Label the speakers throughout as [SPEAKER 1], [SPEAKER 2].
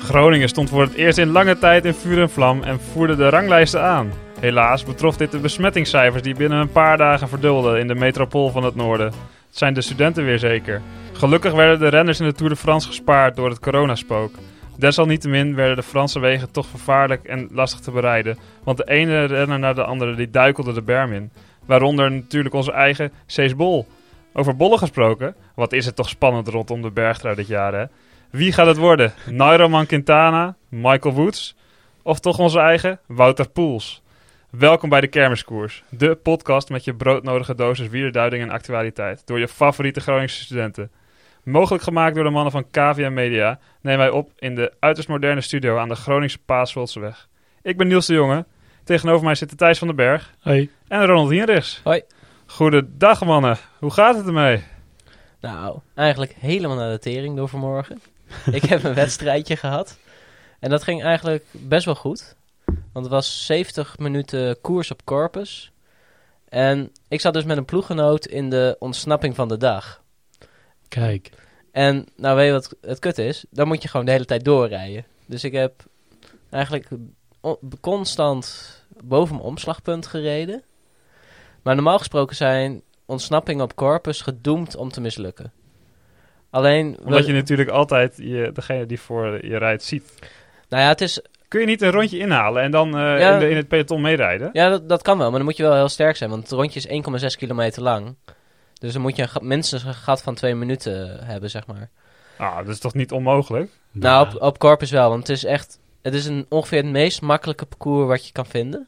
[SPEAKER 1] Groningen stond voor het eerst in lange tijd in vuur en vlam en voerde de ranglijsten aan. Helaas betrof dit de besmettingscijfers die binnen een paar dagen verdubbelden in de metropool van het noorden. Het zijn de studenten weer zeker. Gelukkig werden de renners in de Tour de France gespaard door het coronaspook. Desalniettemin werden de Franse wegen toch vervaarlijk en lastig te bereiden, want de ene renner naar de andere die duikelde de berm in. Waaronder natuurlijk onze eigen Cees Bol. Over bollen gesproken, wat is het toch spannend rondom de bergtrui dit jaar hè? Wie gaat het worden? Nairo Quintana, Michael Woods of toch onze eigen Wouter Poels? Welkom bij de Kermiskoers, de podcast met je broodnodige dosis wielerduiding en actualiteit door je favoriete Groningse studenten. Mogelijk gemaakt door de mannen van KVM Media nemen wij op in de uiterst moderne studio aan de Groningse Paasvoltseweg. Ik ben Niels de Jonge, tegenover mij zitten Thijs van den Berg
[SPEAKER 2] Hey.
[SPEAKER 1] en Ronald Hienrichs.
[SPEAKER 3] Hoi.
[SPEAKER 1] Goedendag mannen, hoe gaat het ermee?
[SPEAKER 3] Nou, eigenlijk helemaal naar de tering door vanmorgen. ik heb een wedstrijdje gehad. En dat ging eigenlijk best wel goed. Want het was 70 minuten koers op Corpus. En ik zat dus met een ploeggenoot in de ontsnapping van de dag.
[SPEAKER 2] Kijk.
[SPEAKER 3] En nou weet je wat het kut is? Dan moet je gewoon de hele tijd doorrijden. Dus ik heb eigenlijk o- constant boven mijn omslagpunt gereden. Maar normaal gesproken zijn ontsnappingen op Corpus gedoemd om te mislukken. Alleen... we-
[SPEAKER 1] Omdat je natuurlijk altijd je, degene die voor je rijdt ziet.
[SPEAKER 3] Nou ja, het is,
[SPEAKER 1] Kun je niet een rondje inhalen en dan eh,
[SPEAKER 3] Ja.
[SPEAKER 1] in, de- in het peloton meerijden?
[SPEAKER 3] ja dat, dat kan wel, maar dan moet je wel heel sterk zijn. Want het rondje is 1,6 kilometer lang. Dus dan moet je een gat- minstens een gat van twee minuten hebben, zeg maar.
[SPEAKER 1] Ah, dat is toch niet onmogelijk?
[SPEAKER 3] Nou, op, op Corpus wel, want het is echt... Het is een, ongeveer het meest makkelijke parcours wat je kan vinden.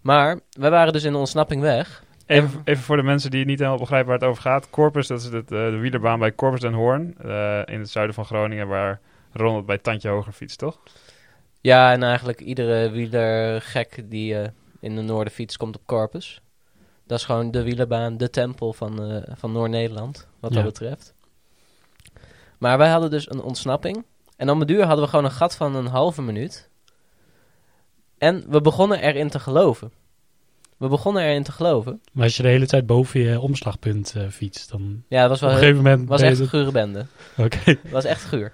[SPEAKER 3] Maar, wij waren dus in de ontsnapping weg.
[SPEAKER 1] Even, even voor de mensen die niet helemaal begrijpen waar het over gaat. Corpus, dat is het, eh, de wielerbaan bij Corpus den Hoorn eh, in het zuiden van Groningen, waar Ronald bij Tandje Hoger fietst, toch?
[SPEAKER 3] Ja, en eigenlijk iedere wielergek die eh, in de noorden fiets komt op Corpus. Dat is gewoon de wielerbaan, de tempel van, eh, van Noord-Nederland, wat
[SPEAKER 2] Ja.
[SPEAKER 3] dat betreft. Maar wij hadden dus een ontsnapping. En om het duur hadden we gewoon een gat van een halve minuut. En we begonnen erin te geloven. We begonnen erin te geloven.
[SPEAKER 2] Maar als je de hele tijd boven je omslagpunt eh, fietst, dan
[SPEAKER 3] Ja, dat was
[SPEAKER 2] op
[SPEAKER 1] Eh,
[SPEAKER 3] wel
[SPEAKER 2] een
[SPEAKER 3] heel,
[SPEAKER 2] gegeven moment...
[SPEAKER 3] was
[SPEAKER 2] ben je
[SPEAKER 3] echt een gure bende.
[SPEAKER 2] het- Oké.
[SPEAKER 3] Het was echt guur.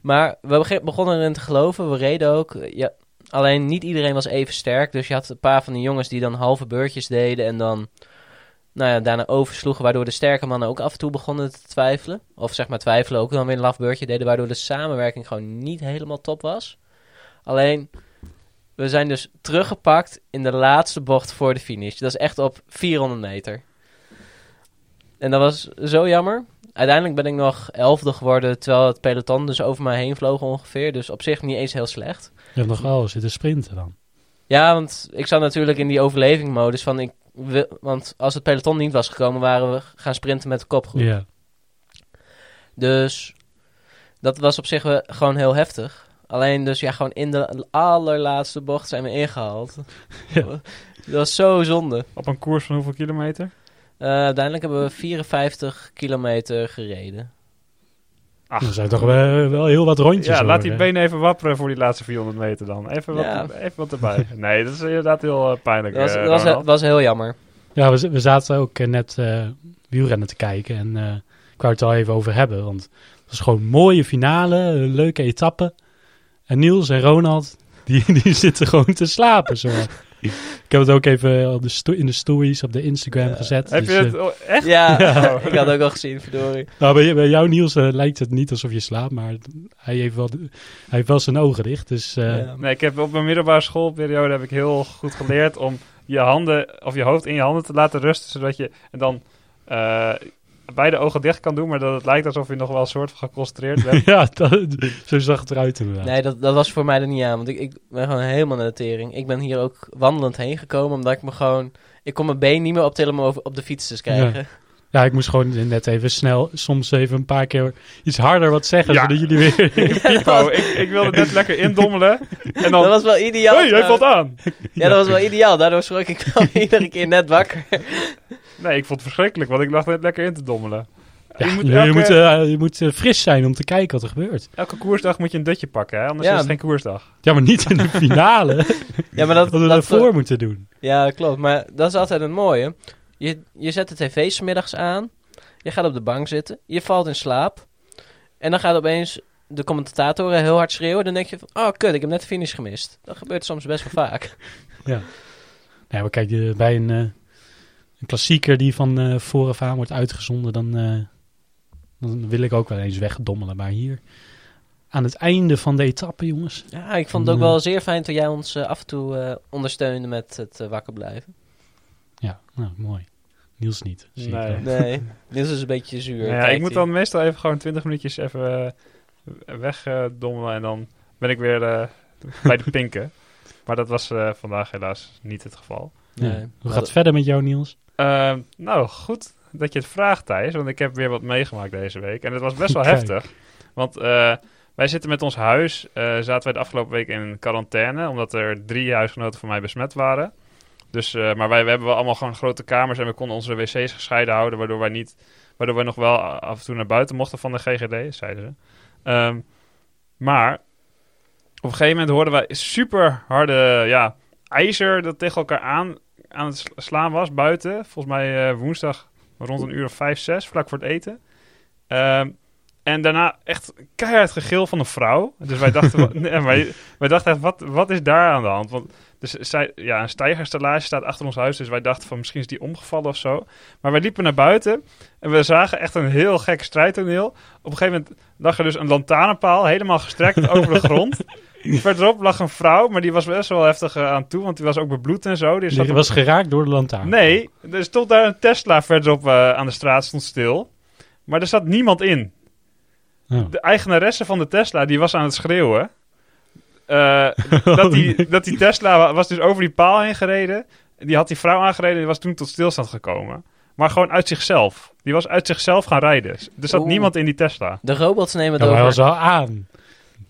[SPEAKER 3] Maar we bege- begonnen erin te geloven. We reden ook. Ja, alleen niet iedereen was even sterk. Dus je had een paar van die jongens die dan halve beurtjes deden. En dan nou ja, daarna oversloegen. Waardoor de sterke mannen ook af en toe begonnen te twijfelen. Of zeg maar twijfelen ook dan weer een laf beurtje deden. Waardoor de samenwerking gewoon niet helemaal top was. Alleen, we zijn dus teruggepakt in de laatste bocht voor de finish. Dat is echt op 400 meter. En dat was zo jammer. Uiteindelijk ben ik nog elfde geworden, terwijl het peloton dus over mij heen vloog ongeveer. Dus op zich niet eens heel slecht.
[SPEAKER 2] Je hebt nog wel zitten sprinten dan.
[SPEAKER 3] Ja, want ik zat natuurlijk in die overlevingmodus van... Ik wil, want als het peloton niet was gekomen, waren we gaan sprinten met de kopgroep.
[SPEAKER 2] Ja.
[SPEAKER 3] Dus dat was op zich wel gewoon heel heftig. Alleen dus ja, gewoon in de allerlaatste bocht zijn we ingehaald.
[SPEAKER 2] Ja.
[SPEAKER 3] Dat was zo zonde.
[SPEAKER 1] Op een koers van hoeveel kilometer?
[SPEAKER 3] Eh, uiteindelijk hebben we 54 kilometer gereden.
[SPEAKER 1] Ach,
[SPEAKER 2] Er zijn toch wel, wel heel wat rondjes.
[SPEAKER 1] ja,
[SPEAKER 2] hoor,
[SPEAKER 1] laat die
[SPEAKER 2] hè?
[SPEAKER 1] benen even wapperen voor die laatste 400 meter dan. Even wat,
[SPEAKER 3] Ja.
[SPEAKER 1] even wat erbij. Nee, dat is inderdaad heel eh, pijnlijk.
[SPEAKER 3] Dat was,
[SPEAKER 1] eh,
[SPEAKER 3] dat was,
[SPEAKER 1] Ronald.
[SPEAKER 3] was heel jammer.
[SPEAKER 2] Ja, we, z- we zaten ook eh, net eh, wielrennen te kijken en eh, ik wou het er al even over hebben. Want het was gewoon een mooie finale, een leuke etappe. En Niels en Ronald, die, die zitten gewoon te slapen. Zo. ik heb het ook even op de sto- in de stories op de Instagram
[SPEAKER 3] Ja.
[SPEAKER 2] gezet.
[SPEAKER 1] Heb
[SPEAKER 2] dus,
[SPEAKER 1] je
[SPEAKER 2] eh,
[SPEAKER 1] het oh, echt?
[SPEAKER 3] Ja,
[SPEAKER 1] Ja.
[SPEAKER 3] ik had ook al gezien, verdorie.
[SPEAKER 2] Nou, bij, bij jou, Niels, eh, lijkt het niet alsof je slaapt, maar het- hij heeft wel, de- hij heeft wel zijn ogen dicht. Dus eh,
[SPEAKER 3] Ja.
[SPEAKER 1] Nee, ik heb op mijn middelbare schoolperiode heb ik heel goed geleerd om je handen of je hoofd in je handen te laten rusten, zodat je en dan eh, beide ogen dicht kan doen, maar dat het lijkt alsof je nog wel een soort van geconcentreerd bent.
[SPEAKER 2] ja, dat, zo zag het eruit inderdaad.
[SPEAKER 3] Nee, dat, dat was voor mij er niet aan, want ik, ik ben gewoon helemaal naar de tering. Ik ben hier ook wandelend heen gekomen, omdat ik me gewoon... Ik kon mijn been niet meer optillen om over- op de fiets te krijgen.
[SPEAKER 2] Ja, ik moest gewoon net even snel, soms even een paar keer iets harder wat zeggen,
[SPEAKER 1] Ja.
[SPEAKER 2] zodat jullie weer...
[SPEAKER 1] Pipo, ik, ik wilde net lekker indommelen en
[SPEAKER 3] Dat
[SPEAKER 1] dan.
[SPEAKER 3] was wel ideaal.
[SPEAKER 1] hey, hij
[SPEAKER 3] trouwens.
[SPEAKER 1] valt aan!
[SPEAKER 3] ja, dat was wel ideaal. Daardoor schrok ik wel iedere keer net wakker.
[SPEAKER 1] Nee, ik vond het verschrikkelijk, want ik lag net lekker in te dommelen.
[SPEAKER 2] Ja,
[SPEAKER 1] je moet
[SPEAKER 2] je,
[SPEAKER 1] elke-
[SPEAKER 2] moet, eh, je moet eh, fris zijn om te kijken wat er gebeurt.
[SPEAKER 1] Elke koersdag moet je een dutje pakken, hè? anders
[SPEAKER 3] Ja.
[SPEAKER 1] is het geen koersdag.
[SPEAKER 2] Ja, maar niet in de finale.
[SPEAKER 3] Ja, maar dat,
[SPEAKER 2] dat we
[SPEAKER 3] dat,
[SPEAKER 2] daarvoor moeten doen.
[SPEAKER 3] Ja, dat klopt. Maar dat is altijd het mooie. Je, je zet de tv 's middags aan. Je gaat op de bank zitten. Je valt in slaap. En dan gaat opeens de commentatoren heel hard schreeuwen. Dan denk je van, oh kut, ik heb net de finish gemist. Dat gebeurt soms best wel vaak.
[SPEAKER 2] Nee, maar kijk, eh, bij een, eh, een klassieker die van eh vooraf aan wordt uitgezonden, dan, eh, dan wil ik ook wel eens wegdommelen. Maar hier, aan het einde van de etappe, jongens.
[SPEAKER 3] Ja, ik vond het ook
[SPEAKER 2] Ja.
[SPEAKER 3] wel zeer fijn toen jij ons eh, af en toe eh, ondersteunde met het eh, wakker blijven.
[SPEAKER 2] Ja, nou, mooi. Niels niet. zie ik
[SPEAKER 1] Nee.
[SPEAKER 2] wel.
[SPEAKER 3] Nee, Niels is een beetje zuur.
[SPEAKER 1] Nou ja,
[SPEAKER 3] kijkt
[SPEAKER 1] ik moet
[SPEAKER 3] hij.
[SPEAKER 1] dan meestal even gewoon 20 minuutjes even eh, wegdommelen en dan ben ik weer eh, bij de pinken. Maar dat was eh, vandaag helaas niet het geval.
[SPEAKER 2] Ja.
[SPEAKER 3] Nee.
[SPEAKER 2] Hoe gaat het verder met jou, Niels?
[SPEAKER 1] Ehm, nou, goed dat je het vraagt, Thijs, want ik heb weer wat meegemaakt deze week. En het was best wel
[SPEAKER 2] Kijk.
[SPEAKER 1] heftig. Want eh, wij zitten met ons huis, eh, zaten wij de afgelopen week in quarantaine, omdat er drie huisgenoten van mij besmet waren. Dus, eh, maar wij we hebben wel allemaal gewoon grote kamers en we konden onze wc's gescheiden houden, waardoor wij, niet, waardoor wij nog wel af en toe naar buiten mochten van de GGD, zeiden ze. Ehm, maar op een gegeven moment hoorden wij super harde ja, ijzer dat tegen elkaar aan, aan het sla- slaan was buiten. Volgens mij eh, woensdag rond een uur of vijf, zes, vlak voor het eten. Ehm, en daarna echt keihard gegil van een vrouw. Dus wij dachten, wa- nee, wij, wij dachten echt, wat, wat is daar aan de hand? Want dus zij, ja, een stijgerstallage staat achter ons huis. Dus wij dachten van misschien is die omgevallen of zo. Maar wij liepen naar buiten en we zagen echt een heel gek strijdtoneel. Op een gegeven moment lag er dus een lantaarnpaal helemaal gestrekt over de grond. Verderop lag een vrouw, maar die was best wel heftig eh, aan toe, want die was ook bebloed en zo. Die zat
[SPEAKER 2] Je
[SPEAKER 1] op-
[SPEAKER 2] was geraakt door de lantaarn.
[SPEAKER 1] Ah. Nee, er stond daar een Tesla verderop eh, aan de straat, stond stil. Maar er zat niemand in.
[SPEAKER 2] Oh.
[SPEAKER 1] De eigenaresse van de Tesla, die was aan het schreeuwen. Eh, dat, die, dat die Tesla wa- was dus over die paal heen gereden. Die had die vrouw aangereden en die was toen tot stilstand gekomen. Maar gewoon uit zichzelf. Die was uit zichzelf gaan rijden. Er zat
[SPEAKER 3] Oeh.
[SPEAKER 1] niemand in die Tesla.
[SPEAKER 3] De robots nemen het
[SPEAKER 2] Ja, maar hij
[SPEAKER 3] over.
[SPEAKER 2] was al aan.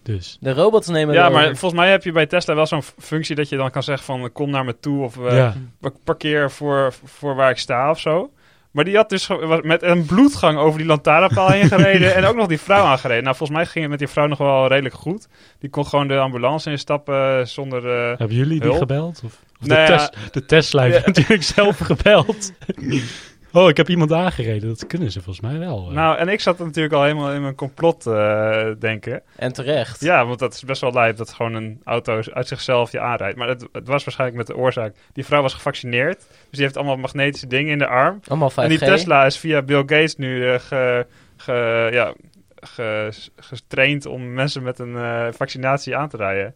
[SPEAKER 2] Dus.
[SPEAKER 3] De robots nemen het
[SPEAKER 1] Ja, maar
[SPEAKER 3] over.
[SPEAKER 1] volgens mij heb je bij Tesla wel zo'n f- functie dat je dan kan zeggen van eh, kom naar me toe of eh,
[SPEAKER 2] ja.
[SPEAKER 1] park- parkeer voor, voor waar ik sta of zo. Maar die had dus ge- was met een bloedgang over die lantaarnpaal heen gereden en ook nog die vrouw aangereden. Nou, volgens mij ging het met die vrouw nog wel redelijk goed. Die kon gewoon de ambulance instappen zonder... eh,
[SPEAKER 2] Hebben jullie die
[SPEAKER 1] Hulp?
[SPEAKER 2] gebeld? Of, of
[SPEAKER 1] Nou
[SPEAKER 2] de,
[SPEAKER 1] ja.
[SPEAKER 2] tes, de Tesla heeft
[SPEAKER 1] Ja.
[SPEAKER 2] natuurlijk zelf gebeld. oh, ik heb iemand aangereden. Dat kunnen ze volgens mij wel. eh.
[SPEAKER 1] Nou, en ik zat natuurlijk al helemaal in mijn complot eh, denken.
[SPEAKER 3] En terecht.
[SPEAKER 1] Ja, want dat is best wel lijp dat gewoon een auto uit zichzelf je aanrijdt. Maar het, het was waarschijnlijk met de oorzaak. Die vrouw was gevaccineerd, dus die heeft allemaal magnetische dingen in de arm.
[SPEAKER 3] Allemaal 5G.
[SPEAKER 1] En die Tesla is via Bill Gates nu eh, ge- ge- ja, ge- getraind om mensen met een eh, vaccinatie aan te rijden.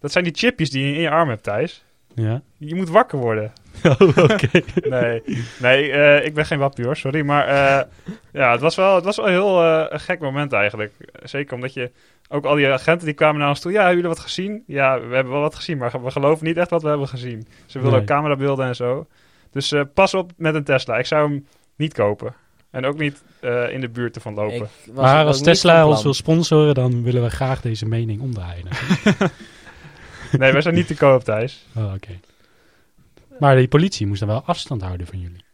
[SPEAKER 1] Dat zijn die chipjes die je in je arm hebt, Thijs.
[SPEAKER 2] Ja.
[SPEAKER 1] Je moet wakker worden.
[SPEAKER 2] Oh, oké.
[SPEAKER 1] Nee, nee eh, ik ben geen wappie hoor, sorry. Maar eh, ja, het was wel, het was wel een heel eh, een gek moment eigenlijk. Zeker omdat je ook al die agenten die kwamen naar ons toe. Ja, hebben jullie wat gezien? Ja, we hebben wel wat gezien, maar we geloven niet echt wat we hebben gezien. Ze wilden
[SPEAKER 2] Nee.
[SPEAKER 1] ook camerabeelden en zo. Dus eh, pas op met een Tesla. Ik zou hem niet kopen. En ook niet eh, in de buurt ervan lopen.
[SPEAKER 3] Ik was
[SPEAKER 2] Maar
[SPEAKER 3] ook
[SPEAKER 2] als
[SPEAKER 3] niet van
[SPEAKER 2] Tesla
[SPEAKER 3] plan.
[SPEAKER 2] ons wil sponsoren, dan willen we graag deze mening omdraaien.
[SPEAKER 1] Nee, wij zijn niet te koop, Thijs.
[SPEAKER 2] Oh, oké. Maar die politie moest dan wel afstand houden van jullie.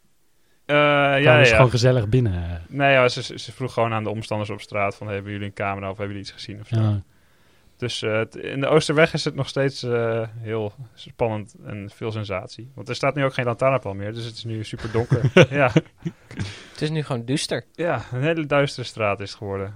[SPEAKER 1] Eh,
[SPEAKER 2] Ja,
[SPEAKER 1] ja, ja,
[SPEAKER 2] dus
[SPEAKER 1] ja.
[SPEAKER 2] gewoon gezellig binnen.
[SPEAKER 1] Nee, ja, ze, ze vroeg gewoon aan de omstanders op straat van... hebben jullie een camera of hebben jullie iets gezien of zo.
[SPEAKER 2] Ja.
[SPEAKER 1] Dus eh, het- in de Oosterweg is het nog steeds eh, heel spannend en veel sensatie. Want er staat nu ook geen lantaarnpaal meer, dus het is nu super donker. ja.
[SPEAKER 3] Het is nu gewoon duister.
[SPEAKER 1] ja, een hele duistere straat is het geworden.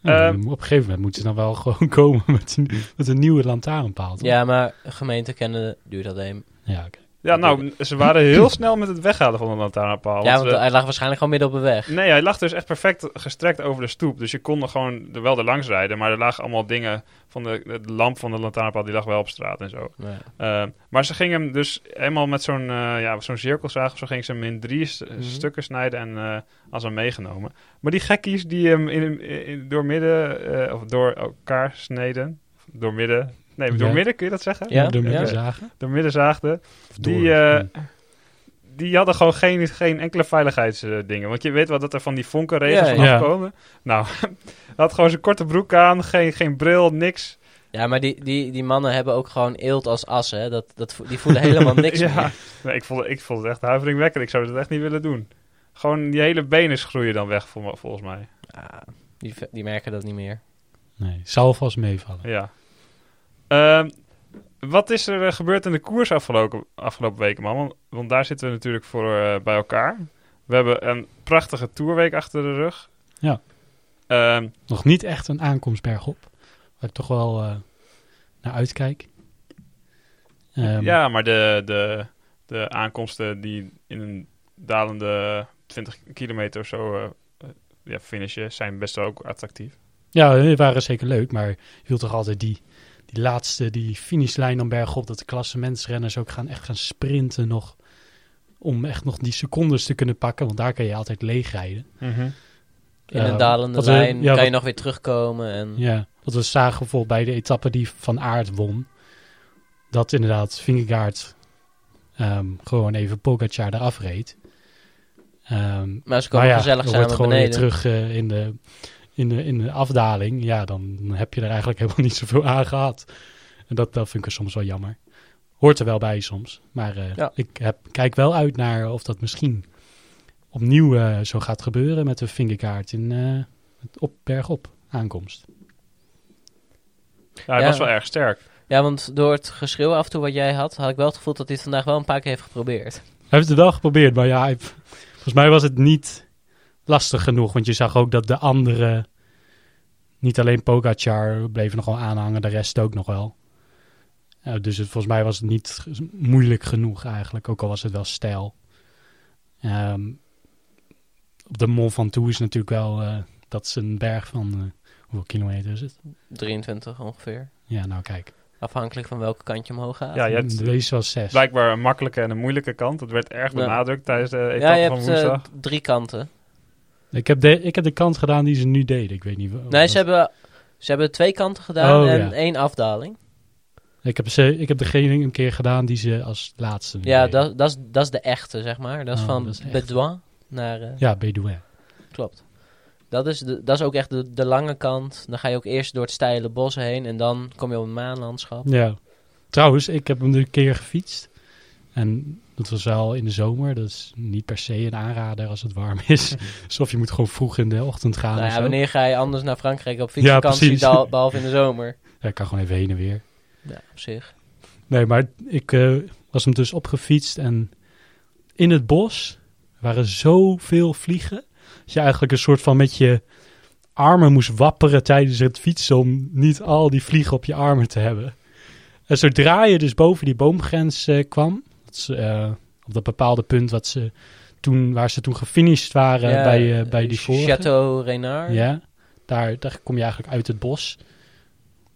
[SPEAKER 2] Ja,
[SPEAKER 1] Ehm.
[SPEAKER 2] op een gegeven moment moeten ze dan wel gewoon komen met een, met een nieuwe lantaarnpaal. toch?
[SPEAKER 3] Ja, maar gemeente kennen duurt dat een.
[SPEAKER 2] Ja, oké.
[SPEAKER 1] Ja, nou, ze waren heel snel met het weghalen van de lantaarnpaal.
[SPEAKER 3] Ja,
[SPEAKER 1] want,
[SPEAKER 3] want
[SPEAKER 1] eh,
[SPEAKER 3] hij lag waarschijnlijk gewoon midden op de weg.
[SPEAKER 1] Nee, hij lag dus echt perfect gestrekt over de stoep. Dus je kon er gewoon er wel er langs rijden. Maar er lagen allemaal dingen van de, de lamp van de lantaarnpaal, die lag wel op straat en zo.
[SPEAKER 3] Ja.
[SPEAKER 1] Eh, maar ze gingen hem dus helemaal met zo'n eh, ja, zo'n cirkelzaag of zo gingen ze hem in drie s- eh,
[SPEAKER 3] Mhm.
[SPEAKER 1] stukken snijden en eh als hem meegenomen. Maar die gekkies die hem in, in, doormidden eh, of door elkaar sneden, doormidden, nee,
[SPEAKER 2] Ja.
[SPEAKER 1] doormidden kun je dat zeggen?
[SPEAKER 3] Ja,
[SPEAKER 2] Door
[SPEAKER 1] ja.
[SPEAKER 2] elkaar zagen.
[SPEAKER 1] Doormidden zaagden.
[SPEAKER 2] Of
[SPEAKER 1] Die,
[SPEAKER 2] door.
[SPEAKER 1] eh,
[SPEAKER 2] Ja.
[SPEAKER 1] Die hadden gewoon geen, geen enkele veiligheidsdingen. Want je weet wel dat er van die vonkenregens
[SPEAKER 3] Ja, ja.
[SPEAKER 1] vanaf
[SPEAKER 2] Ja.
[SPEAKER 1] komen. Nou, hij had gewoon zijn korte broek aan, geen, geen bril, niks.
[SPEAKER 3] Ja, maar die, die, die mannen hebben ook gewoon eelt als as, hè. Dat, dat, vo- die voelen helemaal niks
[SPEAKER 1] ja.
[SPEAKER 3] meer.
[SPEAKER 1] Nee, ik, vond, ik vond het echt huiveringwekkend. Ik zou dat echt niet willen doen. Gewoon die hele benen groeien dan weg, vol- volgens mij.
[SPEAKER 3] Ah, die, ve- die merken dat niet meer.
[SPEAKER 2] Nee, zal vast meevallen.
[SPEAKER 1] Ja. Ehm, wat is er eh, gebeurd in de koers afgelopen, afgelopen weken, man? Want, want daar zitten we natuurlijk voor eh, bij elkaar. We hebben een prachtige toerweek achter de rug.
[SPEAKER 2] Ja.
[SPEAKER 1] Ehm,
[SPEAKER 2] Nog niet echt een aankomst bergop. Waar ik toch wel eh, naar uitkijk. Ehm,
[SPEAKER 1] ja, maar de, de, de aankomsten die in een dalende 20 kilometer of zo eh, eh, ja, finishen, zijn best wel ook attractief.
[SPEAKER 2] Ja, die waren zeker leuk, maar je wilt toch altijd die, die laatste, die finishlijn dan bergop, dat de klassementsrenners ook gaan echt gaan sprinten nog, om echt nog die secondes te kunnen pakken, want daar kan je altijd leeg rijden.
[SPEAKER 3] In
[SPEAKER 2] Ja,
[SPEAKER 3] een dalende
[SPEAKER 2] wat Ehm, we-
[SPEAKER 3] lijn
[SPEAKER 2] ja,
[SPEAKER 3] kan
[SPEAKER 2] wat-
[SPEAKER 3] je nog weer terugkomen. En,
[SPEAKER 2] Ja, wat we zagen bijvoorbeeld bij de etappe die Van Aert won, dat inderdaad Vingegaard ehm, gewoon even Pogacar eraf reed. Ehm,
[SPEAKER 3] Maar ze komen
[SPEAKER 2] Maar ja,
[SPEAKER 3] gezellig
[SPEAKER 2] dan wordt
[SPEAKER 3] samen
[SPEAKER 2] gewoon
[SPEAKER 3] beneden.
[SPEAKER 2] weer terug eh, in, de, in, de, in de afdaling. Ja, dan heb je er eigenlijk helemaal niet zoveel aan gehad. En dat, dat vind ik er soms wel jammer. Hoort er wel bij soms. Maar eh,
[SPEAKER 3] Ja.
[SPEAKER 2] ik heb, kijk wel uit naar of dat misschien opnieuw eh, zo gaat gebeuren met de vingerkaart in eh, het op, bergop aankomst.
[SPEAKER 1] Ja, hij
[SPEAKER 3] Ja.
[SPEAKER 1] was wel erg sterk.
[SPEAKER 3] Ja, want door het geschreeuw af en toe wat jij had, had ik wel het gevoel dat hij het vandaag wel een paar keer heeft geprobeerd.
[SPEAKER 2] Hij heeft het wel geprobeerd, maar ja, hij- volgens mij was het niet lastig genoeg. Want je zag ook dat de anderen, niet alleen Pogacar, bleven nog wel aanhangen, de rest ook nog wel. Eh, dus het, volgens mij was het niet g- moeilijk genoeg eigenlijk, ook al was het wel stijl. Ehm, op de Mont Ventoux is natuurlijk wel, eh, dat is een berg van, eh, hoeveel kilometer is het?
[SPEAKER 3] 23 ongeveer.
[SPEAKER 2] Ja, nou kijk,
[SPEAKER 3] Afhankelijk van welke kant je omhoog gaat.
[SPEAKER 1] Ja, je hebt
[SPEAKER 2] deze was zes.
[SPEAKER 1] blijkbaar een makkelijke en een moeilijke kant. Dat werd erg
[SPEAKER 3] Ja.
[SPEAKER 1] benadrukt tijdens de etappe
[SPEAKER 3] Ja, je
[SPEAKER 1] van
[SPEAKER 3] hebt eh,
[SPEAKER 1] woensdag.
[SPEAKER 3] drie kanten.
[SPEAKER 2] Oh, Ik heb, de, ik heb de kant gedaan die ze nu deden, ik weet niet. wa-
[SPEAKER 3] Nee,
[SPEAKER 2] wat-
[SPEAKER 3] ze hebben, ze hebben twee kanten gedaan
[SPEAKER 2] Oh,
[SPEAKER 3] en
[SPEAKER 2] ja.
[SPEAKER 3] één afdaling.
[SPEAKER 2] Ik heb, ze, ik heb degene een keer gedaan die ze als laatste.
[SPEAKER 3] Ja,
[SPEAKER 2] deden.
[SPEAKER 3] dat, dat, is, dat is de echte, zeg maar. Dat is
[SPEAKER 2] Oh,
[SPEAKER 3] van
[SPEAKER 2] dat is echt.
[SPEAKER 3] Bedouin naar... eh,
[SPEAKER 2] Ja, Bedouin.
[SPEAKER 3] Klopt. Dat is, de, dat is ook echt de, de lange kant. Dan ga je ook eerst door het steile bos heen en dan kom je op het maanlandschap.
[SPEAKER 2] Ja. Trouwens, ik heb hem een keer gefietst. En dat was wel in de zomer. Dat is niet per se een aanrader als het warm is. Alsof je moet gewoon vroeg in de ochtend gaan.
[SPEAKER 3] nou
[SPEAKER 2] of
[SPEAKER 3] ja,
[SPEAKER 2] zo.
[SPEAKER 3] wanneer ga je anders naar Frankrijk op
[SPEAKER 2] Ja,
[SPEAKER 3] fietsvakantie,
[SPEAKER 2] precies.
[SPEAKER 3] behal- behalve in de zomer?
[SPEAKER 2] Ja, ik kan gewoon even heen en weer.
[SPEAKER 3] Ja, op zich.
[SPEAKER 2] Nee, maar ik eh, was hem dus opgefietst en in het bos waren zoveel vliegen. Dat je eigenlijk een soort van met je armen moest wapperen tijdens het fietsen om niet al die vliegen op je armen te hebben. En zodra je dus boven die boomgrens eh, kwam, dat is, eh, op dat bepaalde punt wat ze toen, waar ze toen gefinished waren
[SPEAKER 3] Ja,
[SPEAKER 2] bij, eh, bij
[SPEAKER 3] eh,
[SPEAKER 2] die vorige.
[SPEAKER 3] Chateau Renard.
[SPEAKER 2] Ja, daar, daar kom je eigenlijk uit het bos.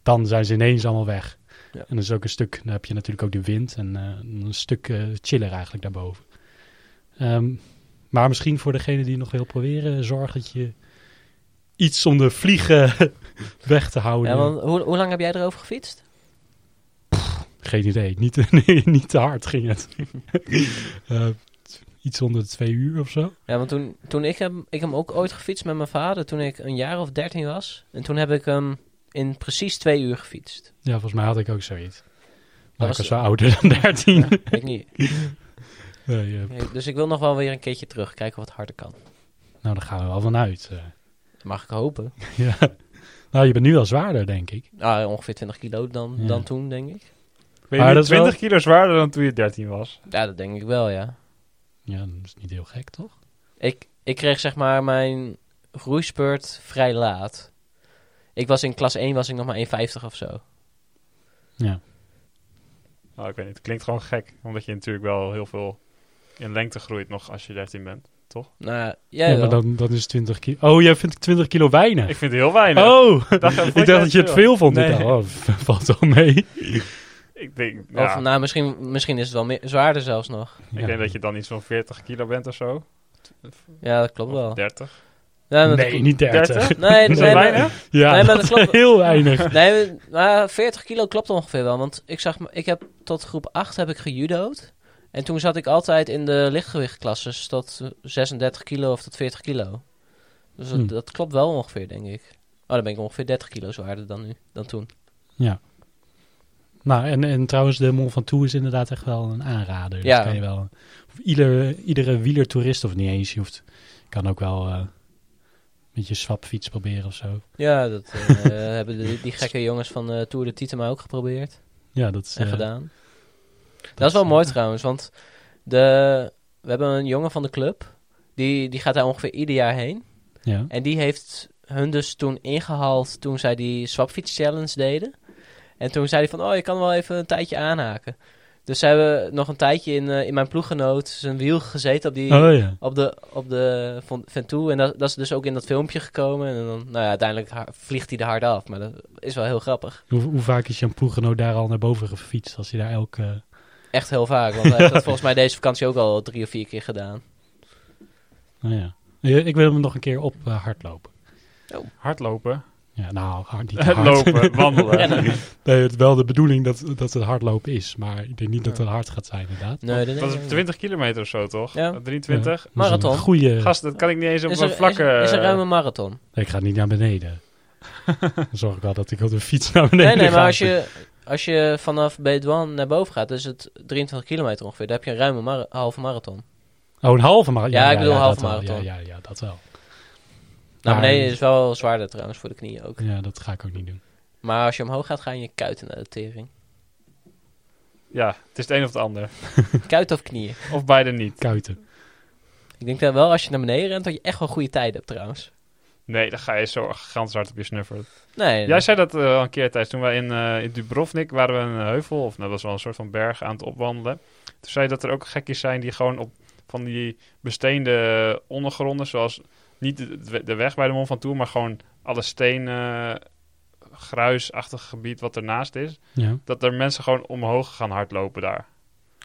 [SPEAKER 2] Dan zijn ze ineens allemaal weg.
[SPEAKER 3] Ja.
[SPEAKER 2] En dat is ook een stuk, dan heb je natuurlijk ook de wind en eh, een stuk eh, chiller eigenlijk daarboven. Ehm, maar misschien voor degene die het nog wil proberen, zorg dat je iets om de vliegen weg te houden.
[SPEAKER 3] Ja, want hoe, hoe lang heb jij erover gefietst?
[SPEAKER 2] Geen idee, niet, nee, niet te hard ging het. Eh, iets onder de twee uur of zo.
[SPEAKER 3] Ja, want toen, toen ik hem, ik hem ook ooit gefietst met mijn vader, toen ik een jaar of dertien was. En toen heb ik hem in precies twee uur gefietst.
[SPEAKER 2] Ja, volgens mij had ik ook zoiets. Maar
[SPEAKER 3] was-
[SPEAKER 2] ik was wel ouder dan 13.
[SPEAKER 3] ik niet.
[SPEAKER 2] Nee, eh,
[SPEAKER 3] Ik- Dus ik wil nog wel weer een keertje terug, kijken of het harder kan.
[SPEAKER 2] nou, daar gaan we wel van uit. eh.
[SPEAKER 3] Dat mag ik hopen.
[SPEAKER 2] Ja. Nou, je bent nu wel zwaarder, denk ik.
[SPEAKER 3] Ah, ongeveer 20 kilo dan,
[SPEAKER 2] Ja.
[SPEAKER 3] dan toen, denk ik.
[SPEAKER 1] Ben je
[SPEAKER 2] Maar
[SPEAKER 1] nu
[SPEAKER 2] dat is wel-
[SPEAKER 1] 20 kilo zwaarder dan toen je 13 was?
[SPEAKER 3] Ja, dat denk ik wel, ja.
[SPEAKER 2] Ja, dat is niet heel gek, toch?
[SPEAKER 3] Ik, ik kreeg zeg maar mijn groeispurt vrij laat. Ik was in klas 1 was ik nog maar 1,50 of zo.
[SPEAKER 2] Ja.
[SPEAKER 1] Nou, ik weet niet. Het klinkt gewoon gek. Omdat je natuurlijk wel heel veel in lengte groeit nog als je 13 bent.
[SPEAKER 3] Nou,
[SPEAKER 2] Ja,
[SPEAKER 3] jij wel.
[SPEAKER 2] maar dan, dan is 20 kilo... Oh, jij vindt 20 kilo weinig?
[SPEAKER 1] Ik vind het heel weinig.
[SPEAKER 2] oh, ik dacht dat je het veel vond.
[SPEAKER 1] Nee.
[SPEAKER 2] Ik dacht, oh, v- valt wel mee.
[SPEAKER 1] Ik denk,
[SPEAKER 3] Of,
[SPEAKER 1] ja,
[SPEAKER 3] nou, misschien, misschien is het wel meer, zwaarder zelfs nog.
[SPEAKER 1] ik denk dat je dan iets van 40 kilo bent of zo.
[SPEAKER 3] Ja, dat klopt
[SPEAKER 1] Of
[SPEAKER 3] wel.
[SPEAKER 1] 30.
[SPEAKER 3] Ja, dat
[SPEAKER 2] Nee,
[SPEAKER 3] klopt.
[SPEAKER 2] niet 30.
[SPEAKER 1] 30?
[SPEAKER 3] Nee,
[SPEAKER 1] Is
[SPEAKER 3] nee,
[SPEAKER 1] dat
[SPEAKER 3] nee,
[SPEAKER 1] weinig?
[SPEAKER 2] Ja,
[SPEAKER 3] Nee, maar
[SPEAKER 2] dat is
[SPEAKER 3] dat klopt.
[SPEAKER 2] heel weinig.
[SPEAKER 3] Nee, maar 40 kilo klopt ongeveer wel. Want ik zag, me- ik heb tot groep 8 heb ik gejudo'd. En toen zat ik altijd in de lichtgewichtklasses tot eh, 36 kilo of tot 40 kilo. Dus dat,
[SPEAKER 2] Hmm.
[SPEAKER 3] dat klopt wel ongeveer, denk ik. Oh, dan ben ik ongeveer 30 kilo zwaarder dan nu, dan toen.
[SPEAKER 2] Nou, en, en trouwens, de Mont Ventoux is inderdaad echt wel een aanrader. Dus
[SPEAKER 3] Ja.
[SPEAKER 2] kan je wel... Of ieder, iedere wielertoerist, of niet eens, je hoeft... kan ook wel eh, met je swapfiets proberen of zo.
[SPEAKER 3] Ja, dat eh, hebben de- die gekke jongens van eh, Tour de Tietema ook geprobeerd
[SPEAKER 2] Ja, dat is...
[SPEAKER 3] en
[SPEAKER 2] eh,
[SPEAKER 3] gedaan. Dat,
[SPEAKER 2] dat
[SPEAKER 3] is wel
[SPEAKER 2] is,
[SPEAKER 3] mooi
[SPEAKER 2] eh,
[SPEAKER 3] trouwens, want de, we hebben een jongen van de club. Die, die gaat daar ongeveer ieder jaar heen.
[SPEAKER 2] Ja.
[SPEAKER 3] En die heeft hun dus toen ingehaald toen zij die swapfiets challenge deden. En toen zei hij van, oh, je kan wel even een tijdje aanhaken. Dus ze hebben nog een tijdje in, eh, in mijn ploeggenoot zijn wiel gezeten op die,
[SPEAKER 2] Oh ja.
[SPEAKER 3] op de, op de van Ventoux. En dat, dat is dus ook in dat filmpje gekomen. En dan, nou ja, uiteindelijk ha- vliegt hij er hard af. Maar dat is wel heel grappig.
[SPEAKER 2] Hoe, hoe vaak is Jan Poegenoot daar al naar boven gefietst? Als hij daar elke...
[SPEAKER 3] Echt heel vaak. Want hij heeft dat volgens mij deze vakantie ook al drie of vier keer gedaan.
[SPEAKER 2] Nou ja. Eh, Ik wil hem nog een keer op eh, hardlopen.
[SPEAKER 1] Hardlopen.
[SPEAKER 2] Ja, nou, hard, niet te hard.
[SPEAKER 1] Lopen, wandelen.
[SPEAKER 2] Nee, het is wel de bedoeling dat, dat het hardlopen is. Maar ik denk niet dat het hard gaat zijn, inderdaad.
[SPEAKER 3] Nee, nee,
[SPEAKER 1] Dat
[SPEAKER 3] nee.
[SPEAKER 1] is 20 kilometer of zo, toch?
[SPEAKER 3] Ja.
[SPEAKER 1] 23.
[SPEAKER 2] Dat is een
[SPEAKER 3] Marathon.
[SPEAKER 2] Goeie...
[SPEAKER 1] Gast, dat kan ik niet eens op
[SPEAKER 3] Is
[SPEAKER 1] een
[SPEAKER 3] er,
[SPEAKER 1] vlakke...
[SPEAKER 3] is, is er ruim een marathon?
[SPEAKER 2] Nee, ik ga niet naar beneden. Dan zorg ik wel dat ik op de fiets naar beneden
[SPEAKER 3] Nee, nee,
[SPEAKER 2] ga.
[SPEAKER 3] maar als je, als je vanaf Bedouin naar boven gaat, is het 23 kilometer ongeveer. Dan heb je een ruime mara- halve marathon.
[SPEAKER 2] Oh, een halve marathon.
[SPEAKER 3] Ja, ik bedoel
[SPEAKER 2] dat
[SPEAKER 3] halve
[SPEAKER 2] wel.
[SPEAKER 3] marathon.
[SPEAKER 2] Ja, ja, ja, dat wel.
[SPEAKER 3] Nou,
[SPEAKER 2] Maar-
[SPEAKER 3] beneden is wel zwaarder trouwens voor de knieën ook.
[SPEAKER 2] Ja, dat ga ik ook niet doen.
[SPEAKER 3] Maar als je omhoog gaat, gaan je kuiten naar de tering.
[SPEAKER 1] Ja, het is het een of het ander.
[SPEAKER 3] Kuit of knieën.
[SPEAKER 1] Of beide niet.
[SPEAKER 2] Kuiten.
[SPEAKER 3] Ik denk dan wel als je naar beneden rent, dat je echt wel goede tijden hebt trouwens.
[SPEAKER 1] Nee, dan ga je zo gans hard op je snuffer.
[SPEAKER 3] Nee,
[SPEAKER 1] Jij zei dat eh, al een keer tijdens toen wij in, eh, in Dubrovnik waren we een heuvel, of nou, dat was wel een soort van berg aan het opwandelen. Toen zei je dat er ook gekjes zijn die gewoon op van die besteende eh, ondergronden, zoals niet de- de, de weg bij de Mont Ventoux, maar gewoon alle steen, eh, gruisachtig gebied wat ernaast is,
[SPEAKER 2] Ja.
[SPEAKER 1] dat er mensen gewoon omhoog gaan hardlopen daar.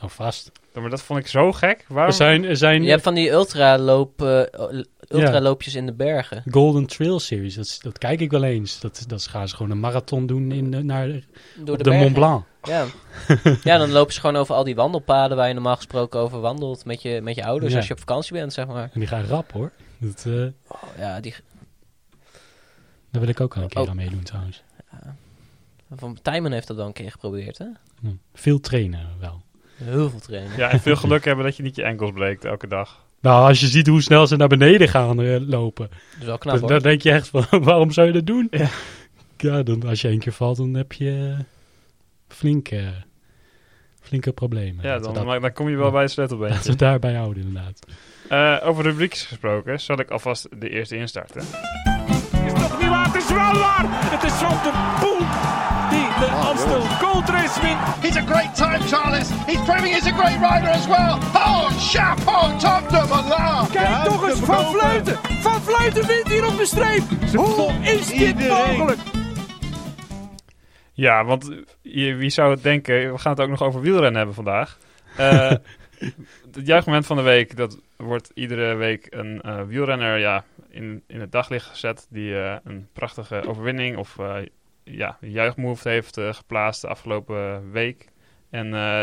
[SPEAKER 2] Oh, vast.
[SPEAKER 1] Ja, Maar dat vond ik zo gek. Waarom?
[SPEAKER 2] Er zijn, er zijn
[SPEAKER 3] Je hebt van die ultraloop, eh, l- ultraloopjes in de bergen.
[SPEAKER 2] Golden Trail Series. Dat, is- dat kijk ik wel eens. Dat, dat gaan ze gewoon een marathon doen in, de- naar de,
[SPEAKER 3] Door de,
[SPEAKER 2] de
[SPEAKER 3] bergen.
[SPEAKER 2] Mont Blanc.
[SPEAKER 3] Ja. ja, dan lopen ze gewoon over al die wandelpaden waar je normaal gesproken over wandelt met je, met je ouders
[SPEAKER 2] Ja.
[SPEAKER 3] als je op vakantie bent, zeg maar.
[SPEAKER 2] En die gaan rap, hoor. Dat, eh,
[SPEAKER 3] Oh, ja, die,
[SPEAKER 2] daar wil ik ook al een keer
[SPEAKER 3] Oh.
[SPEAKER 2] aan meedoen, trouwens.
[SPEAKER 3] van Tijmen heeft dat wel een keer geprobeerd, hè?
[SPEAKER 2] Hm. Veel trainen wel.
[SPEAKER 3] Heel veel trainen.
[SPEAKER 1] Ja, en veel geluk hebben dat je niet je enkels breekt elke dag.
[SPEAKER 2] Nou, als je ziet hoe snel ze naar beneden gaan eh, lopen,
[SPEAKER 3] Dat is wel
[SPEAKER 2] dan,
[SPEAKER 3] knap, Nou, hoor.
[SPEAKER 2] dan denk je echt van, waarom zou je dat doen? Ja, dan, als je één keer valt, dan heb je eh, flinke, flinke problemen.
[SPEAKER 1] Ja,
[SPEAKER 2] Laten
[SPEAKER 1] dan,
[SPEAKER 2] we dat,
[SPEAKER 1] maar dan kom je wel bij het sleutelbeentje.
[SPEAKER 2] laten we het daarbij houden, inderdaad.
[SPEAKER 1] Eh, over rubriekjes gesproken, zal ik alvast de eerste instarten.
[SPEAKER 4] is toch niet waar? Het is wel waar! Het is Van de Poel die de Amstel Gold Race wint.
[SPEAKER 5] He's a great time, Charles. He's proving he's a great rider as well. Oh, chapeau, Tom de Moulin.
[SPEAKER 4] Kijk toch eens, Van Vleuten! Van Vleuten wint hier op de streep! Hoe is dit mogelijk?
[SPEAKER 1] Ja, want eh, je- wie zou het denken? We gaan het ook nog over wielrennen hebben vandaag. Eh, het juichmoment van de week, dat wordt iedere week een eh, wielrenner ja, in, in het daglicht gezet. Die eh, een prachtige overwinning of eh ja, een juichmove heeft eh, geplaatst de afgelopen week. En eh,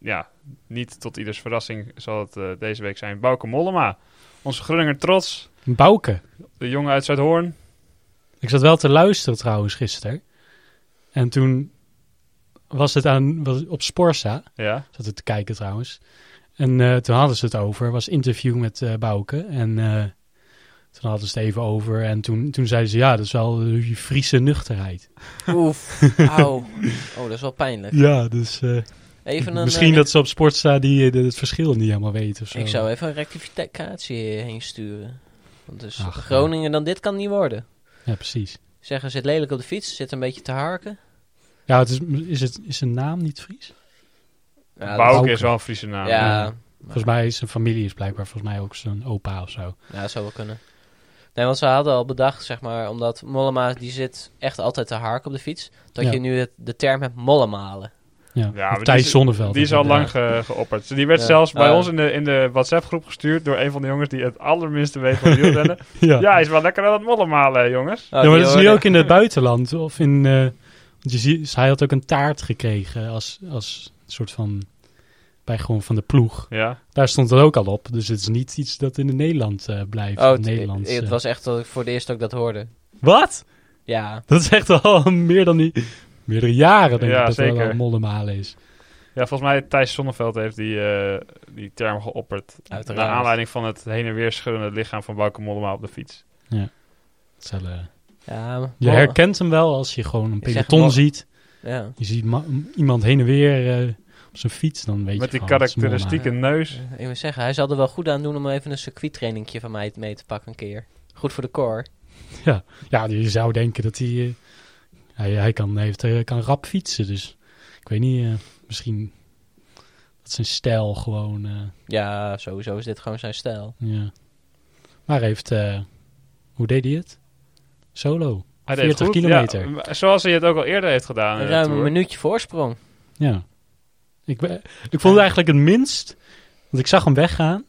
[SPEAKER 1] ja, niet tot ieders verrassing zal het eh, deze week zijn. Bouke Mollema, onze Groninger trots.
[SPEAKER 2] Bouke.
[SPEAKER 1] De jongen uit Zuidhoorn.
[SPEAKER 2] Ik zat wel te luisteren trouwens gisteren. En toen was het aan, was op Sporza,
[SPEAKER 1] Ja,
[SPEAKER 2] zat ik te kijken trouwens. En eh, toen hadden ze het over, was interview met eh Bouke. En eh, toen hadden ze het even over. En toen, toen zeiden ze, ja, dat is wel je Friese nuchterheid.
[SPEAKER 3] Oef, auw. Oh, dat is wel pijnlijk.
[SPEAKER 2] Ja, dus eh,
[SPEAKER 3] Even een,
[SPEAKER 2] misschien
[SPEAKER 3] eh,
[SPEAKER 2] dat ze op Sportsta die, eh, het verschil niet helemaal weten of zo.
[SPEAKER 3] Ik zou even een rectificatie heen sturen. Want dus
[SPEAKER 2] Ach,
[SPEAKER 3] Groningen dan dit kan niet worden.
[SPEAKER 2] Ja, precies.
[SPEAKER 3] Zeggen, zit lelijk op de fiets, zit een beetje te harken.
[SPEAKER 2] Ja, het is, is, het, is zijn naam niet Fries?
[SPEAKER 3] Ja, dat-
[SPEAKER 1] Bouke
[SPEAKER 2] Bouke.
[SPEAKER 1] is wel een Friese naam.
[SPEAKER 3] ja,
[SPEAKER 2] Volgens mij is zijn familie is blijkbaar volgens mij ook zijn opa of zo.
[SPEAKER 3] Ja, dat zou wel kunnen. Nee, want ze hadden al bedacht, zeg maar, omdat Mollema, die zit echt altijd te harken op de fiets. Dat
[SPEAKER 2] Ja.
[SPEAKER 3] je nu het, de term hebt mollemalen. Oh,
[SPEAKER 2] Ja,
[SPEAKER 1] Ja,
[SPEAKER 2] Of
[SPEAKER 1] maar
[SPEAKER 2] Thijs
[SPEAKER 1] die is-
[SPEAKER 2] Zonneveld.
[SPEAKER 1] Die is al
[SPEAKER 2] Ja.
[SPEAKER 1] lang ge- geopperd. Dus Die werd
[SPEAKER 3] Ja.
[SPEAKER 1] zelfs bij
[SPEAKER 3] Ah.
[SPEAKER 1] ons in de, in de WhatsApp-groep gestuurd door een van de jongens die het allerminste weet van wielrennen.
[SPEAKER 2] Ja.
[SPEAKER 1] ja, hij is wel lekker aan het modder malen, jongens.
[SPEAKER 3] Oh,
[SPEAKER 2] ja, maar
[SPEAKER 3] die
[SPEAKER 2] dat is nu
[SPEAKER 3] hoorde-
[SPEAKER 2] ook in het buitenland. Of in, eh, want je ziet, hij had ook een taart gekregen als, als soort van... Bij gewoon van de ploeg.
[SPEAKER 1] Ja,
[SPEAKER 2] Daar stond het ook al op. Dus het is niet iets dat in het Nederland eh, blijft.
[SPEAKER 3] Oh, het,
[SPEAKER 2] Nederlands,
[SPEAKER 3] het
[SPEAKER 2] eh.
[SPEAKER 3] was echt dat ik voor het eerst ook dat hoorde.
[SPEAKER 2] Wat?
[SPEAKER 3] Ja,
[SPEAKER 2] Dat is echt al meer dan die... Meerdere jaren denk
[SPEAKER 1] Ja,
[SPEAKER 2] ik dat dat
[SPEAKER 1] zeker.
[SPEAKER 2] wel mollenmalen is.
[SPEAKER 1] Ja, volgens mij Thijs Sonneveld heeft die, eh, die term geopperd.
[SPEAKER 3] Uiteraard.
[SPEAKER 1] Naar aanleiding van het heen en weer schuddende lichaam van Bauke Mollema op de fiets.
[SPEAKER 2] Het is wel, eh,
[SPEAKER 3] Ja, maar-
[SPEAKER 2] je herkent hem wel als je gewoon een
[SPEAKER 3] Ik zeg
[SPEAKER 2] peloton
[SPEAKER 3] wel-
[SPEAKER 2] ziet.
[SPEAKER 3] Ja.
[SPEAKER 2] Je ziet ma- iemand heen en weer eh, op zijn fiets, dan weet je
[SPEAKER 1] Met die
[SPEAKER 2] gewoon, het is Mollema.
[SPEAKER 1] karakteristieke neus.
[SPEAKER 3] Ik wil zeggen, hij zal er wel goed aan doen om even een circuittrainingje van mij mee te pakken een keer. Goed voor de core.
[SPEAKER 2] Ja, je zou denken dat hij... eh, hij, hij kan, heeft, eh, kan rap fietsen, dus ik weet niet, eh, misschien dat zijn stijl gewoon... eh,
[SPEAKER 3] Ja, sowieso is dit gewoon zijn stijl.
[SPEAKER 2] ja. Maar hij heeft, eh, hoe deed hij het? Solo.
[SPEAKER 1] Hij deed het
[SPEAKER 2] 40
[SPEAKER 1] goed.
[SPEAKER 2] kilometer.
[SPEAKER 1] Ja, maar zoals hij het ook al eerder heeft gedaan. in
[SPEAKER 3] Een
[SPEAKER 1] de
[SPEAKER 3] ruim een
[SPEAKER 1] Tour.
[SPEAKER 3] minuutje voorsprong.
[SPEAKER 2] Ja. Ik, ben- ik vond het eigenlijk het minst, want ik zag hem weggaan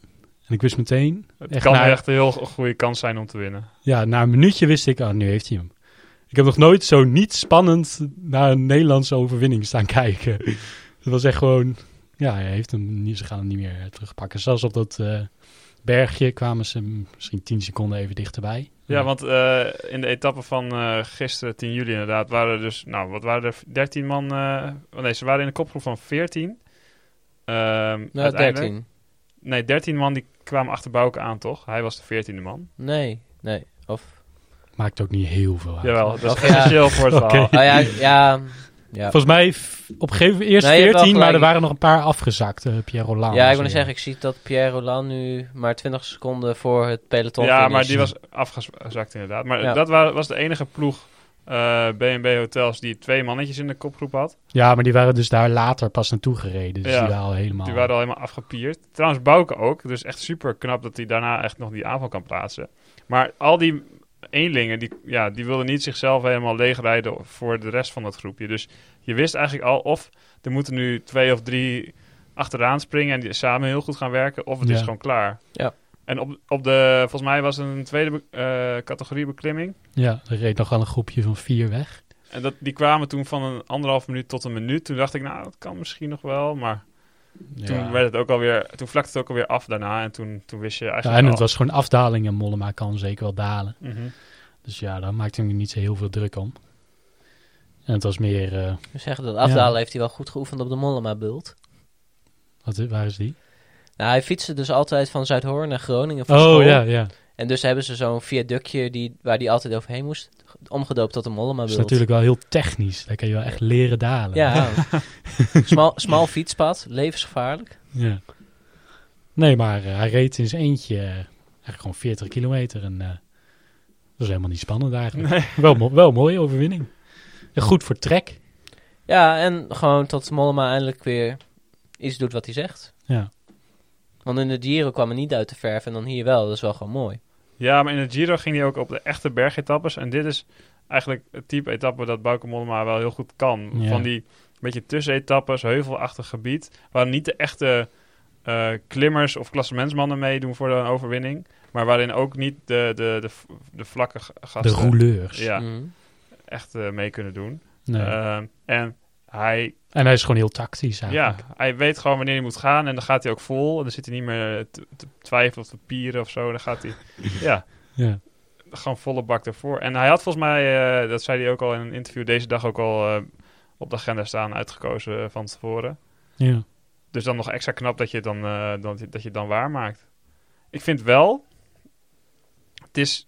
[SPEAKER 2] en ik wist meteen,
[SPEAKER 1] Het
[SPEAKER 2] Echt
[SPEAKER 1] kan
[SPEAKER 2] naar-
[SPEAKER 1] echt een heel go- goede kans zijn om te winnen.
[SPEAKER 2] ja, na een minuutje wist ik, ah, nu heeft hij hem. Ik heb nog nooit zo niet spannend naar een Nederlandse overwinning staan kijken. Het was echt gewoon, ja, hij heeft hem, niet- ze gaan hem niet meer eh, terugpakken. Zelfs op dat eh, bergje kwamen ze misschien 10 seconden even dichterbij.
[SPEAKER 1] Ja, want eh, in de etappe van eh, gisteren, 10 juli inderdaad, waren er dus, nou, wat waren er, 13 man, eh, oh nee, ze waren in een kopgroep van 14. Ehm,
[SPEAKER 3] Nou,
[SPEAKER 1] uiteindelijk-
[SPEAKER 3] 13.
[SPEAKER 1] Nee, 13 man die kwamen achter Bouke aan, toch? Hij was de 14e man.
[SPEAKER 3] Nee, nee. Oh Of...
[SPEAKER 2] Maakt ook niet heel veel uit.
[SPEAKER 1] Jawel, dat
[SPEAKER 3] Oké,
[SPEAKER 1] is essentieel voor het
[SPEAKER 2] Oké.
[SPEAKER 1] verhaal.
[SPEAKER 3] Oh ja, ja. ja.
[SPEAKER 2] Volgens mij f- op een gegeven moment eerst
[SPEAKER 3] Nee, je hebt wel
[SPEAKER 2] 14, maar er
[SPEAKER 3] gelijk.
[SPEAKER 2] waren nog een paar afgezakt. eh Pierre Roland.
[SPEAKER 3] Ja, ik wil
[SPEAKER 2] wil
[SPEAKER 3] net zeggen, ik zie dat Pierre Roland nu maar 20 seconden voor het peloton
[SPEAKER 1] Ja,
[SPEAKER 3] finish.
[SPEAKER 1] maar die was afgezakt inderdaad. Maar
[SPEAKER 3] Ja.
[SPEAKER 1] dat wa- was de enige ploeg eh B&B Hotels die twee mannetjes in de kopgroep had.
[SPEAKER 2] Ja, maar die waren dus daar later pas naartoe gereden. Dus
[SPEAKER 1] Ja.
[SPEAKER 2] die waren al helemaal...
[SPEAKER 1] Die waren al helemaal afgepierd. Trouwens, Bouke ook. Dus echt super knap dat hij daarna echt nog die aanval kan plaatsen. Maar al die eenlingen, die, ja, die wilden niet zichzelf helemaal leegrijden voor de rest van dat groepje. Dus je wist eigenlijk al of er moeten nu twee of drie achteraan springen en die samen heel goed gaan werken, of het
[SPEAKER 2] Ja.
[SPEAKER 1] is gewoon klaar.
[SPEAKER 3] Ja.
[SPEAKER 1] En op, op de, volgens mij was het een tweede be- eh, categorie beklimming.
[SPEAKER 2] Ja, er reed nog wel een groepje van vier weg.
[SPEAKER 1] En dat, die kwamen toen van een anderhalf minuut tot een minuut. Toen dacht ik, nou, dat kan misschien nog wel. Maar toen, werd het ook alweer, toen vlakte het ook alweer af daarna. En toen, toen wist je
[SPEAKER 2] Ja,
[SPEAKER 1] eigenlijk
[SPEAKER 2] en het
[SPEAKER 1] al-
[SPEAKER 2] was gewoon afdaling en Mollema kan zeker wel dalen.
[SPEAKER 1] Mhm.
[SPEAKER 2] Dus ja, daar maakte hij niet zo heel veel druk om. En het was meer... eh,
[SPEAKER 3] We zeggen dat afdalen
[SPEAKER 2] Ja.
[SPEAKER 3] heeft hij wel goed geoefend op de Mollema-bult.
[SPEAKER 2] wat, waar is die?
[SPEAKER 3] Nou, hij fietste dus altijd van Zuidhoorn naar Groningen voor school.
[SPEAKER 2] Oh, ja, ja.
[SPEAKER 3] En dus hebben ze zo'n viaductje die, waar hij altijd overheen moest, ge- omgedoopt tot de
[SPEAKER 2] Dat is
[SPEAKER 3] Mollema-bult.
[SPEAKER 2] natuurlijk wel heel technisch. Daar kan je wel echt leren dalen.
[SPEAKER 3] Ja, smal, smal fietspad, levensgevaarlijk.
[SPEAKER 2] Ja. Nee, maar eh, hij reed in zijn eentje eh, eigenlijk gewoon 40 kilometer. En eh, dat was helemaal niet spannend eigenlijk. Wel, mo- wel een mooie overwinning. En goed voor trek.
[SPEAKER 3] Ja, en gewoon tot Mollema eindelijk weer iets doet wat hij zegt.
[SPEAKER 2] Ja.
[SPEAKER 3] Want in de Giro kwam hij niet uit de verf en dan hier wel. Dat is wel gewoon mooi.
[SPEAKER 1] Ja, maar in de Giro ging hij ook op de echte bergetappes. En dit is eigenlijk het type etappe dat Bauke Mollema wel heel goed kan.
[SPEAKER 2] Ja.
[SPEAKER 1] Van die beetje tussenetappes, heuvelachtig gebied. Waar niet de echte eh, klimmers of klassementsmannen meedoen voor een overwinning. Maar waarin ook niet de, de, de, v- de vlakke g-
[SPEAKER 2] De
[SPEAKER 1] gasten
[SPEAKER 2] rouleurs.
[SPEAKER 1] ja,
[SPEAKER 3] Mhm.
[SPEAKER 1] echt eh, mee kunnen doen.
[SPEAKER 2] Nee.
[SPEAKER 1] Ehm, en hij,
[SPEAKER 2] en hij is gewoon heel tactisch
[SPEAKER 1] ja,
[SPEAKER 2] eigenlijk.
[SPEAKER 1] hij weet gewoon wanneer hij moet gaan en dan gaat hij ook vol. En dan zit hij niet meer te, te twijfelen of te pieren of zo. Dan gaat hij ja,
[SPEAKER 2] Ja.
[SPEAKER 1] gewoon volle bak ervoor. En hij had volgens mij, eh, dat zei hij ook al in een interview deze dag ook al eh, op de agenda staan, uitgekozen eh, van tevoren.
[SPEAKER 2] Ja.
[SPEAKER 1] Dus dan nog extra knap dat je het dan, eh, dan, dat je het dan waarmaakt. Ik vind wel, het is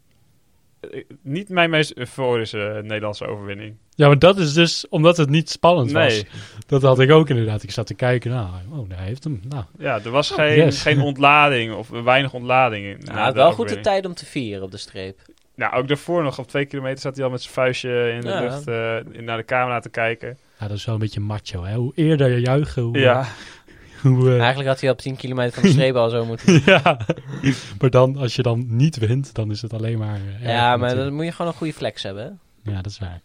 [SPEAKER 1] eh, niet mijn meest euforische Nederlandse overwinning.
[SPEAKER 2] Ja, maar dat is dus omdat het niet spannend
[SPEAKER 1] Nee.
[SPEAKER 2] was. Dat had ik ook inderdaad. Ik zat te kijken. Nou, oh, hij heeft hem. Nou,
[SPEAKER 1] Ja, er was geen,
[SPEAKER 2] yes.
[SPEAKER 1] geen ontlading of weinig ontlading. in-
[SPEAKER 3] Nou,
[SPEAKER 1] na
[SPEAKER 3] hij had
[SPEAKER 1] de
[SPEAKER 3] wel goed de
[SPEAKER 1] overwinning.
[SPEAKER 3] tijd om te vieren op de streep.
[SPEAKER 1] Nou, ook daarvoor nog op twee kilometer zat hij al met zijn vuistje in de
[SPEAKER 3] Ja.
[SPEAKER 1] lucht eh, in- naar de camera te kijken.
[SPEAKER 2] ja, dat is wel een beetje macho. Hè? Hoe eerder je juichen, hoe...
[SPEAKER 1] Ja,
[SPEAKER 2] hoe eh,
[SPEAKER 3] Eigenlijk had hij op 10 kilometer van de streep al zo moeten.
[SPEAKER 2] ja. Maar dan, als je dan niet wint, dan is het alleen maar... eh, erg
[SPEAKER 3] Ja, maar
[SPEAKER 2] natuurlijk.
[SPEAKER 3] dan moet je gewoon een goede flex hebben. hè.
[SPEAKER 2] Ja, dat is waar.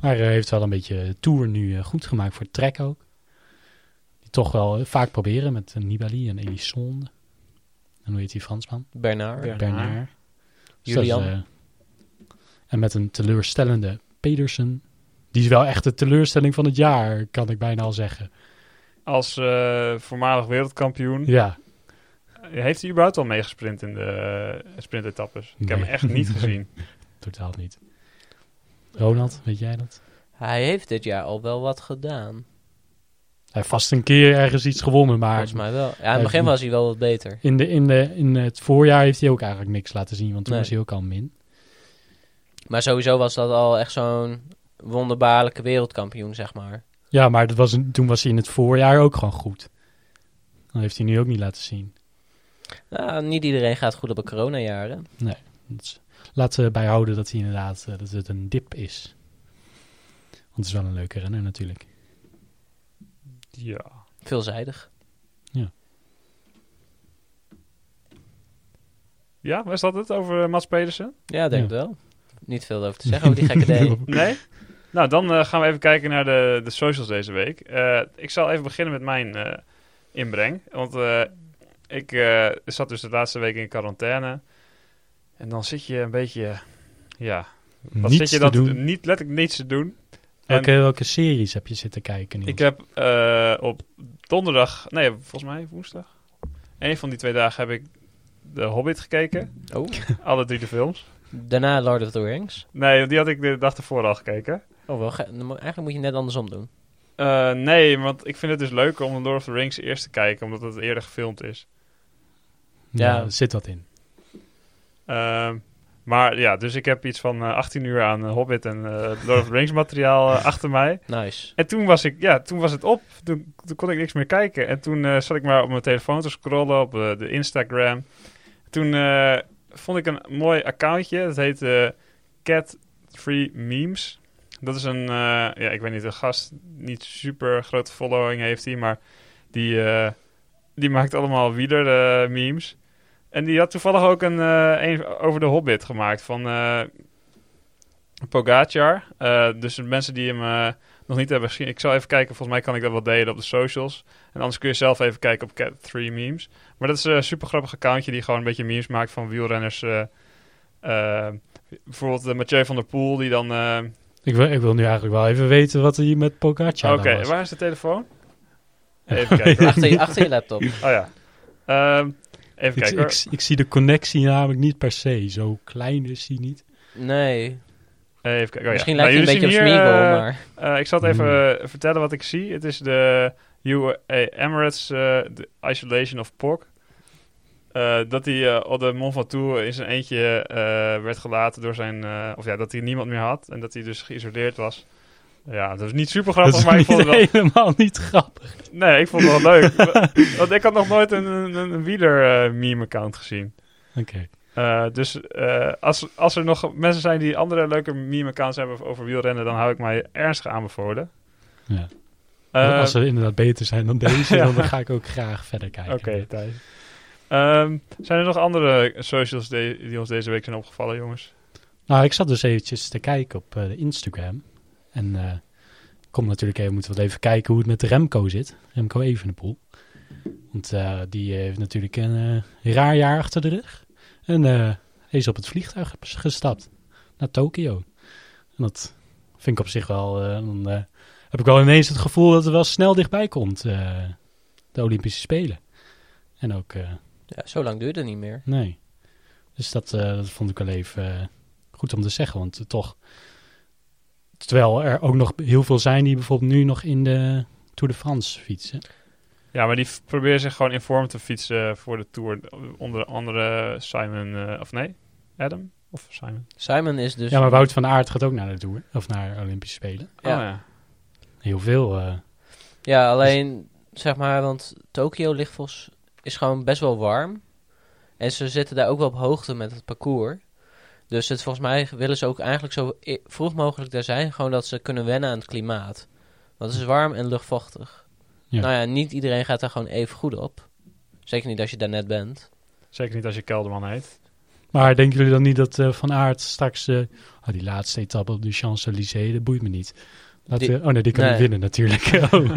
[SPEAKER 2] Maar eh, hij heeft wel een beetje Tour nu eh, goed gemaakt voor Trek ook. Die toch wel eh, vaak proberen met eh, Nibali en Elisonde. En hoe heet die Fransman?
[SPEAKER 3] Bernard.
[SPEAKER 1] Ja. Bernard.
[SPEAKER 2] Bernard. Dus dat is,
[SPEAKER 3] Julian.
[SPEAKER 2] eh, en met een teleurstellende Pedersen. Die is wel echt de teleurstelling van het jaar, kan ik bijna al zeggen.
[SPEAKER 1] als eh, voormalig wereldkampioen.
[SPEAKER 2] Ja,
[SPEAKER 1] Heeft hij überhaupt al meegesprint in de eh, sprintetappes? Ik heb
[SPEAKER 2] Nee.
[SPEAKER 1] hem echt niet gezien.
[SPEAKER 2] totaal niet. Ronald, weet jij dat?
[SPEAKER 3] Hij heeft dit jaar al wel wat gedaan.
[SPEAKER 2] Hij heeft vast een keer ergens iets gewonnen, maar
[SPEAKER 3] Volgens mij wel. Ja, in
[SPEAKER 2] heeft
[SPEAKER 3] het begin
[SPEAKER 2] niet-
[SPEAKER 3] was hij wel wat beter.
[SPEAKER 2] in, de, in, de, in het voorjaar heeft hij ook eigenlijk niks laten zien, want toen
[SPEAKER 3] Nee.
[SPEAKER 2] was hij ook al min.
[SPEAKER 3] Maar sowieso was dat al echt zo'n wonderbaarlijke wereldkampioen, zeg maar.
[SPEAKER 2] Ja, maar dat was, een- toen was hij in het voorjaar ook gewoon goed. Dat heeft hij nu ook niet laten zien.
[SPEAKER 3] Nou, niet iedereen gaat goed op een coronajaar, hè?
[SPEAKER 2] Dus laten we bijhouden dat hij inderdaad eh, dat het een dip is. Want het is wel een leuke renner natuurlijk.
[SPEAKER 1] Ja.
[SPEAKER 3] Veelzijdig.
[SPEAKER 1] Ja, was dat het over eh, Mats Pedersen?
[SPEAKER 3] Ja, denk
[SPEAKER 2] Ja.
[SPEAKER 3] ik wel. Niet veel over te zeggen over die gekke day.
[SPEAKER 1] Nee? nou, dan eh, gaan we even kijken naar de, de socials deze week. Eh, ik zal even beginnen met mijn eh, inbreng. Want eh, ik eh, zat dus de laatste week in quarantaine. En dan zit je een beetje... Ja, wat
[SPEAKER 2] Niets
[SPEAKER 1] zit je
[SPEAKER 2] te
[SPEAKER 1] dan
[SPEAKER 2] doen.
[SPEAKER 1] te doen? Niet, letterlijk niets te doen. En-
[SPEAKER 2] Welke, welke series heb je zitten kijken? Niels?
[SPEAKER 1] Ik heb eh, op donderdag, nee, volgens mij woensdag. Een van die twee dagen heb ik The Hobbit gekeken.
[SPEAKER 3] Oh.
[SPEAKER 1] Alle drie de films.
[SPEAKER 3] Daarna Lord of the Rings.
[SPEAKER 1] Nee, die had ik de dag ervoor al gekeken.
[SPEAKER 3] Oh, wel, ge- dan mo- eigenlijk moet je net andersom doen.
[SPEAKER 1] Eh, nee, want ik vind het dus leuker om Lord of the Rings eerst te kijken, omdat het eerder gefilmd is.
[SPEAKER 2] ja,
[SPEAKER 3] ja.
[SPEAKER 2] er zit wat in.
[SPEAKER 1] Ehm, maar ja, dus ik heb iets van eh, 18 uur aan eh, Hobbit en eh, Lord of the Rings materiaal eh, achter mij.
[SPEAKER 3] Nice.
[SPEAKER 1] En toen was, ik, ja, toen was het op. Toen, toen kon ik niks meer kijken. En toen eh, zat ik maar op mijn telefoon te scrollen op eh, de Instagram. Toen eh, vond ik een mooi accountje. Dat heet eh, Cat Free Memes. Dat is een, eh, ja, ik weet niet, een gast. Niet super grote following heeft hij, maar die, eh, die maakt allemaal wieler eh, memes. En die had toevallig ook een, eh, een over de Hobbit gemaakt van eh Pogacar. Eh, dus de mensen die hem eh, nog niet hebben gezien. Ik zal even kijken, volgens mij kan ik dat wel delen op de socials. En anders kun je zelf even kijken op Cat 3 Memes. Maar dat is een super grappig accountje die gewoon een beetje memes maakt van wielrenners. eh, eh, bijvoorbeeld eh, Mathieu van der Poel die dan... eh,
[SPEAKER 2] Ik wil, ik wil nu eigenlijk wel even weten wat er hier met Pogacar
[SPEAKER 1] Oké,
[SPEAKER 2] dan was.
[SPEAKER 1] waar is de telefoon? Even kijken. hoor.
[SPEAKER 3] Achter je, achter je laptop.
[SPEAKER 1] Oh ja. Ehm, even
[SPEAKER 2] Ik,
[SPEAKER 1] kijken hoor.
[SPEAKER 2] ik, ik zie de connectie namelijk niet per se. Zo klein is hij niet.
[SPEAKER 3] Nee.
[SPEAKER 1] Even kijken. Oh, ja.
[SPEAKER 3] Misschien
[SPEAKER 1] Nou,
[SPEAKER 3] lijkt hij een
[SPEAKER 1] jullie
[SPEAKER 3] beetje op
[SPEAKER 1] zien hier,
[SPEAKER 3] Smeagol,
[SPEAKER 1] eh,
[SPEAKER 3] maar...
[SPEAKER 1] Eh, ik zal het even
[SPEAKER 2] Hmm.
[SPEAKER 1] eh, vertellen wat ik zie. Het is de UAE Emirates eh, de Isolation of POC. Eh, dat hij eh, op de Mont Ventoux in zijn eentje eh, werd gelaten door zijn... eh, of ja, dat hij niemand meer had. En dat hij dus geïsoleerd was. Ja, dat is niet super
[SPEAKER 2] Dat
[SPEAKER 1] grappig,
[SPEAKER 2] is
[SPEAKER 1] maar ik
[SPEAKER 2] niet
[SPEAKER 1] vond het wel...
[SPEAKER 2] helemaal niet grappig.
[SPEAKER 1] Nee, ik vond het wel leuk. Want ik had nog nooit een, een, een wieler-meme-account gezien.
[SPEAKER 2] Oké.
[SPEAKER 1] Eh, dus eh, als, als er nog mensen zijn die andere leuke meme-accounts hebben over wielrennen... dan hou ik mij ernstig aanbevolen.
[SPEAKER 2] Ja.
[SPEAKER 1] Eh,
[SPEAKER 2] Als ze inderdaad beter zijn dan deze,
[SPEAKER 1] ja.
[SPEAKER 2] dan ga ik ook graag verder kijken.
[SPEAKER 1] Oké, Thijs. Ehm, zijn er nog andere socials de- die ons deze week zijn opgevallen, jongens?
[SPEAKER 2] Nou, ik zat dus eventjes te kijken op eh, de Instagram. En eh kom natuurlijk even, moeten we even kijken hoe het met Remco zit. Remco Evenepoel. Want eh, die heeft natuurlijk een eh, raar jaar achter de rug. En eh, hij is op het vliegtuig gestapt naar Tokio. En dat vind ik op zich wel... eh, dan eh, heb ik wel ineens het gevoel dat het wel snel dichtbij komt. eh, de Olympische Spelen. En ook... eh,
[SPEAKER 3] Ja, zo lang duurde het niet meer.
[SPEAKER 2] Nee. Dus dat, eh, dat vond ik wel even eh, goed om te zeggen. Want eh, toch. Terwijl er ook nog heel veel zijn die bijvoorbeeld nu nog in de Tour de France fietsen.
[SPEAKER 1] Ja, maar die f- proberen zich gewoon in vorm te fietsen voor de Tour. Onder andere Simon, eh, of nee, Adam? Of Simon?
[SPEAKER 3] Simon is dus...
[SPEAKER 2] ja, maar Wout van Aert gaat ook naar de Tour. Of naar Olympische Spelen.
[SPEAKER 1] Ja.
[SPEAKER 3] Ja.
[SPEAKER 1] Oh, ja.
[SPEAKER 2] Heel veel. eh,
[SPEAKER 3] Ja, alleen zeg maar, want Tokio ligt volgens is gewoon best wel warm. En ze zitten daar ook wel op hoogte met het parcours. Dus het, volgens mij willen ze ook eigenlijk zo i- vroeg mogelijk daar zijn. Gewoon dat ze kunnen wennen aan het klimaat. Want het is warm en luchtvochtig.
[SPEAKER 2] Ja.
[SPEAKER 3] Nou ja, niet iedereen gaat daar gewoon even goed op. Zeker niet als je daar net bent.
[SPEAKER 1] Zeker niet als je Kelderman heet.
[SPEAKER 2] Maar denken jullie dan niet dat eh, Van Aert straks... eh, ah, die laatste etappe op de Champs-Élysées, dat boeit me niet. Laten
[SPEAKER 3] Die-
[SPEAKER 2] we- oh nee, die kan
[SPEAKER 3] nee.
[SPEAKER 2] niet winnen natuurlijk. Oh.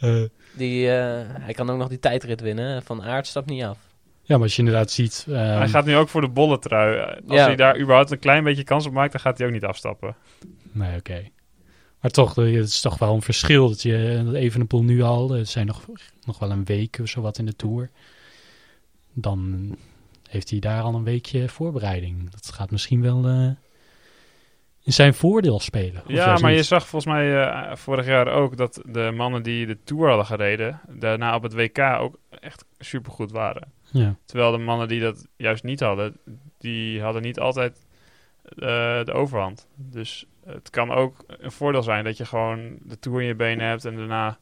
[SPEAKER 2] Eh,
[SPEAKER 3] Die, eh, hij kan ook nog die tijdrit winnen. Van Aert stapt niet af.
[SPEAKER 2] ja, maar als je inderdaad ziet...
[SPEAKER 1] hij
[SPEAKER 2] ehm,
[SPEAKER 1] gaat nu ook voor de bolletrui. Eh, Als
[SPEAKER 3] Ja.
[SPEAKER 1] hij daar überhaupt een klein beetje kans op maakt, dan gaat hij ook niet afstappen.
[SPEAKER 2] Nee, oké. Maar toch, eh, het is toch wel een verschil. Dat je eh, dat Evenepoel nu al, er zijn nog, nog wel een week of zo wat in de Tour. Dan heeft hij daar al een weekje voorbereiding. Dat gaat misschien wel eh, in zijn voordeel spelen. Of
[SPEAKER 1] Ja,
[SPEAKER 2] juist
[SPEAKER 1] maar je
[SPEAKER 2] niet?
[SPEAKER 1] zag volgens mij eh, vorig jaar ook dat de mannen die de Tour hadden gereden, daarna op het WK ook echt supergoed waren.
[SPEAKER 2] Ja.
[SPEAKER 1] Terwijl de mannen die dat juist niet hadden, die hadden niet altijd eh, de overhand. Dus het kan ook een voordeel zijn dat je gewoon de Tour in je benen hebt en daarna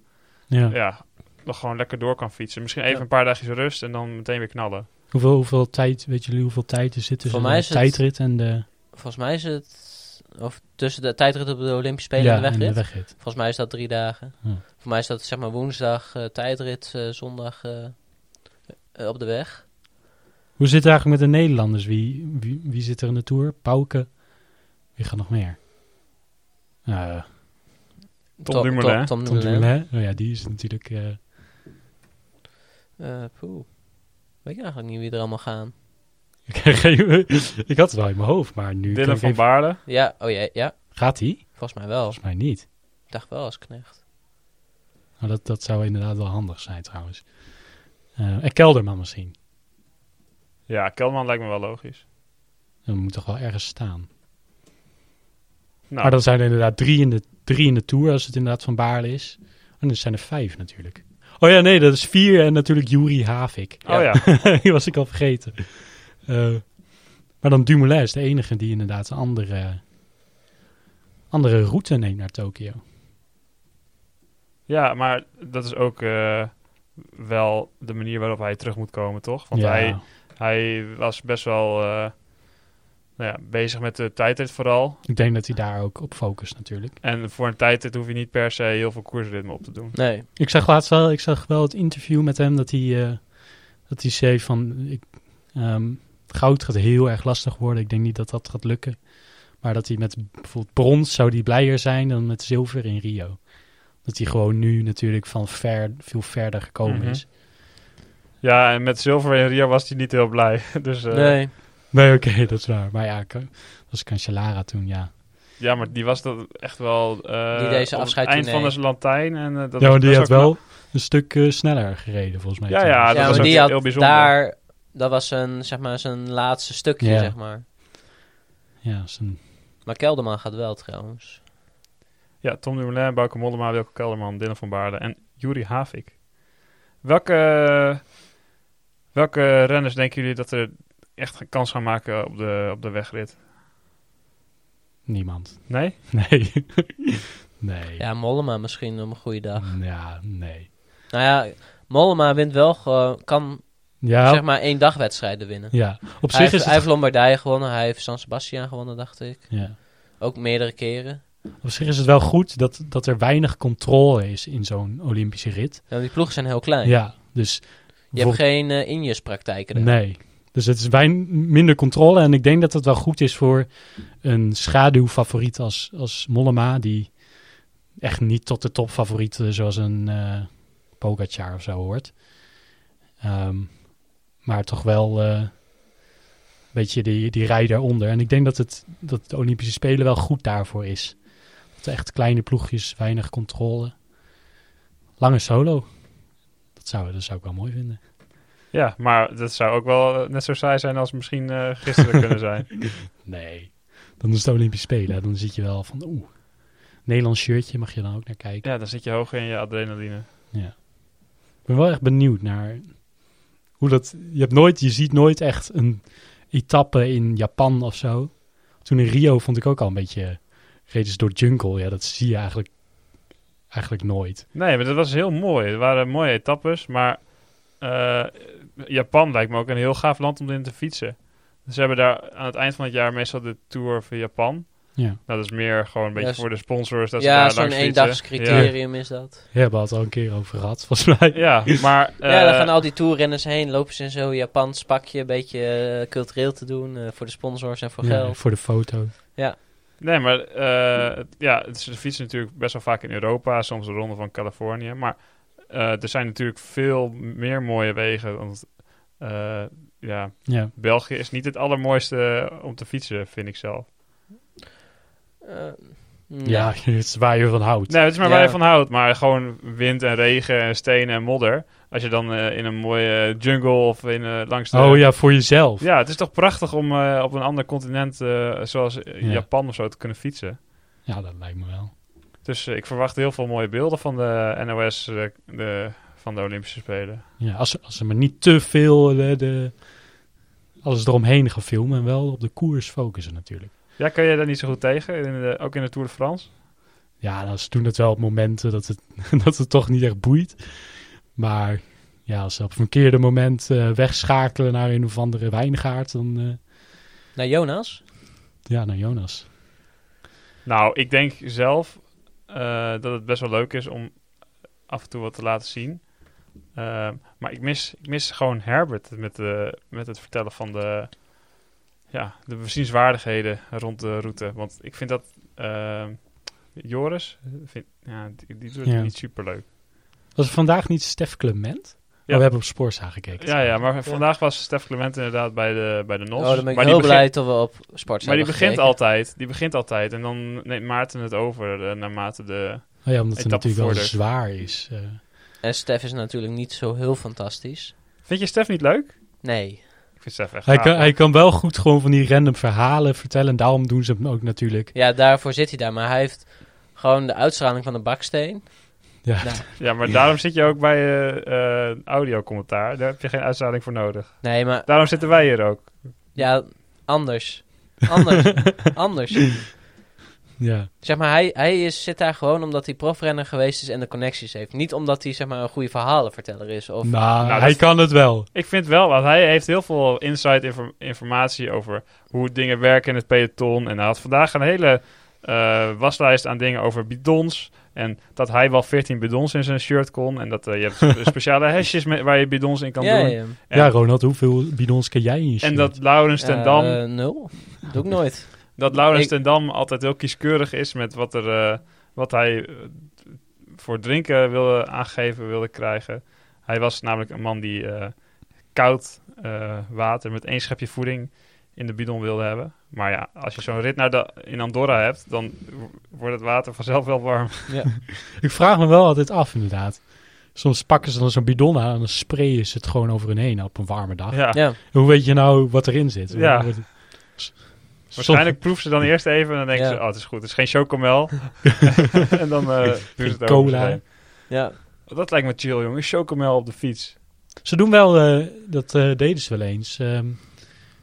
[SPEAKER 2] Ja.
[SPEAKER 1] ja, nog gewoon lekker door kan fietsen. Misschien even
[SPEAKER 3] Ja.
[SPEAKER 1] een paar dagjes rust en dan meteen weer knallen.
[SPEAKER 2] Hoeveel, hoeveel tijd, weet jullie hoeveel tijd er zit tussen
[SPEAKER 3] Voor
[SPEAKER 2] de
[SPEAKER 3] mij is het-
[SPEAKER 2] tijdrit en de,
[SPEAKER 3] Volgens mij is het... Of tussen de tijdrit op de Olympische Spelen
[SPEAKER 2] ja,
[SPEAKER 3] en de
[SPEAKER 2] en de
[SPEAKER 3] wegrit.
[SPEAKER 2] wegrit?
[SPEAKER 3] Volgens mij is dat drie dagen.
[SPEAKER 2] Ja.
[SPEAKER 3] Voor mij is dat zeg maar woensdag eh, tijdrit, eh, zondag eh, eh, op de weg.
[SPEAKER 2] Hoe zit het eigenlijk met de Nederlanders? Wie, wie, wie zit er in de Tour? Pauke? Wie gaat nog meer? Eh
[SPEAKER 1] Tom Dumoulin.
[SPEAKER 3] Tom,
[SPEAKER 2] Tom
[SPEAKER 3] Tom Dumoulin.
[SPEAKER 2] Dumoulin. Oh ja, die is natuurlijk... eh,
[SPEAKER 3] Eh, poeh. Weet ik eigenlijk niet wie er allemaal gaan.
[SPEAKER 2] ik, heb geen- ik had het wel in mijn hoofd, maar nu... kijk
[SPEAKER 1] Dylan
[SPEAKER 2] ik
[SPEAKER 1] van
[SPEAKER 2] even-
[SPEAKER 1] Baarden.
[SPEAKER 3] Ja, oh ja, ja.
[SPEAKER 2] Gaat hij?
[SPEAKER 3] Volgens mij wel.
[SPEAKER 2] Volgens mij niet.
[SPEAKER 3] Ik dacht wel als knecht.
[SPEAKER 2] Maar dat, dat zou inderdaad wel handig zijn trouwens. Eh, en Kelderman misschien.
[SPEAKER 1] Ja, Kelman lijkt me wel logisch.
[SPEAKER 2] Dat moet toch wel ergens staan.
[SPEAKER 1] Nou,
[SPEAKER 2] Maar dan zijn er inderdaad drie in, de, drie in de Tour, als het inderdaad van Baarle is. En dan zijn er vijf natuurlijk. Oh ja, nee, dat is vier en natuurlijk Juri Havik.
[SPEAKER 1] oh ja.
[SPEAKER 2] die was ik al vergeten. Eh, maar dan Dumoulin is de enige die inderdaad een andere, andere route neemt naar Tokio.
[SPEAKER 1] Ja, maar dat is ook eh, wel de manier waarop hij terug moet komen, toch? Want
[SPEAKER 2] ja,
[SPEAKER 1] hij, hij was best wel eh, nou ja, bezig met de tijdrit vooral.
[SPEAKER 2] ik denk dat hij daar ook op focust natuurlijk.
[SPEAKER 1] En voor een tijdrit hoef je niet per se heel veel koersritme op te doen.
[SPEAKER 3] Nee.
[SPEAKER 2] Ik zag laatst wel, ik zag wel het interview met hem dat hij, eh, dat hij zei van ik, ehm, goud gaat heel erg lastig worden. Ik denk niet dat dat gaat lukken. Maar dat hij met bijvoorbeeld brons zou die blijer zijn dan met zilver in Rio. Dat hij gewoon nu natuurlijk van ver, veel verder gekomen
[SPEAKER 1] Mhm.
[SPEAKER 2] is.
[SPEAKER 1] Ja, en met zilver in Rio was hij niet heel blij. Dus eh,
[SPEAKER 3] nee.
[SPEAKER 2] Nee, oké, dat is waar. Maar ja, dat was Cancellara toen, ja.
[SPEAKER 1] ja, maar die was dat echt wel... eh,
[SPEAKER 3] Die deze
[SPEAKER 1] op het
[SPEAKER 3] afscheidtournee.
[SPEAKER 1] eind van de Lantijn. En, eh, dat
[SPEAKER 2] ja,
[SPEAKER 1] was
[SPEAKER 2] maar die
[SPEAKER 1] best
[SPEAKER 2] had
[SPEAKER 1] knap.
[SPEAKER 2] wel een stuk eh, sneller gereden, volgens mij.
[SPEAKER 1] Ja,
[SPEAKER 2] toen.
[SPEAKER 1] ja, dat
[SPEAKER 3] ja,
[SPEAKER 1] was
[SPEAKER 3] maar
[SPEAKER 1] ook
[SPEAKER 3] die
[SPEAKER 1] heel
[SPEAKER 3] had
[SPEAKER 1] bijzonder.
[SPEAKER 3] daar... Dat was zijn, zeg maar, zijn laatste stukje,
[SPEAKER 2] Ja.
[SPEAKER 3] zeg maar.
[SPEAKER 2] ja zijn-
[SPEAKER 3] Maar Kelderman gaat wel trouwens.
[SPEAKER 1] Ja, Tom Dumoulin, Bauke Mollema, Wilco Kelderman, Dylan van Baarden en Juri Havik. Welke, welke renners denken jullie dat er echt een kans gaan maken op de, op de wegrit?
[SPEAKER 2] niemand.
[SPEAKER 1] Nee?
[SPEAKER 2] Nee. nee.
[SPEAKER 3] Ja, Mollema misschien op een goede dag.
[SPEAKER 2] ja, nee.
[SPEAKER 3] Nou ja, Mollema wint wel, gewoon- kan
[SPEAKER 2] Ja,
[SPEAKER 3] zeg maar één dagwedstrijden winnen.
[SPEAKER 2] Ja, op
[SPEAKER 3] hij,
[SPEAKER 2] zich
[SPEAKER 3] heeft,
[SPEAKER 2] is
[SPEAKER 3] hij
[SPEAKER 2] het,
[SPEAKER 3] heeft Lombardije gewonnen, hij heeft San Sebastian gewonnen, dacht ik.
[SPEAKER 2] ja,
[SPEAKER 3] Ook meerdere keren.
[SPEAKER 2] op zich is het wel goed dat, dat er weinig controle is in zo'n Olympische rit.
[SPEAKER 3] Ja, die ploegen zijn heel klein.
[SPEAKER 2] Ja, dus...
[SPEAKER 3] Je hebt
[SPEAKER 2] bijvoorbeeld-
[SPEAKER 3] geen eh injuspraktijken daar.
[SPEAKER 2] nee, dus het is wein, minder controle. En ik denk dat het wel goed is voor een schaduwfavoriet als, als Mollema... die echt niet tot de topfavoriet eh, zoals een eh Pogacar of zo hoort. Ehm, maar toch wel... eh, een beetje die, die rij daaronder. En ik denk dat, het, dat de Olympische Spelen wel goed daarvoor is. Dat er echt kleine ploegjes, weinig controle. Lange solo. Dat zou, dat zou ik wel mooi vinden.
[SPEAKER 1] Ja, maar dat zou ook wel eh, net zo saai zijn als misschien eh, gisteren kunnen zijn.
[SPEAKER 2] Nee. Dan is het de Olympische Spelen. Dan zit je wel van, oeh. Nederlands shirtje mag je dan ook naar kijken.
[SPEAKER 1] Ja, dan zit je hoog in je adrenaline.
[SPEAKER 2] Ik ben wel echt benieuwd naar hoe dat... Je, hebt nooit, je ziet nooit echt een etappe in Japan of zo. Toen in Rio vond ik ook al een beetje... Reden ze door jungle. Ja, dat zie je eigenlijk, eigenlijk nooit.
[SPEAKER 1] Nee, maar dat was heel mooi. Het waren mooie etappes, maar eh, Japan lijkt me ook een heel gaaf land om in te fietsen. Ze hebben daar aan het eind van het jaar meestal de Tour van Japan.
[SPEAKER 2] Ja.
[SPEAKER 1] Nou, dat is meer gewoon een beetje
[SPEAKER 3] Ja,
[SPEAKER 1] voor de sponsors. Dat ze
[SPEAKER 3] ja,
[SPEAKER 1] daar
[SPEAKER 3] zo'n
[SPEAKER 1] langs
[SPEAKER 3] eendagscriterium criterium is dat.
[SPEAKER 2] Ja, we hadden het al een keer over gehad, volgens mij.
[SPEAKER 1] Ja, maar eh,
[SPEAKER 3] ja, daar gaan al die toerrenners heen, lopen ze in zo'n Japans pakje, een beetje eh, cultureel te doen eh, voor de sponsors en voor
[SPEAKER 2] Ja,
[SPEAKER 3] geld.
[SPEAKER 2] voor de foto.
[SPEAKER 1] nee, maar eh, het- ja, het- ze fietsen natuurlijk best wel vaak in Europa, soms de ronde van Californië. Maar eh, er zijn natuurlijk veel meer mooie wegen. Want eh, ja,
[SPEAKER 2] Ja.
[SPEAKER 1] België is niet het allermooiste om te fietsen, vind ik zelf.
[SPEAKER 3] Eh,
[SPEAKER 2] Ja, het is waar je van houdt.
[SPEAKER 1] Nee, het is maar
[SPEAKER 3] Ja.
[SPEAKER 1] waar je van houdt. Maar gewoon wind en regen en stenen en modder. Als je dan eh, in een mooie jungle of in, eh, langs de...
[SPEAKER 2] Oh ja, voor jezelf.
[SPEAKER 1] Ja, het is toch prachtig om eh, op een ander continent eh, zoals eh,
[SPEAKER 2] Ja.
[SPEAKER 1] Japan of zo te kunnen fietsen.
[SPEAKER 2] Ja, dat lijkt me wel.
[SPEAKER 1] Dus eh, ik verwacht heel veel mooie beelden van de NOS eh, de, van de Olympische Spelen.
[SPEAKER 2] Ja, als, ze- als ze maar niet te veel eh, de, alles eromheen gaan filmen en wel op de koers focussen natuurlijk.
[SPEAKER 1] Ja, kun je daar niet zo goed tegen? In de- ook in de Tour de France?
[SPEAKER 2] Ja, dan ze doen het wel op momenten dat het, dat het toch niet echt boeit. Maar ja, als ze op een verkeerde moment eh, wegschakelen naar een of andere wijngaard, dan eh,
[SPEAKER 3] Nou, Jonas?
[SPEAKER 2] ja, naar Jonas.
[SPEAKER 1] Nou, ik denk zelf eh, dat het best wel leuk is om af en toe wat te laten zien. Eh, maar ik mis, ik mis gewoon Herbert met, de, met het vertellen van de, ja, de bezienswaardigheden rond de route. Want ik vind dat eh, Joris, vind, ja, die, die doet het
[SPEAKER 2] Ja.
[SPEAKER 1] niet super leuk.
[SPEAKER 2] Was er vandaag niet Stef Clement? Oh, we hebben op Spoorza gekeken.
[SPEAKER 1] Ja, ja, maar vandaag was Stef Clement inderdaad bij de, bij de NOS.
[SPEAKER 3] Oh, dan ben ik
[SPEAKER 1] maar
[SPEAKER 3] heel
[SPEAKER 1] die begint-
[SPEAKER 3] blij dat we op sport
[SPEAKER 1] Maar
[SPEAKER 3] zijn.
[SPEAKER 1] die begint, altijd, die begint altijd. En dan neemt Maarten het over eh, naarmate de...
[SPEAKER 2] Oh ja, omdat het
[SPEAKER 1] Etappe
[SPEAKER 2] natuurlijk wel
[SPEAKER 1] voordeur.
[SPEAKER 2] zwaar is. eh.
[SPEAKER 3] En Stef is natuurlijk niet zo heel fantastisch.
[SPEAKER 1] Vind je Stef niet leuk?
[SPEAKER 3] Nee.
[SPEAKER 1] Ik vind Stef echt
[SPEAKER 2] hij,
[SPEAKER 1] gaaf,
[SPEAKER 2] kan,
[SPEAKER 1] hoor.
[SPEAKER 2] hij kan wel goed gewoon van die random verhalen vertellen. En daarom doen ze hem ook natuurlijk.
[SPEAKER 3] Ja, daarvoor zit hij daar. Maar hij heeft gewoon de uitstraling van de baksteen.
[SPEAKER 2] Ja.
[SPEAKER 3] Nou,
[SPEAKER 1] Ja, maar daarom zit je ook bij eh eh audio-commentaar. Daar heb je geen uitstraling voor nodig.
[SPEAKER 3] nee, maar
[SPEAKER 1] Daarom zitten wij hier ook.
[SPEAKER 3] ja, anders. Anders. anders.
[SPEAKER 2] ja.
[SPEAKER 3] Zeg maar, hij, hij is, zit daar gewoon omdat hij profrenner geweest is en de connecties heeft. Niet omdat hij zeg maar, een goede verhalenverteller is. Of,
[SPEAKER 2] nou,
[SPEAKER 1] Nou,
[SPEAKER 2] hij
[SPEAKER 1] dat-
[SPEAKER 2] kan het wel.
[SPEAKER 1] Ik vind wel, want hij heeft heel veel insight infor- informatie over hoe dingen werken in het peloton. En hij had vandaag een hele eh, waslijst aan dingen over bidons. En dat hij wel 14 bidons in zijn shirt kon. En dat eh, je hebt speciale hesjes met, waar je bidons in kan
[SPEAKER 3] ja,
[SPEAKER 1] doen.
[SPEAKER 3] ja.
[SPEAKER 1] En-
[SPEAKER 2] Ja, Ronald, hoeveel bidons ken jij in je
[SPEAKER 1] En
[SPEAKER 2] shirt?
[SPEAKER 1] dat Laurens ten Dam,
[SPEAKER 3] Eh, nul. Doe ik nooit.
[SPEAKER 1] dat Laurens
[SPEAKER 3] ik-
[SPEAKER 1] ten Dam altijd heel kieskeurig is met wat, er, eh, wat hij eh, voor drinken wilde aangeven wilde krijgen. Hij was namelijk een man die eh, koud eh, water met één schepje voeding in de bidon wilde hebben. Maar ja, als je zo'n rit naar de, in Andorra hebt, dan w- wordt het water vanzelf wel warm.
[SPEAKER 2] Ik vraag me wel altijd af, inderdaad. Soms pakken ze dan zo'n bidon aan en dan sprayen ze het gewoon over hun heen op een warme dag.
[SPEAKER 1] ja.
[SPEAKER 3] Ja.
[SPEAKER 2] Hoe weet je nou wat erin zit?
[SPEAKER 1] Ja.
[SPEAKER 2] Wordt-
[SPEAKER 1] Waarschijnlijk proeven ze dan eerst even en dan denken
[SPEAKER 3] Ja.
[SPEAKER 1] ze, oh het is goed, het is geen chocomel. en dan eh doen ze het
[SPEAKER 2] cola.
[SPEAKER 1] over zich heen.
[SPEAKER 3] ja.
[SPEAKER 1] Dat lijkt me chill jongen, chocomel op de fiets.
[SPEAKER 2] Ze doen wel, eh, dat eh, deden ze wel eens. Ehm,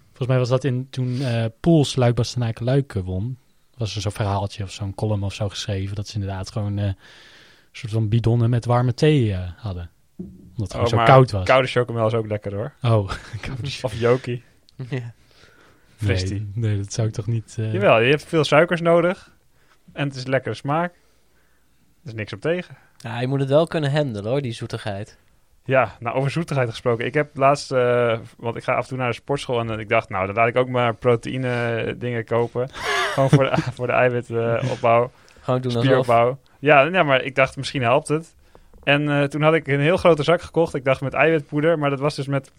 [SPEAKER 2] volgens mij was dat in, toen eh Poels Luik Bastenaken Luik eh, won. Was er zo'n verhaaltje of zo'n column of zo geschreven. Dat ze inderdaad gewoon eh, een soort van bidonnen met warme thee eh, hadden. Omdat het gewoon zo
[SPEAKER 1] Oh, maar
[SPEAKER 2] koud was.
[SPEAKER 1] Koude chocomel is ook lekker hoor.
[SPEAKER 2] Oh, koude
[SPEAKER 1] Of Joki.
[SPEAKER 3] Ja.
[SPEAKER 1] fristie.
[SPEAKER 2] nee, nee, dat zou ik toch niet... eh,
[SPEAKER 1] Jawel, je hebt veel suikers nodig. En het is lekkere smaak. Er is niks op tegen.
[SPEAKER 3] Ja, je moet het wel kunnen handelen hoor, die zoetigheid.
[SPEAKER 1] Ja, nou over zoetigheid gesproken. Ik heb laatst, eh, want ik ga af en toe naar de sportschool en eh, ik dacht, nou dan laat ik ook maar proteïne eh, dingen kopen. Gewoon voor de, voor de eiwitopbouw,
[SPEAKER 3] Gewoon doen alsof.
[SPEAKER 1] spieropbouw. Ja, ja, maar ik dacht misschien helpt het. En eh, toen had ik een heel grote zak gekocht. Ik dacht met eiwitpoeder, maar dat was dus met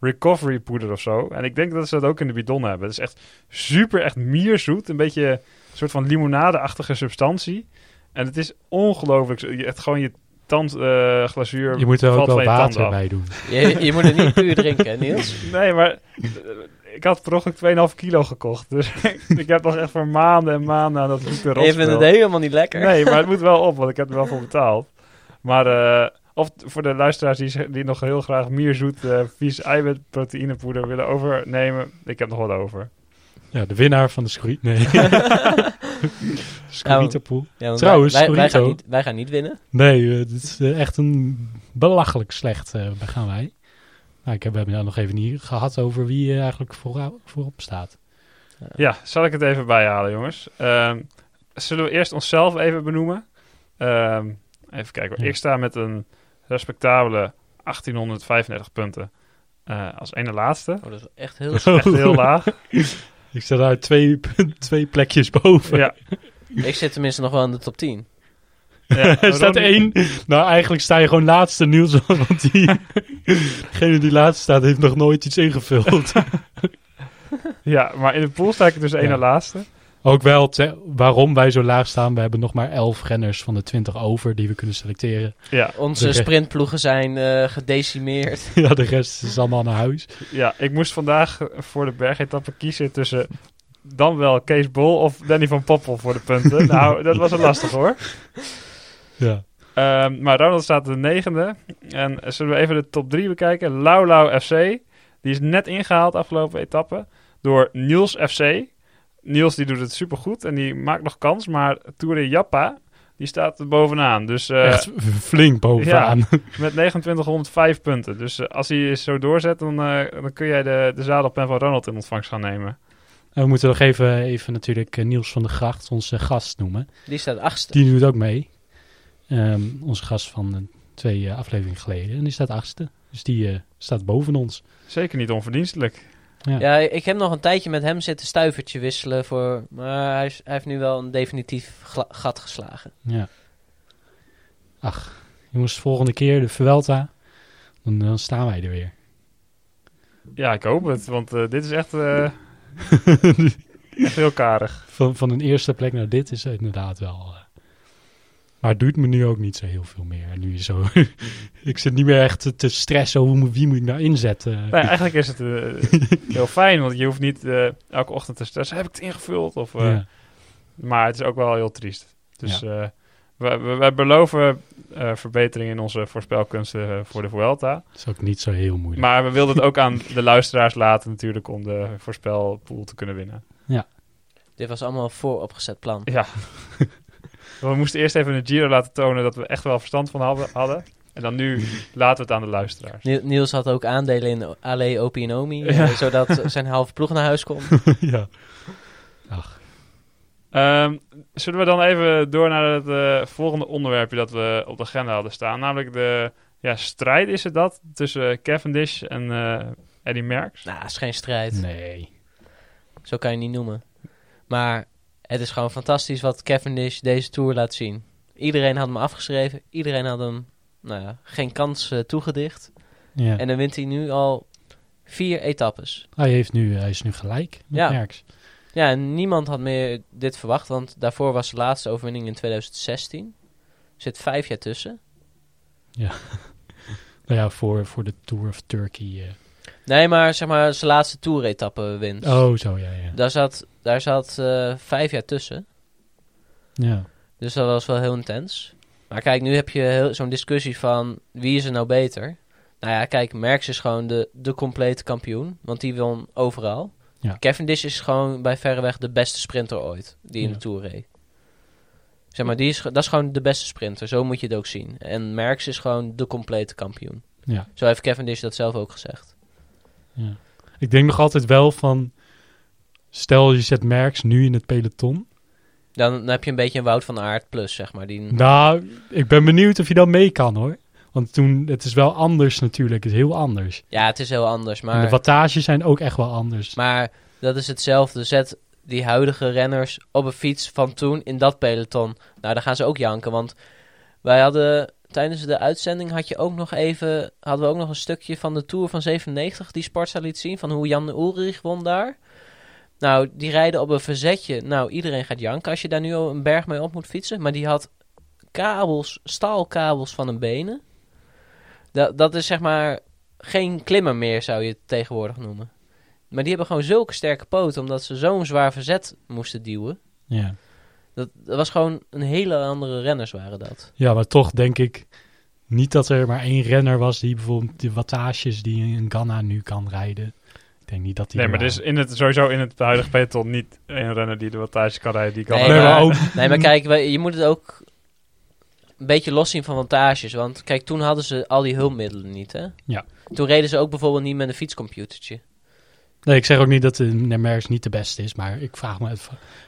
[SPEAKER 1] recovery poeder of zo. En ik denk dat ze dat ook in de bidon hebben. Het is echt super, echt mierzoet. Een beetje een soort van limonadeachtige substantie. En het is ongelooflijk. zo- je- Echt gewoon je tandglazuur.
[SPEAKER 2] Je moet er ook
[SPEAKER 1] valt
[SPEAKER 2] wel
[SPEAKER 1] van je tanden
[SPEAKER 2] water
[SPEAKER 1] af.
[SPEAKER 2] bij doen.
[SPEAKER 3] Je, je moet het niet puur drinken, hè, Niels.
[SPEAKER 1] Nee, maar eh, ik had per ongeluk 2,5 kilo gekocht. Dus ik heb nog echt voor maanden en maanden aan dat zoete
[SPEAKER 3] Je vindt
[SPEAKER 1] rotspul.
[SPEAKER 3] het helemaal niet lekker.
[SPEAKER 1] Nee, maar het moet wel op, want ik heb er wel voor betaald. Maar, eh, of t- voor de luisteraars die, z- die nog heel graag mierzoet, eh vies eiwitproteïnepoeder willen overnemen, ik heb nog wat over.
[SPEAKER 2] Ja, de winnaar van de scurri... Nee. Scurritapoel.
[SPEAKER 3] Ja, want
[SPEAKER 2] Trouwens,
[SPEAKER 3] wij, wij, wij gaan
[SPEAKER 2] Scorito.
[SPEAKER 3] niet, wij gaan niet winnen.
[SPEAKER 2] Nee, eh, dit is eh, echt een belachelijk slecht eh, gaan wij. Nou, ik heb, we hebben het nog even niet gehad over wie eh, eigenlijk voora- voorop staat.
[SPEAKER 1] Ja, zal ik het even bijhalen, jongens. Ehm, zullen we eerst onszelf even benoemen? Ehm, even kijken. hoor.
[SPEAKER 2] Ja.
[SPEAKER 1] Ik sta met een respectabele 1835 punten eh, als ene laatste.
[SPEAKER 3] Oh, dat is echt heel...
[SPEAKER 1] Echt heel laag.
[SPEAKER 2] ik sta daar twee, punt- twee plekjes boven.
[SPEAKER 1] Ja,
[SPEAKER 3] Ik zit tenminste nog wel in de top 10.
[SPEAKER 1] ja.
[SPEAKER 2] er staat
[SPEAKER 1] Ronnie-
[SPEAKER 2] één. Nou, eigenlijk sta je gewoon laatste nieuws. Want die, degene die laatste staat heeft nog nooit iets ingevuld.
[SPEAKER 1] Ja, maar in de pool sta ik dus de ene
[SPEAKER 2] Ja.
[SPEAKER 1] laatste.
[SPEAKER 2] Ook wel te- waarom wij zo laag staan. We hebben nog maar 11 renners van de 20 over die we kunnen selecteren.
[SPEAKER 1] Ja,
[SPEAKER 3] Onze
[SPEAKER 2] Oké.
[SPEAKER 3] sprintploegen zijn eh, gedecimeerd.
[SPEAKER 2] ja, de rest Dus is allemaal naar huis.
[SPEAKER 1] ja, ik moest vandaag voor de bergetappe kiezen tussen dan wel Kees Bol of Danny van Poppel voor de punten. nou, dat was een lastig hoor.
[SPEAKER 2] Ja.
[SPEAKER 1] Ehm, maar Ronald staat de negende. En zullen we even de top drie bekijken? Lau Lau FC. Die is net ingehaald afgelopen etappe door Niels FC. Niels die doet het supergoed en die maakt nog kans. Maar Toure Jappa, die staat er bovenaan. Dus eh,
[SPEAKER 2] Echt flink bovenaan.
[SPEAKER 1] met 2905 punten. Dus eh, als hij zo doorzet, dan, eh, dan kun jij de, de zadelpen van Ronald in ontvangst gaan nemen.
[SPEAKER 2] En we moeten nog even, even natuurlijk eh, Niels van der Gracht, onze gast, noemen.
[SPEAKER 3] Die staat achtste.
[SPEAKER 2] Die doet ook mee. Ehm, onze gast van eh, twee eh, afleveringen geleden. En die staat achtste. Dus die eh, staat boven ons.
[SPEAKER 1] Zeker niet onverdienstelijk.
[SPEAKER 3] Ja, ik heb nog een tijdje met hem zitten stuivertje wisselen voor... Maar hij, is- hij heeft nu wel een definitief gla- gat geslagen.
[SPEAKER 2] Ja. Ach, jongens, volgende keer de Vuelta. Dan, dan staan wij er weer.
[SPEAKER 1] Ja, ik hoop het, want eh, dit is echt, eh, echt heel karig.
[SPEAKER 2] Van, van een eerste plek naar dit is inderdaad wel... eh, maar het doet me nu ook niet zo heel veel meer. En Nu is zo... ik zit niet meer echt te- te stressen. Hoe, moet- wie moet ik nou inzetten?
[SPEAKER 1] Nee, eigenlijk is het eh, heel fijn, want je hoeft niet eh, elke ochtend te stressen. Heb ik het ingevuld? Of, eh,
[SPEAKER 2] Ja.
[SPEAKER 1] Maar het is ook wel heel triest. Dus eh, we, we, we beloven eh, verbetering in onze voorspelkunsten eh, voor de Vuelta.
[SPEAKER 2] Dat is ook niet zo heel moeilijk.
[SPEAKER 1] Maar we wilden het ook aan de luisteraars laten natuurlijk om de voorspelpool te kunnen winnen.
[SPEAKER 3] Dit was allemaal een vooropgezet plan.
[SPEAKER 1] Ja. we moesten eerst even een Giro laten tonen dat we echt wel verstand van hadden. hadden. En dan nu laten we het aan de luisteraars.
[SPEAKER 3] Ni- Niels had ook aandelen in Ale Opie en Omi. eh,
[SPEAKER 1] Ja.
[SPEAKER 3] zodat zijn halve ploeg naar huis kon.
[SPEAKER 2] ja.
[SPEAKER 1] Ehm, zullen we dan even door naar het eh, volgende onderwerpje dat we op de agenda hadden staan. Namelijk de ja, strijd is het dat tussen Cavendish en eh, Eddy Merckx.
[SPEAKER 3] Nou, is geen strijd.
[SPEAKER 2] Nee.
[SPEAKER 3] Zo kan je het niet noemen. Maar het is gewoon fantastisch wat Cavendish deze Tour laat zien. Iedereen had hem afgeschreven. Iedereen had hem nou ja, geen kans eh, toegedicht.
[SPEAKER 2] Ja.
[SPEAKER 3] En dan wint hij nu al vier etappes.
[SPEAKER 2] Hij, heeft nu, hij is nu gelijk met
[SPEAKER 3] Ja.
[SPEAKER 2] Merks.
[SPEAKER 3] Ja, en niemand had meer dit verwacht. Want daarvoor was de laatste overwinning in 2016. Zit vijf jaar tussen.
[SPEAKER 2] Nou ja, voor, voor de Tour of Turkey. eh.
[SPEAKER 3] Nee, maar zeg maar zijn laatste Tour-etappe wint.
[SPEAKER 1] Dus-
[SPEAKER 2] Oh, zo, ja, ja.
[SPEAKER 3] Daar zat, daar zat eh, vijf jaar tussen.
[SPEAKER 2] Ja,
[SPEAKER 3] Dus dat was wel heel intens. Maar kijk, nu heb je heel- zo'n discussie van wie is er nou beter? Nou ja, kijk, Merckx is gewoon de, de complete kampioen. Want die won overal.
[SPEAKER 2] Ja.
[SPEAKER 3] Cavendish is gewoon bij verreweg de beste sprinter ooit. Die in
[SPEAKER 2] Ja.
[SPEAKER 3] de Tour reed. Zeg maar, die is, ge- dat is gewoon de beste sprinter. Zo moet je het ook zien. En Merckx is gewoon de complete kampioen.
[SPEAKER 2] ja,
[SPEAKER 3] Zo heeft Cavendish dat zelf ook gezegd.
[SPEAKER 2] ja. Ik denk nog altijd wel van... Stel, je zet Merks nu in het peloton.
[SPEAKER 3] Dan, dan heb je een beetje een Wout van Aert plus, zeg maar. Die,
[SPEAKER 2] Nou, ik ben benieuwd of je dat mee kan, hoor. Want toen, het is wel anders natuurlijk. Het is heel anders.
[SPEAKER 3] Ja, het is heel anders.
[SPEAKER 2] En de
[SPEAKER 3] Maar
[SPEAKER 2] wattages zijn ook echt wel anders.
[SPEAKER 3] Maar dat is hetzelfde. Zet die huidige renners op een fiets van toen in dat peloton. Nou, dan gaan ze ook janken. Want wij hadden tijdens de uitzending had je ook nog even, hadden we ook nog een stukje van de Tour van 97 die Sparta liet zien. Van hoe Jan Ulrich won daar. Nou, die rijden op een verzetje. Nou, iedereen gaat janken als je daar nu al een berg mee op moet fietsen. Maar die had kabels, staalkabels van een benen. Dat, dat is zeg maar geen klimmer meer, zou je het tegenwoordig noemen. Maar die hebben gewoon zulke sterke poten, omdat ze zo'n zwaar verzet moesten duwen.
[SPEAKER 2] Ja.
[SPEAKER 3] Dat, dat was gewoon een hele andere renners waren dat.
[SPEAKER 2] ja, maar toch denk ik niet dat er maar één renner was... die bijvoorbeeld de wattages die in Ghana nu kan rijden. Ik denk niet dat die...
[SPEAKER 1] Nee,
[SPEAKER 2] er
[SPEAKER 1] maar dus- er is
[SPEAKER 2] waren.
[SPEAKER 1] in het, sowieso in het huidige peloton niet een renner die de wattage kan rijden. Die kan
[SPEAKER 3] Nee,
[SPEAKER 1] alleen
[SPEAKER 2] Nee, maar
[SPEAKER 1] maar-
[SPEAKER 2] ook
[SPEAKER 3] Nee, maar kijk, wij- je moet het ook een beetje los zien van wantages. Want kijk, toen hadden ze al die hulpmiddelen niet, hè?
[SPEAKER 2] Ja.
[SPEAKER 3] Toen reden ze ook bijvoorbeeld niet met een fietscomputertje.
[SPEAKER 2] Nee, ik zeg ook niet dat de Merckx niet de beste is, maar ik vraag me,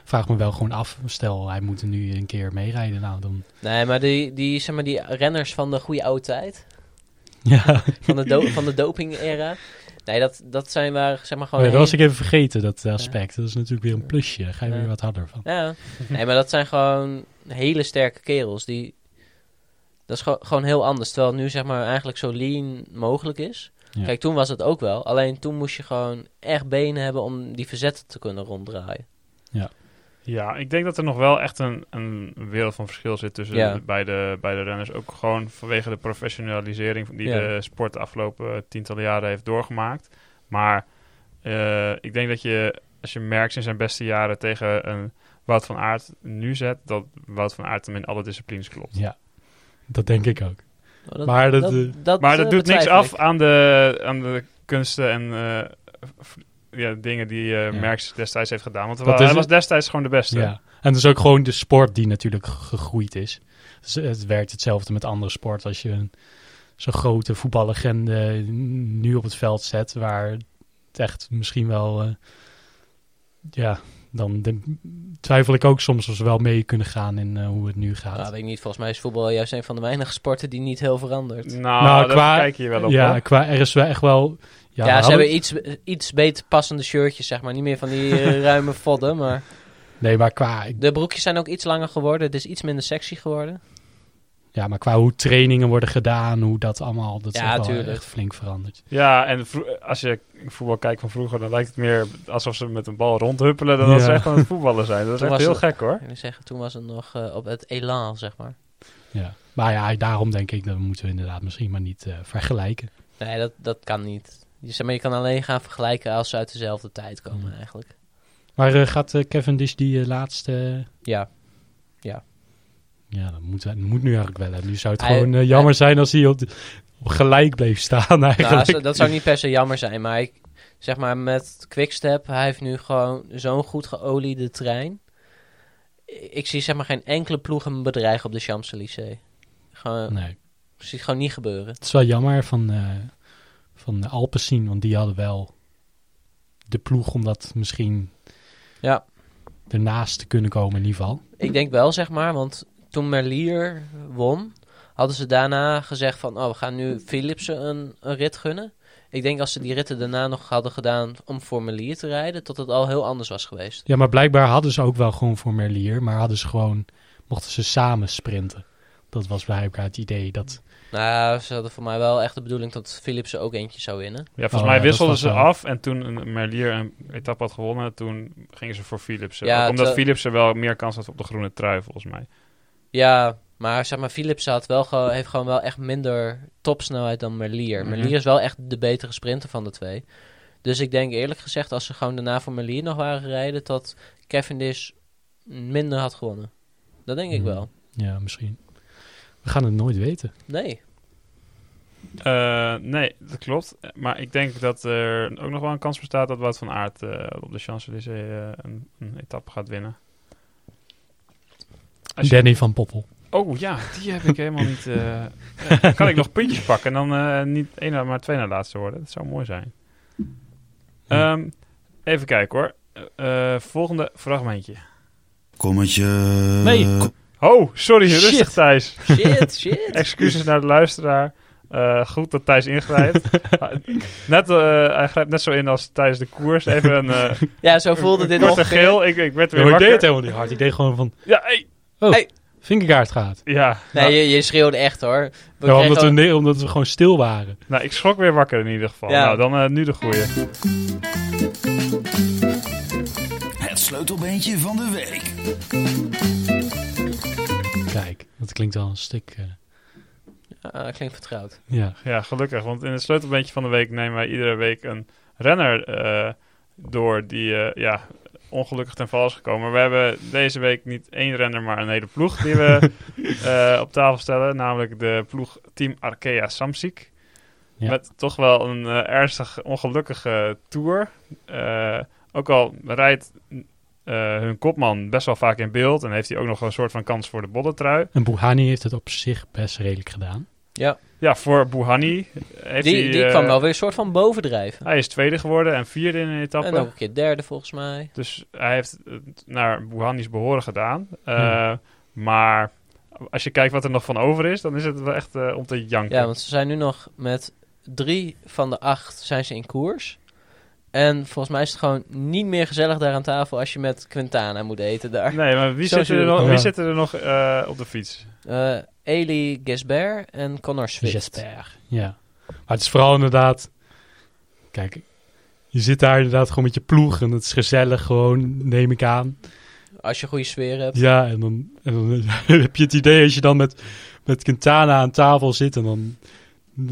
[SPEAKER 2] vraag me wel gewoon af. Stel, hij moet er nu een keer meerijden. Nou, dan.
[SPEAKER 3] Nee, maar die, die, zeg maar, die renners van de goede oude tijd,
[SPEAKER 2] Ja,
[SPEAKER 3] van de, do- van de doping-era... Nee, dat, dat zijn waar, zeg maar, gewoon...
[SPEAKER 2] dat
[SPEAKER 3] hele-
[SPEAKER 2] was ik even vergeten, dat aspect. Dat is natuurlijk weer een plusje. Daar ga je
[SPEAKER 3] Ja.
[SPEAKER 2] weer wat harder van.
[SPEAKER 3] Ja. Nee, maar dat zijn gewoon hele sterke kerels. Die... Dat is gewo- gewoon heel anders. Terwijl het nu zeg maar eigenlijk zo lean mogelijk is.
[SPEAKER 2] Ja.
[SPEAKER 3] Kijk, toen was het ook wel. Alleen toen moest je gewoon echt benen hebben om die verzetten te kunnen ronddraaien.
[SPEAKER 2] Ja.
[SPEAKER 1] Ja, ik denk dat er nog wel echt een, een wereld van verschil zit tussen
[SPEAKER 3] Ja.
[SPEAKER 1] de- bij, de, bij de renners. Ook gewoon vanwege de professionalisering die
[SPEAKER 3] Ja.
[SPEAKER 1] de sport de afgelopen tientallen jaren heeft doorgemaakt. Maar eh, ik denk dat je, als je merkt in zijn beste jaren tegen een Wout van Aert nu zet, dat Wout van Aert hem in alle disciplines klopt.
[SPEAKER 2] Ja, dat denk ik ook.
[SPEAKER 3] Oh, dat-
[SPEAKER 2] Maar dat, eh,
[SPEAKER 1] Maar dat doet
[SPEAKER 3] eh,
[SPEAKER 1] niks
[SPEAKER 3] betwijfel
[SPEAKER 1] af
[SPEAKER 3] ik.
[SPEAKER 1] aan de, aan de kunsten en eh, f- ja, dingen die eh
[SPEAKER 2] Ja.
[SPEAKER 1] Merckx destijds heeft gedaan. Want
[SPEAKER 2] Dat is
[SPEAKER 1] hij
[SPEAKER 2] het.
[SPEAKER 1] was destijds gewoon de beste.
[SPEAKER 2] Ja. En dus ook gewoon de sport die natuurlijk g- gegroeid is. Dus het werkt hetzelfde met andere sporten. Als je een- zo'n grote voetballegende nu op het veld zet, waar het echt misschien wel. eh, ja, dan de- twijfel ik ook soms of ze wel mee kunnen gaan in eh, hoe het nu gaat.
[SPEAKER 3] Nou, weet ik niet. Volgens mij is voetbal juist een van de weinige sporten die niet heel verandert.
[SPEAKER 1] Nou,
[SPEAKER 2] Nou,
[SPEAKER 1] daar
[SPEAKER 2] qua-
[SPEAKER 1] kijk je wel op.
[SPEAKER 2] ja,
[SPEAKER 1] hoor.
[SPEAKER 2] qua er is wel echt wel. Ja,
[SPEAKER 3] Ja,
[SPEAKER 2] we hadden-
[SPEAKER 3] ze hebben iets, iets beter passende shirtjes, zeg maar. Niet meer van die eh, ruime vodden, maar...
[SPEAKER 2] Nee, maar qua,
[SPEAKER 3] De broekjes zijn ook iets langer geworden. Het is iets minder sexy geworden.
[SPEAKER 2] ja, maar qua hoe trainingen worden gedaan, hoe dat allemaal, dat
[SPEAKER 3] Ja,
[SPEAKER 2] is echt, wel
[SPEAKER 3] tuurlijk.
[SPEAKER 2] echt flink veranderd.
[SPEAKER 1] Ja, en vro- als je voetbal kijkt van vroeger, dan lijkt het meer alsof ze met een bal rondhuppelen dan dat
[SPEAKER 2] Ja.
[SPEAKER 1] ze echt aan het voetballen zijn. Dat is
[SPEAKER 3] Toen
[SPEAKER 1] echt
[SPEAKER 3] was
[SPEAKER 1] heel
[SPEAKER 3] het-
[SPEAKER 1] gek hoor.
[SPEAKER 3] Ik wil zeggen, toen was het nog eh, op het elan, zeg maar.
[SPEAKER 2] Ja. Maar ja, daarom denk ik dat moeten we inderdaad misschien maar niet eh, vergelijken.
[SPEAKER 3] Nee, dat, dat kan niet. Je, zeg maar, je kan alleen gaan vergelijken als ze uit dezelfde tijd komen,
[SPEAKER 2] Hmm.
[SPEAKER 3] eigenlijk.
[SPEAKER 2] Maar eh, gaat Kevin Cavendish die eh, laatste... eh,
[SPEAKER 3] Ja.
[SPEAKER 2] ja, dat moet, dat moet nu eigenlijk wel. Hè. Nu zou het
[SPEAKER 3] Hij-
[SPEAKER 2] gewoon eh, jammer zijn als hij op, de- op gelijk bleef staan
[SPEAKER 3] Nou,
[SPEAKER 2] eigenlijk.
[SPEAKER 3] dat- dat zou niet per se jammer zijn, maar ik, zeg maar met Quickstep, hij heeft nu gewoon zo'n goed geoliede trein. I- Ik zie zeg maar geen enkele ploeg hem bedreigen op de Champs-Élysées. Gewoon,
[SPEAKER 2] Nee,
[SPEAKER 3] ik zie het gewoon niet gebeuren.
[SPEAKER 2] het is wel jammer van, eh van de Alpecin, want die hadden wel de ploeg om dat misschien
[SPEAKER 3] Ja,
[SPEAKER 2] ernaast te kunnen komen in ieder geval.
[SPEAKER 3] ik denk wel zeg maar, want toen Merlier won, hadden ze daarna gezegd van, oh we gaan nu Philipsen een, een rit gunnen. Ik denk als ze die ritten daarna nog hadden gedaan om voor Merlier te rijden, dat het al heel anders was geweest.
[SPEAKER 2] Ja, maar blijkbaar hadden ze ook wel gewoon voor Merlier, maar hadden ze gewoon, mochten ze samen sprinten. Dat was blijkbaar het idee dat...
[SPEAKER 3] Nou, ze hadden voor mij wel echt de bedoeling dat Philipsen ook eentje zou winnen.
[SPEAKER 1] Ja, volgens
[SPEAKER 2] Oh,
[SPEAKER 1] mij
[SPEAKER 2] ja, dat
[SPEAKER 1] wisselden
[SPEAKER 2] is
[SPEAKER 1] ze
[SPEAKER 2] wel zo.
[SPEAKER 1] af en toen een Merlier een etappe had gewonnen, toen gingen ze voor Philipsen.
[SPEAKER 3] Ja,
[SPEAKER 1] Ook omdat
[SPEAKER 3] terwijl-
[SPEAKER 1] Philipsen wel meer kans had op de groene trui volgens mij.
[SPEAKER 3] Ja, maar zeg maar, Philips had wel gewoon, heeft gewoon wel echt minder topsnelheid dan Merlier.
[SPEAKER 1] Mhm.
[SPEAKER 3] Merlier is wel echt de betere sprinter van de twee. Dus ik denk eerlijk gezegd, als ze gewoon daarna voor Merlier nog waren gereden, dat Cavendish minder had gewonnen. Dat denk ik
[SPEAKER 2] Mhm.
[SPEAKER 3] wel.
[SPEAKER 2] Ja, misschien. We gaan het nooit weten.
[SPEAKER 3] Nee.
[SPEAKER 1] Eh, nee, dat klopt. Maar ik denk dat er ook nog wel een kans bestaat dat Wout van Aert eh, op de Champs-Élysées eh, een, een etappe gaat winnen. Als je-
[SPEAKER 2] Danny van Poppel.
[SPEAKER 1] Oh ja, die heb ik helemaal niet. eh, ja, dan kan ik nog puntjes pakken en dan eh, niet één, na- maar twee naar laatste worden. Dat zou mooi zijn.
[SPEAKER 2] Hm. Ja.
[SPEAKER 1] Ehm, even kijken hoor. Eh, eh, volgende fragmentje.
[SPEAKER 6] Kommetje.
[SPEAKER 2] Nee,
[SPEAKER 1] Oh, sorry, rustig
[SPEAKER 2] Shit.
[SPEAKER 1] Thijs.
[SPEAKER 3] Shit, shit.
[SPEAKER 1] Excuses naar de luisteraar. Eh, goed dat Thijs ingrijpt. Ah, net, eh, hij grijpt net zo in als tijdens de koers. Even een eh
[SPEAKER 3] Ja, zo voelde dit
[SPEAKER 1] korte
[SPEAKER 3] nog.
[SPEAKER 1] geel. Ik, ik werd weer
[SPEAKER 2] ik deed het
[SPEAKER 1] wakker.
[SPEAKER 2] helemaal niet hard. Ik deed gewoon van,
[SPEAKER 1] Ja, hey.
[SPEAKER 2] oh,
[SPEAKER 3] Hey.
[SPEAKER 2] Vinkegaard gaat.
[SPEAKER 1] ja. Nou,
[SPEAKER 3] Nee, je, je schreeuwde echt hoor. We
[SPEAKER 2] Ja,
[SPEAKER 3] kregen
[SPEAKER 2] omdat,
[SPEAKER 3] al-
[SPEAKER 2] we, nee, omdat we gewoon stil waren.
[SPEAKER 1] Nou, ik schrok weer wakker in ieder geval.
[SPEAKER 3] Ja.
[SPEAKER 1] Nou, dan eh, nu de goeie.
[SPEAKER 6] Het sleutelbeentje van de week.
[SPEAKER 2] Kijk, dat klinkt wel een stuk... eh,
[SPEAKER 3] Ah, dat klinkt vertrouwd.
[SPEAKER 2] ja.
[SPEAKER 1] Ja, gelukkig. Want in het sleutelbeentje van de week nemen wij iedere week een renner eh, door die eh, ja, ongelukkig ten val is gekomen. Maar we hebben deze week niet één renner, maar een hele ploeg die we eh, op tafel stellen. Namelijk de ploeg Team Arkea Samsic.
[SPEAKER 2] Ja.
[SPEAKER 1] Met toch wel een eh, ernstig ongelukkige tour. Eh, ook al rijdt eh, hun kopman best wel vaak in beeld. En heeft hij ook nog een soort van kans voor de bollentrui.
[SPEAKER 2] En Boehani heeft het op zich best redelijk gedaan.
[SPEAKER 3] Ja.
[SPEAKER 1] Ja, voor Bouhanni heeft
[SPEAKER 3] Die,
[SPEAKER 1] hij...
[SPEAKER 3] die
[SPEAKER 1] eh,
[SPEAKER 3] kwam wel weer een soort van bovendrijven.
[SPEAKER 1] Hij is tweede geworden en vierde in een etappe.
[SPEAKER 3] En ook een keer derde volgens mij.
[SPEAKER 1] Dus hij heeft het naar Bouhanni's behoren gedaan. Eh,
[SPEAKER 2] Ja.
[SPEAKER 3] Hmm.
[SPEAKER 1] Maar als je kijkt wat er nog van over is, dan is het wel echt eh, om te janken.
[SPEAKER 3] Ja, want ze zijn nu nog met drie van de acht zijn ze in koers. En volgens mij is het gewoon niet meer gezellig daar aan tafel als je met Quintana moet eten daar.
[SPEAKER 1] Nee, maar wie
[SPEAKER 3] Zo
[SPEAKER 1] zitten er
[SPEAKER 3] zie je
[SPEAKER 1] nog,
[SPEAKER 2] het.
[SPEAKER 1] wie
[SPEAKER 2] Ja.
[SPEAKER 1] zitten er nog eh, op de fiets?
[SPEAKER 3] Eh Eli Gesbert en Connor Swift.
[SPEAKER 2] Jesper. Ja. Maar het is vooral inderdaad... Kijk, je zit daar inderdaad gewoon met je ploeg en het is gezellig gewoon, neem ik aan.
[SPEAKER 3] Als je een goede sfeer hebt.
[SPEAKER 2] Ja, en dan, en dan heb je het idee als je dan met, met Quintana aan tafel zit en dan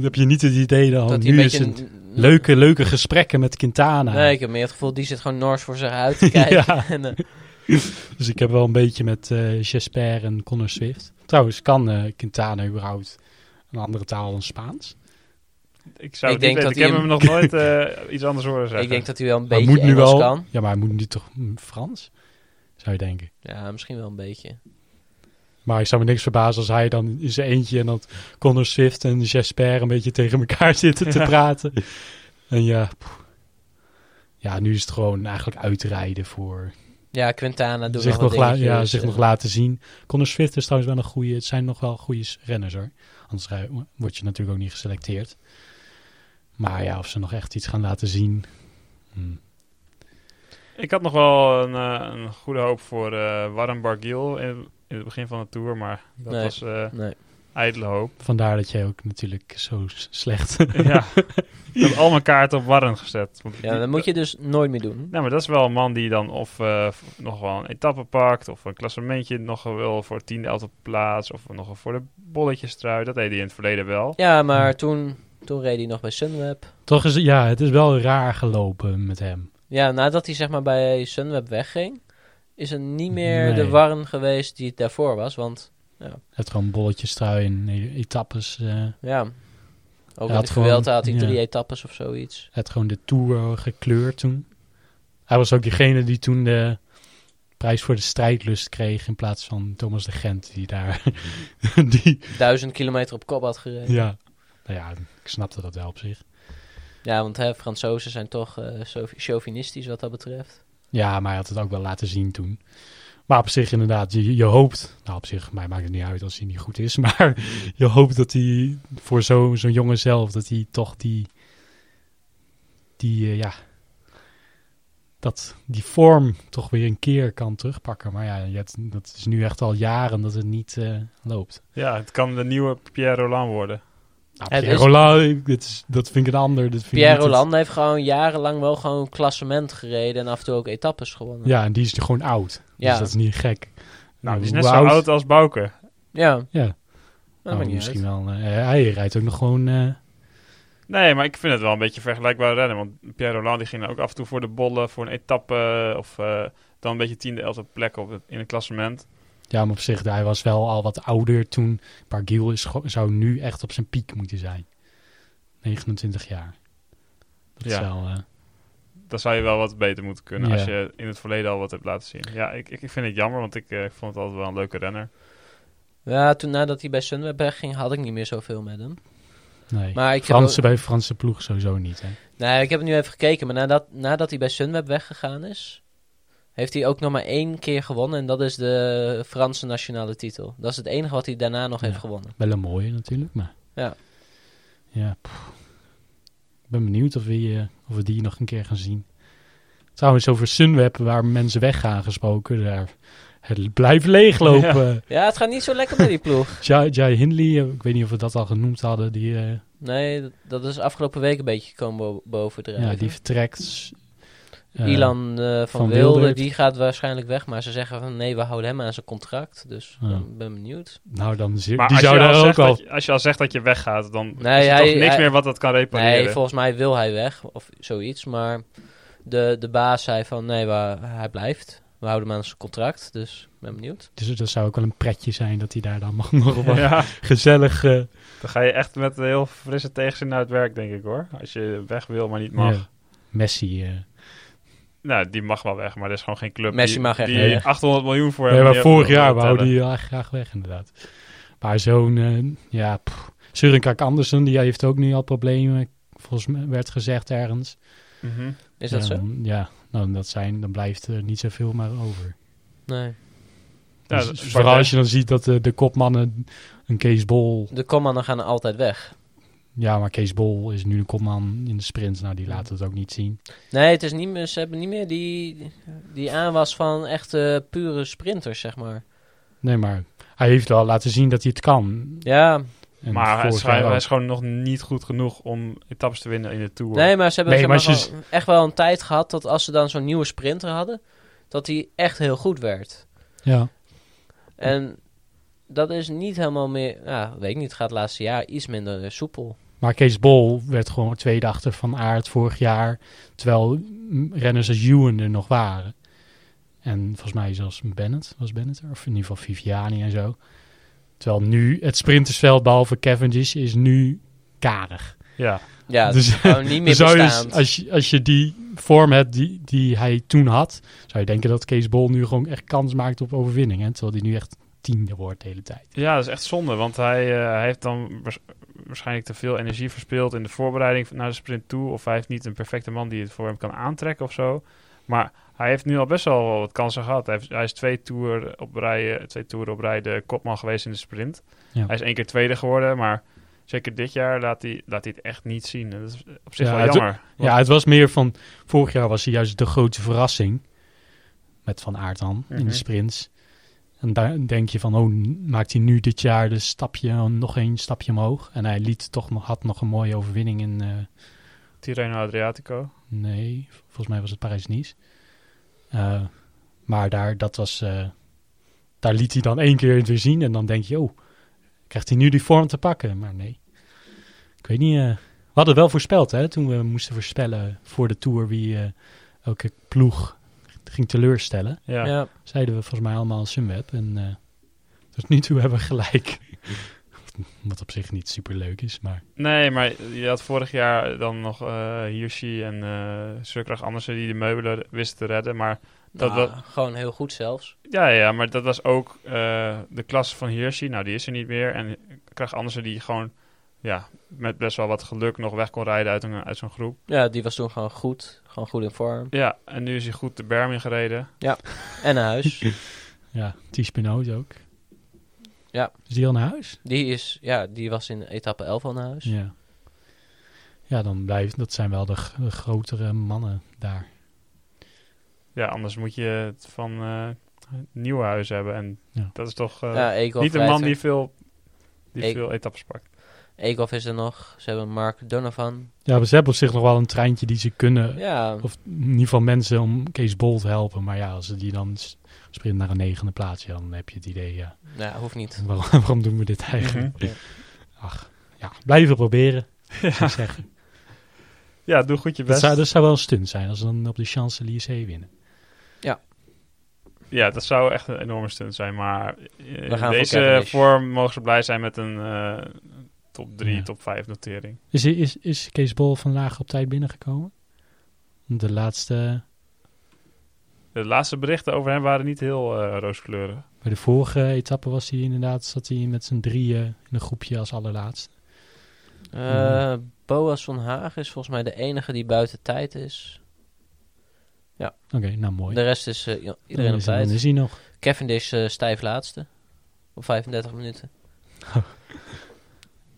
[SPEAKER 2] heb je niet het idee dat,
[SPEAKER 3] dat hij
[SPEAKER 2] nu
[SPEAKER 3] een
[SPEAKER 2] is
[SPEAKER 3] beetje...
[SPEAKER 2] het
[SPEAKER 3] een-
[SPEAKER 2] leuke, leuke gesprekken met Quintana.
[SPEAKER 3] Nee, ik heb meer het gevoel, die zit gewoon nors voor zich uit te kijken.
[SPEAKER 2] Ja.
[SPEAKER 3] en, eh,
[SPEAKER 2] Dus ik heb wel een beetje met eh Jesper en Connor Swift. Trouwens, kan eh, Quintana überhaupt een andere taal dan Spaans?
[SPEAKER 1] Ik zou het niet
[SPEAKER 3] Ik denk
[SPEAKER 1] weten.
[SPEAKER 3] dat
[SPEAKER 1] Ik
[SPEAKER 3] hij
[SPEAKER 1] heb hem
[SPEAKER 3] hem-
[SPEAKER 1] nog nooit eh, iets anders horen zeggen.
[SPEAKER 3] ik denk dat hij wel een
[SPEAKER 2] Hij
[SPEAKER 3] beetje Engels kan.
[SPEAKER 2] Ja, maar hij moet nu toch mm, Frans? Zou je denken.
[SPEAKER 3] Ja, misschien wel een beetje.
[SPEAKER 2] Maar ik zou me niks verbazen als hij dan in zijn eentje en dat Connor Swift en Jesper een beetje tegen elkaar zitten te praten. En ja, poeh. ja, nu is het gewoon eigenlijk uitrijden voor
[SPEAKER 3] Ja, Quintana doet
[SPEAKER 2] zich,
[SPEAKER 3] nog, nog
[SPEAKER 2] nog, la-
[SPEAKER 3] dingetjes. dus, eh,
[SPEAKER 2] ja, zich
[SPEAKER 3] en-
[SPEAKER 2] nog laten zien. Connor Swift is trouwens wel een goede. Het zijn nog wel goede renners hoor. Anders rij- word je natuurlijk ook niet geselecteerd. Maar ja, of ze nog echt iets gaan laten zien. hm.
[SPEAKER 1] Ik had nog wel een, eh, een goede hoop voor eh Warren Bargiel in, in het begin van de Tour, maar dat
[SPEAKER 3] Nee.
[SPEAKER 1] was eh
[SPEAKER 3] Nee.
[SPEAKER 1] ijdele hoop.
[SPEAKER 2] Vandaar dat jij ook natuurlijk zo s- slecht.
[SPEAKER 1] ja. Ik heb al mijn kaarten op Warren gezet. Want
[SPEAKER 3] Ja,
[SPEAKER 1] die-
[SPEAKER 3] dat moet je dus nooit meer doen.
[SPEAKER 1] Nou, maar dat is wel een man die dan of eh, f- nog wel een etappe pakt, of een klassementje nog wil voor 10e, 11e plaats, of nog wel voor de bolletjes trui. Dat deed hij in het verleden wel.
[SPEAKER 3] Ja, maar toen, toen reed hij nog bij Sunweb.
[SPEAKER 2] Toch is ja, het is wel raar gelopen met hem.
[SPEAKER 3] Ja, nadat hij zeg maar bij Sunweb wegging, is er niet meer
[SPEAKER 2] Nee.
[SPEAKER 3] de warm geweest die het daarvoor was. Want
[SPEAKER 2] Het gewoon bolletjes trui en e- etappes. eh
[SPEAKER 3] ja, ook in
[SPEAKER 2] had
[SPEAKER 3] de
[SPEAKER 2] gewoon-
[SPEAKER 3] Vuelta had hij
[SPEAKER 2] ja.
[SPEAKER 3] drie etappes of zoiets.
[SPEAKER 2] het gewoon de tour gekleurd toen. Hij was ook diegene die toen de prijs voor de strijdlust kreeg in plaats van Thomas de Gent die daar die
[SPEAKER 3] Duizend kilometer op kop had gereden. Ja,
[SPEAKER 2] Ja. Nou ja, ik snapte dat wel op zich.
[SPEAKER 3] want hè, Fransozen zijn toch eh, chau- chauvinistisch wat dat betreft.
[SPEAKER 2] Ja, maar hij had het ook wel laten zien toen. Maar op zich inderdaad, je, je hoopt... Nou, op zich, mij maakt het niet uit als hij niet goed is. Maar je hoopt dat hij voor zo- zo'n jongen zelf... dat hij toch die... die, eh, ja... dat die vorm toch weer een keer kan terugpakken. Maar ja, je hebt- dat is nu echt al jaren dat het niet eh, loopt.
[SPEAKER 1] Ja, het kan de nieuwe Pierre Roland worden.
[SPEAKER 2] Nou,
[SPEAKER 3] Het
[SPEAKER 2] Pierre
[SPEAKER 3] is-
[SPEAKER 2] Roland, ik- dit is- dat vind ik een ander. Dat vind ik
[SPEAKER 3] Pierre
[SPEAKER 2] niet het-
[SPEAKER 3] Roland heeft gewoon jarenlang wel gewoon klassement gereden en af en toe ook etappes gewonnen.
[SPEAKER 2] Ja, en die is gewoon oud.
[SPEAKER 3] Ja.
[SPEAKER 2] Dus dat is niet gek.
[SPEAKER 1] Nou, die is
[SPEAKER 2] Hoe
[SPEAKER 1] net zo oud als Bouke.
[SPEAKER 3] ja. dat
[SPEAKER 2] Ja,
[SPEAKER 3] maakt
[SPEAKER 2] nou,
[SPEAKER 3] niet uit.
[SPEAKER 2] misschien wel. eh, hij rijdt ook nog gewoon. eh,
[SPEAKER 1] Nee, maar ik vind het wel een beetje vergelijkbaar rennen. Want Pierre Roland die ging ook af en toe voor de bollen, voor een etappe. Of eh, dan een beetje tiende, elfde plek op het- in het klassement.
[SPEAKER 2] ja, maar op zich, hij was wel al wat ouder toen. Bargiel is, gewoon- zou nu echt op zijn piek moeten zijn. 29 jaar. Dat is
[SPEAKER 1] Ja.
[SPEAKER 2] wel. eh,
[SPEAKER 1] Dan zou je wel wat beter moeten kunnen
[SPEAKER 2] Ja.
[SPEAKER 1] als je in het verleden al wat hebt laten zien. Ja, ik, ik, ik vind het jammer, want ik eh, vond het altijd wel een leuke renner.
[SPEAKER 3] Ja, toen nadat hij bij Sunweb wegging, had ik niet meer zoveel met hem.
[SPEAKER 2] nee.
[SPEAKER 3] Maar ik heb
[SPEAKER 2] Franse
[SPEAKER 3] ook-
[SPEAKER 2] bij Franse ploeg sowieso niet. Hè?
[SPEAKER 3] Nee, ik heb nu even gekeken, maar nadat, nadat hij bij Sunweb weggegaan is, heeft hij ook nog maar één keer gewonnen. En dat is de Franse nationale titel. Dat is het enige wat hij daarna nog
[SPEAKER 2] Ja.
[SPEAKER 3] heeft gewonnen.
[SPEAKER 2] Wel een mooie natuurlijk, maar.
[SPEAKER 3] Ja.
[SPEAKER 2] Ja. pff. Ik ben benieuwd of we, eh, of we die nog een keer gaan zien. Trouwens, over Sunweb, waar mensen weggaan gesproken. Daar, het blijft leeglopen.
[SPEAKER 3] Ja, het gaat niet zo lekker met die ploeg.
[SPEAKER 2] Jai, Jai Hindley, eh, ik weet niet of we dat al genoemd hadden, die, eh,
[SPEAKER 3] Nee, dat, dat is afgelopen week een beetje komen bo- bovendrijven.
[SPEAKER 2] ja, die vertrekt. Eh,
[SPEAKER 3] Ilan eh, van,
[SPEAKER 2] Van Wilde
[SPEAKER 3] Wilde,
[SPEAKER 2] heeft-
[SPEAKER 3] die gaat waarschijnlijk weg. Maar ze zeggen van nee, we houden hem aan zijn contract. Dus
[SPEAKER 2] Ja.
[SPEAKER 3] ik ben benieuwd.
[SPEAKER 2] Nou, dan zie-
[SPEAKER 1] Maar
[SPEAKER 2] die
[SPEAKER 1] als,
[SPEAKER 2] zou
[SPEAKER 1] je al
[SPEAKER 2] daar ook
[SPEAKER 1] zegt
[SPEAKER 2] al.
[SPEAKER 1] dat je- als je al zegt dat je weggaat, dan
[SPEAKER 3] Nee,
[SPEAKER 1] is er
[SPEAKER 3] hij-
[SPEAKER 1] toch niks
[SPEAKER 3] hij-
[SPEAKER 1] meer wat dat kan repareren.
[SPEAKER 3] Nee, volgens mij wil hij weg of zoiets. Maar de, de baas zei van nee, we, hij blijft. We houden hem aan zijn contract. Dus ik ben benieuwd.
[SPEAKER 2] Dus dat zou ook wel een pretje zijn dat hij daar dan mag nog wat
[SPEAKER 1] ja,
[SPEAKER 2] gezellig. eh,
[SPEAKER 1] dan ga je echt met een heel frisse tegenzin naar het werk, denk ik hoor. Als je weg wil, maar niet mag.
[SPEAKER 2] ja, Messi. eh.
[SPEAKER 1] Nou, die mag wel weg, maar er is gewoon geen club
[SPEAKER 3] Messi
[SPEAKER 1] die,
[SPEAKER 3] mag echt
[SPEAKER 1] die
[SPEAKER 2] niet weg.
[SPEAKER 1] 800 miljoen voor
[SPEAKER 2] Nee,
[SPEAKER 1] hebben.
[SPEAKER 2] maar
[SPEAKER 1] Die
[SPEAKER 2] vorig
[SPEAKER 1] hebben
[SPEAKER 2] jaar
[SPEAKER 1] we
[SPEAKER 2] wou
[SPEAKER 1] willen
[SPEAKER 2] die wel echt graag weg, inderdaad. Maar zo'n, eh, ja, pff. Søren Kak Andersen, die heeft ook nu al problemen. Volgens mij werd gezegd ergens.
[SPEAKER 1] tellen. Mhm.
[SPEAKER 3] Is dat
[SPEAKER 2] Ja,
[SPEAKER 3] zo?
[SPEAKER 2] dan- Ja, nou, dat zijn, dan blijft er niet zoveel maar over.
[SPEAKER 3] Nee.
[SPEAKER 1] Ja,
[SPEAKER 2] Dus
[SPEAKER 1] dat-
[SPEAKER 2] vooral als je dan ziet dat eh, de kopmannen een Kees Bol...
[SPEAKER 3] De kommannen gaan altijd weg.
[SPEAKER 2] Ja, maar Kees Bol is nu de kopman in de sprint. Nou, die laat het ook niet zien.
[SPEAKER 3] Nee, het is niet meer, ze hebben niet meer die, die aanwas van echte pure sprinters, zeg maar.
[SPEAKER 2] Nee, maar hij heeft wel laten zien dat hij het kan.
[SPEAKER 3] Ja,
[SPEAKER 2] En
[SPEAKER 1] maar hij
[SPEAKER 2] vorig
[SPEAKER 1] is,
[SPEAKER 2] jaar
[SPEAKER 1] gewoon- hij
[SPEAKER 2] ook.
[SPEAKER 1] is gewoon nog niet goed genoeg om etappes te winnen in de Tour.
[SPEAKER 3] nee, maar ze hebben
[SPEAKER 2] Nee,
[SPEAKER 3] zeg maar
[SPEAKER 2] maar als je
[SPEAKER 3] gewoon echt wel een tijd gehad dat als ze dan zo'n nieuwe sprinter hadden, dat hij echt heel goed werd.
[SPEAKER 2] Ja.
[SPEAKER 3] En dat is niet helemaal meer... Ja, weet ik niet. Het gaat het laatste jaar iets minder eh, soepel.
[SPEAKER 2] Maar Kees Bol werd gewoon tweede achter Van Aert vorig jaar. Terwijl mm, renners als Ewan er nog waren. En volgens mij zelfs Bennett, was Bennett er? Of in ieder geval Viviani en zo. Terwijl nu het sprintersveld, behalve Cavendish, is nu karig.
[SPEAKER 1] Ja,
[SPEAKER 3] Ja,
[SPEAKER 2] Dus-
[SPEAKER 3] dus, gewoon niet meer
[SPEAKER 2] Dus zou je eens-
[SPEAKER 3] bestaand.
[SPEAKER 2] als, je, als je die vorm hebt die, die hij toen had, zou je denken dat Kees Bol nu gewoon echt kans maakt op overwinning. Hè? Terwijl hij nu echt tiende wordt de hele tijd.
[SPEAKER 1] ja, dat is echt zonde. Want hij, eh, hij heeft dan waars- waarschijnlijk te veel energie verspeeld in de voorbereiding naar de sprint toe. Of hij heeft niet een perfecte man die het voor hem kan aantrekken of zo. Maar hij heeft nu al best wel wat kansen gehad. Hij, heeft- hij is twee toeren op rij, eh, twee toeren op rij de kopman geweest in de sprint.
[SPEAKER 2] Ja.
[SPEAKER 1] Hij is één keer tweede geworden, maar zeker dit jaar laat hij, laat hij het echt niet zien. En Dat is op zich
[SPEAKER 2] Ja,
[SPEAKER 1] wel
[SPEAKER 2] het-
[SPEAKER 1] jammer.
[SPEAKER 2] Ja, het was meer van... Vorig jaar was hij juist de grote verrassing. Met Van Aert dan, in
[SPEAKER 1] Mhm.
[SPEAKER 2] de sprints. En daar denk je van, oh, n- maakt hij nu dit jaar de stapje, nog één stapje omhoog? En hij liet toch nog, had nog een mooie overwinning in... eh,
[SPEAKER 1] Tirreno Adriatico.
[SPEAKER 2] nee, volgens mij was het Parijs-Nice. Eh, maar daar, dat was, eh, daar liet hij dan één keer het weer zien. En dan denk je, oh, krijgt hij nu die vorm te pakken? Maar nee, ik weet niet. eh, we hadden wel voorspeld, hè, toen we moesten voorspellen voor de Tour wie eh, elke ploeg ging teleurstellen.
[SPEAKER 1] Ja.
[SPEAKER 3] ja.
[SPEAKER 2] Zeiden we volgens mij allemaal Sunweb. En eh tot nu toe hebben we gelijk. Wat op zich niet super leuk is, maar
[SPEAKER 1] Nee, maar je had vorig jaar dan nog eh Hirschi en eh Surkrach Andersen die de meubelen wisten te redden. Maar Dat
[SPEAKER 3] Nou,
[SPEAKER 1] wel-
[SPEAKER 3] Gewoon heel goed zelfs.
[SPEAKER 1] ja, ja, maar dat was ook eh, de klasse van Hirschi. Nou, die is er niet meer. En Krach Andersen die gewoon ja, met best wel wat geluk nog weg kon rijden uit, een, uit zo'n groep.
[SPEAKER 3] Ja, die was toen gewoon goed. Gewoon goed in vorm.
[SPEAKER 1] Ja, en nu is hij goed de berm ingereden.
[SPEAKER 3] En naar huis.
[SPEAKER 2] ja, Ties Benoot ook.
[SPEAKER 3] Ja.
[SPEAKER 2] Is die al naar huis?
[SPEAKER 3] Die, is, ja, die was in etappe 11 al naar huis.
[SPEAKER 2] Ja. Ja, dan blijft dat zijn wel de, g- de grotere mannen daar.
[SPEAKER 1] Ja, anders moet je het van eh, Nieuwenhuis hebben. En
[SPEAKER 2] Ja.
[SPEAKER 1] dat is toch eh,
[SPEAKER 3] Ja, Eekhoff
[SPEAKER 1] niet een
[SPEAKER 3] rijdt
[SPEAKER 1] man
[SPEAKER 3] er.
[SPEAKER 1] die veel, die
[SPEAKER 3] Ik-
[SPEAKER 1] veel etappes pakt.
[SPEAKER 3] Eekhoff is er nog. Ze hebben Mark Donovan.
[SPEAKER 2] Ja, maar ze hebben op zich nog wel een treintje die ze kunnen.
[SPEAKER 3] Ja,
[SPEAKER 2] Of in ieder geval mensen om Kees Bol te helpen. Maar ja, als ze die dan s- sprint naar een negende plaats, ja, dan heb je het idee. Ja,
[SPEAKER 3] ja hoeft niet.
[SPEAKER 2] waarom, waarom doen we dit eigenlijk?
[SPEAKER 1] Mhm.
[SPEAKER 2] Ach, ja, blijven proberen. zou ik zeggen.
[SPEAKER 1] Ja, doe goed je
[SPEAKER 2] Dat,
[SPEAKER 1] best.
[SPEAKER 2] zou, dus- dat zou wel een stunt zijn als ze dan op de Champs-Élysées winnen.
[SPEAKER 1] Ja, dat zou echt een enorme stunt zijn. Maar eh,
[SPEAKER 3] We gaan
[SPEAKER 1] in
[SPEAKER 3] voor
[SPEAKER 1] deze
[SPEAKER 3] Cavendish.
[SPEAKER 1] vorm mogen ze blij zijn met een eh, top 3,
[SPEAKER 2] Ja.
[SPEAKER 1] top 5 notering.
[SPEAKER 2] Is, is, is Kees Bol vandaag op tijd binnengekomen? De laatste,
[SPEAKER 1] De laatste berichten over hem waren niet heel eh rooskleurig.
[SPEAKER 2] Bij de vorige etappe was hij inderdaad, zat hij met z'n drieën in een groepje als allerlaatste.
[SPEAKER 3] Eh, Boas van Haag is volgens mij de enige die buiten tijd is.
[SPEAKER 2] Oké, nou mooi.
[SPEAKER 3] De rest is eh, i- iedereen
[SPEAKER 2] Dan
[SPEAKER 3] op
[SPEAKER 2] is hij- dan
[SPEAKER 3] tijd.
[SPEAKER 2] is hij nog.
[SPEAKER 3] Cavendish eh stijf laatste. Op 35 minuten.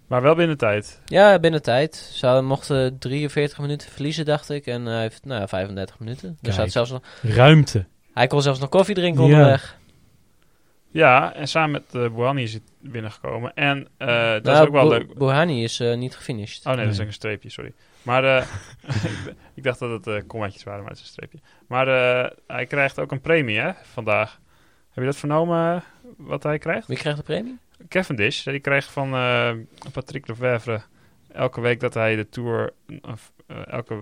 [SPEAKER 1] Maar wel binnen tijd.
[SPEAKER 3] Ja, binnen tijd. Ze mochten 43 minuten verliezen, dacht ik. En hij heeft nou, ja, 35 minuten.
[SPEAKER 2] Kijk.
[SPEAKER 3] Dus hij, had zelfs nog,
[SPEAKER 2] Ruimte.
[SPEAKER 3] hij kon zelfs nog koffie drinken
[SPEAKER 2] Ja.
[SPEAKER 3] onderweg.
[SPEAKER 1] Ja, en samen met eh Bohani is het binnengekomen. En eh, dat
[SPEAKER 3] Nou,
[SPEAKER 1] is ook wel
[SPEAKER 3] Bo-
[SPEAKER 1] leuk. Oh
[SPEAKER 3] Bohani is eh, niet gefinished.
[SPEAKER 1] nee, dat is
[SPEAKER 2] Nee.
[SPEAKER 1] een streepje, sorry. Maar eh, ik- ik dacht dat het eh kommaatjes waren, maar het is een streepje. Maar eh, hij krijgt ook een premie hè, vandaag. Heb je dat vernomen, eh, wat hij krijgt?
[SPEAKER 3] Wie krijgt de premie?
[SPEAKER 1] Cavendish, die kreeg van eh, Patrick Lefevre elke week dat hij de tour, of, eh, elke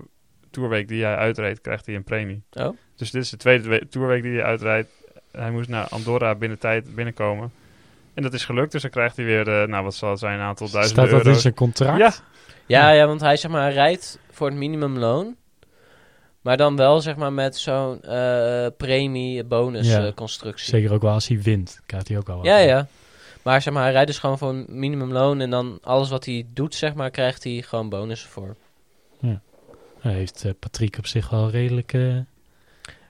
[SPEAKER 1] tourweek die hij uitrijdt, krijgt hij een premie.
[SPEAKER 3] Oh.
[SPEAKER 1] Dus dit is de tweede we- tourweek die hij uitrijdt. Hij moest naar Andorra binnen tijd binnenkomen. En dat is gelukt, dus dan krijgt hij weer, eh, nou wat zal het zijn, een aantal duizend
[SPEAKER 2] Staat dat
[SPEAKER 1] euro.
[SPEAKER 2] in zijn contract?
[SPEAKER 1] Ja.
[SPEAKER 3] Ja, ja, want hij zeg maar, hij rijdt voor het minimumloon. Maar dan wel zeg maar met zo'n eh, premie bonus
[SPEAKER 2] Ja.
[SPEAKER 3] eh, constructie.
[SPEAKER 2] Zeker ook wel als hij wint. Krijgt hij ook wel wat.
[SPEAKER 3] Ja, ja. Maar zeg maar, hij rijdt dus gewoon voor een minimumloon. En dan alles wat hij doet, zeg maar, krijgt hij gewoon bonus voor.
[SPEAKER 2] Daar heeft eh, Patrick op zich wel redelijk... eh,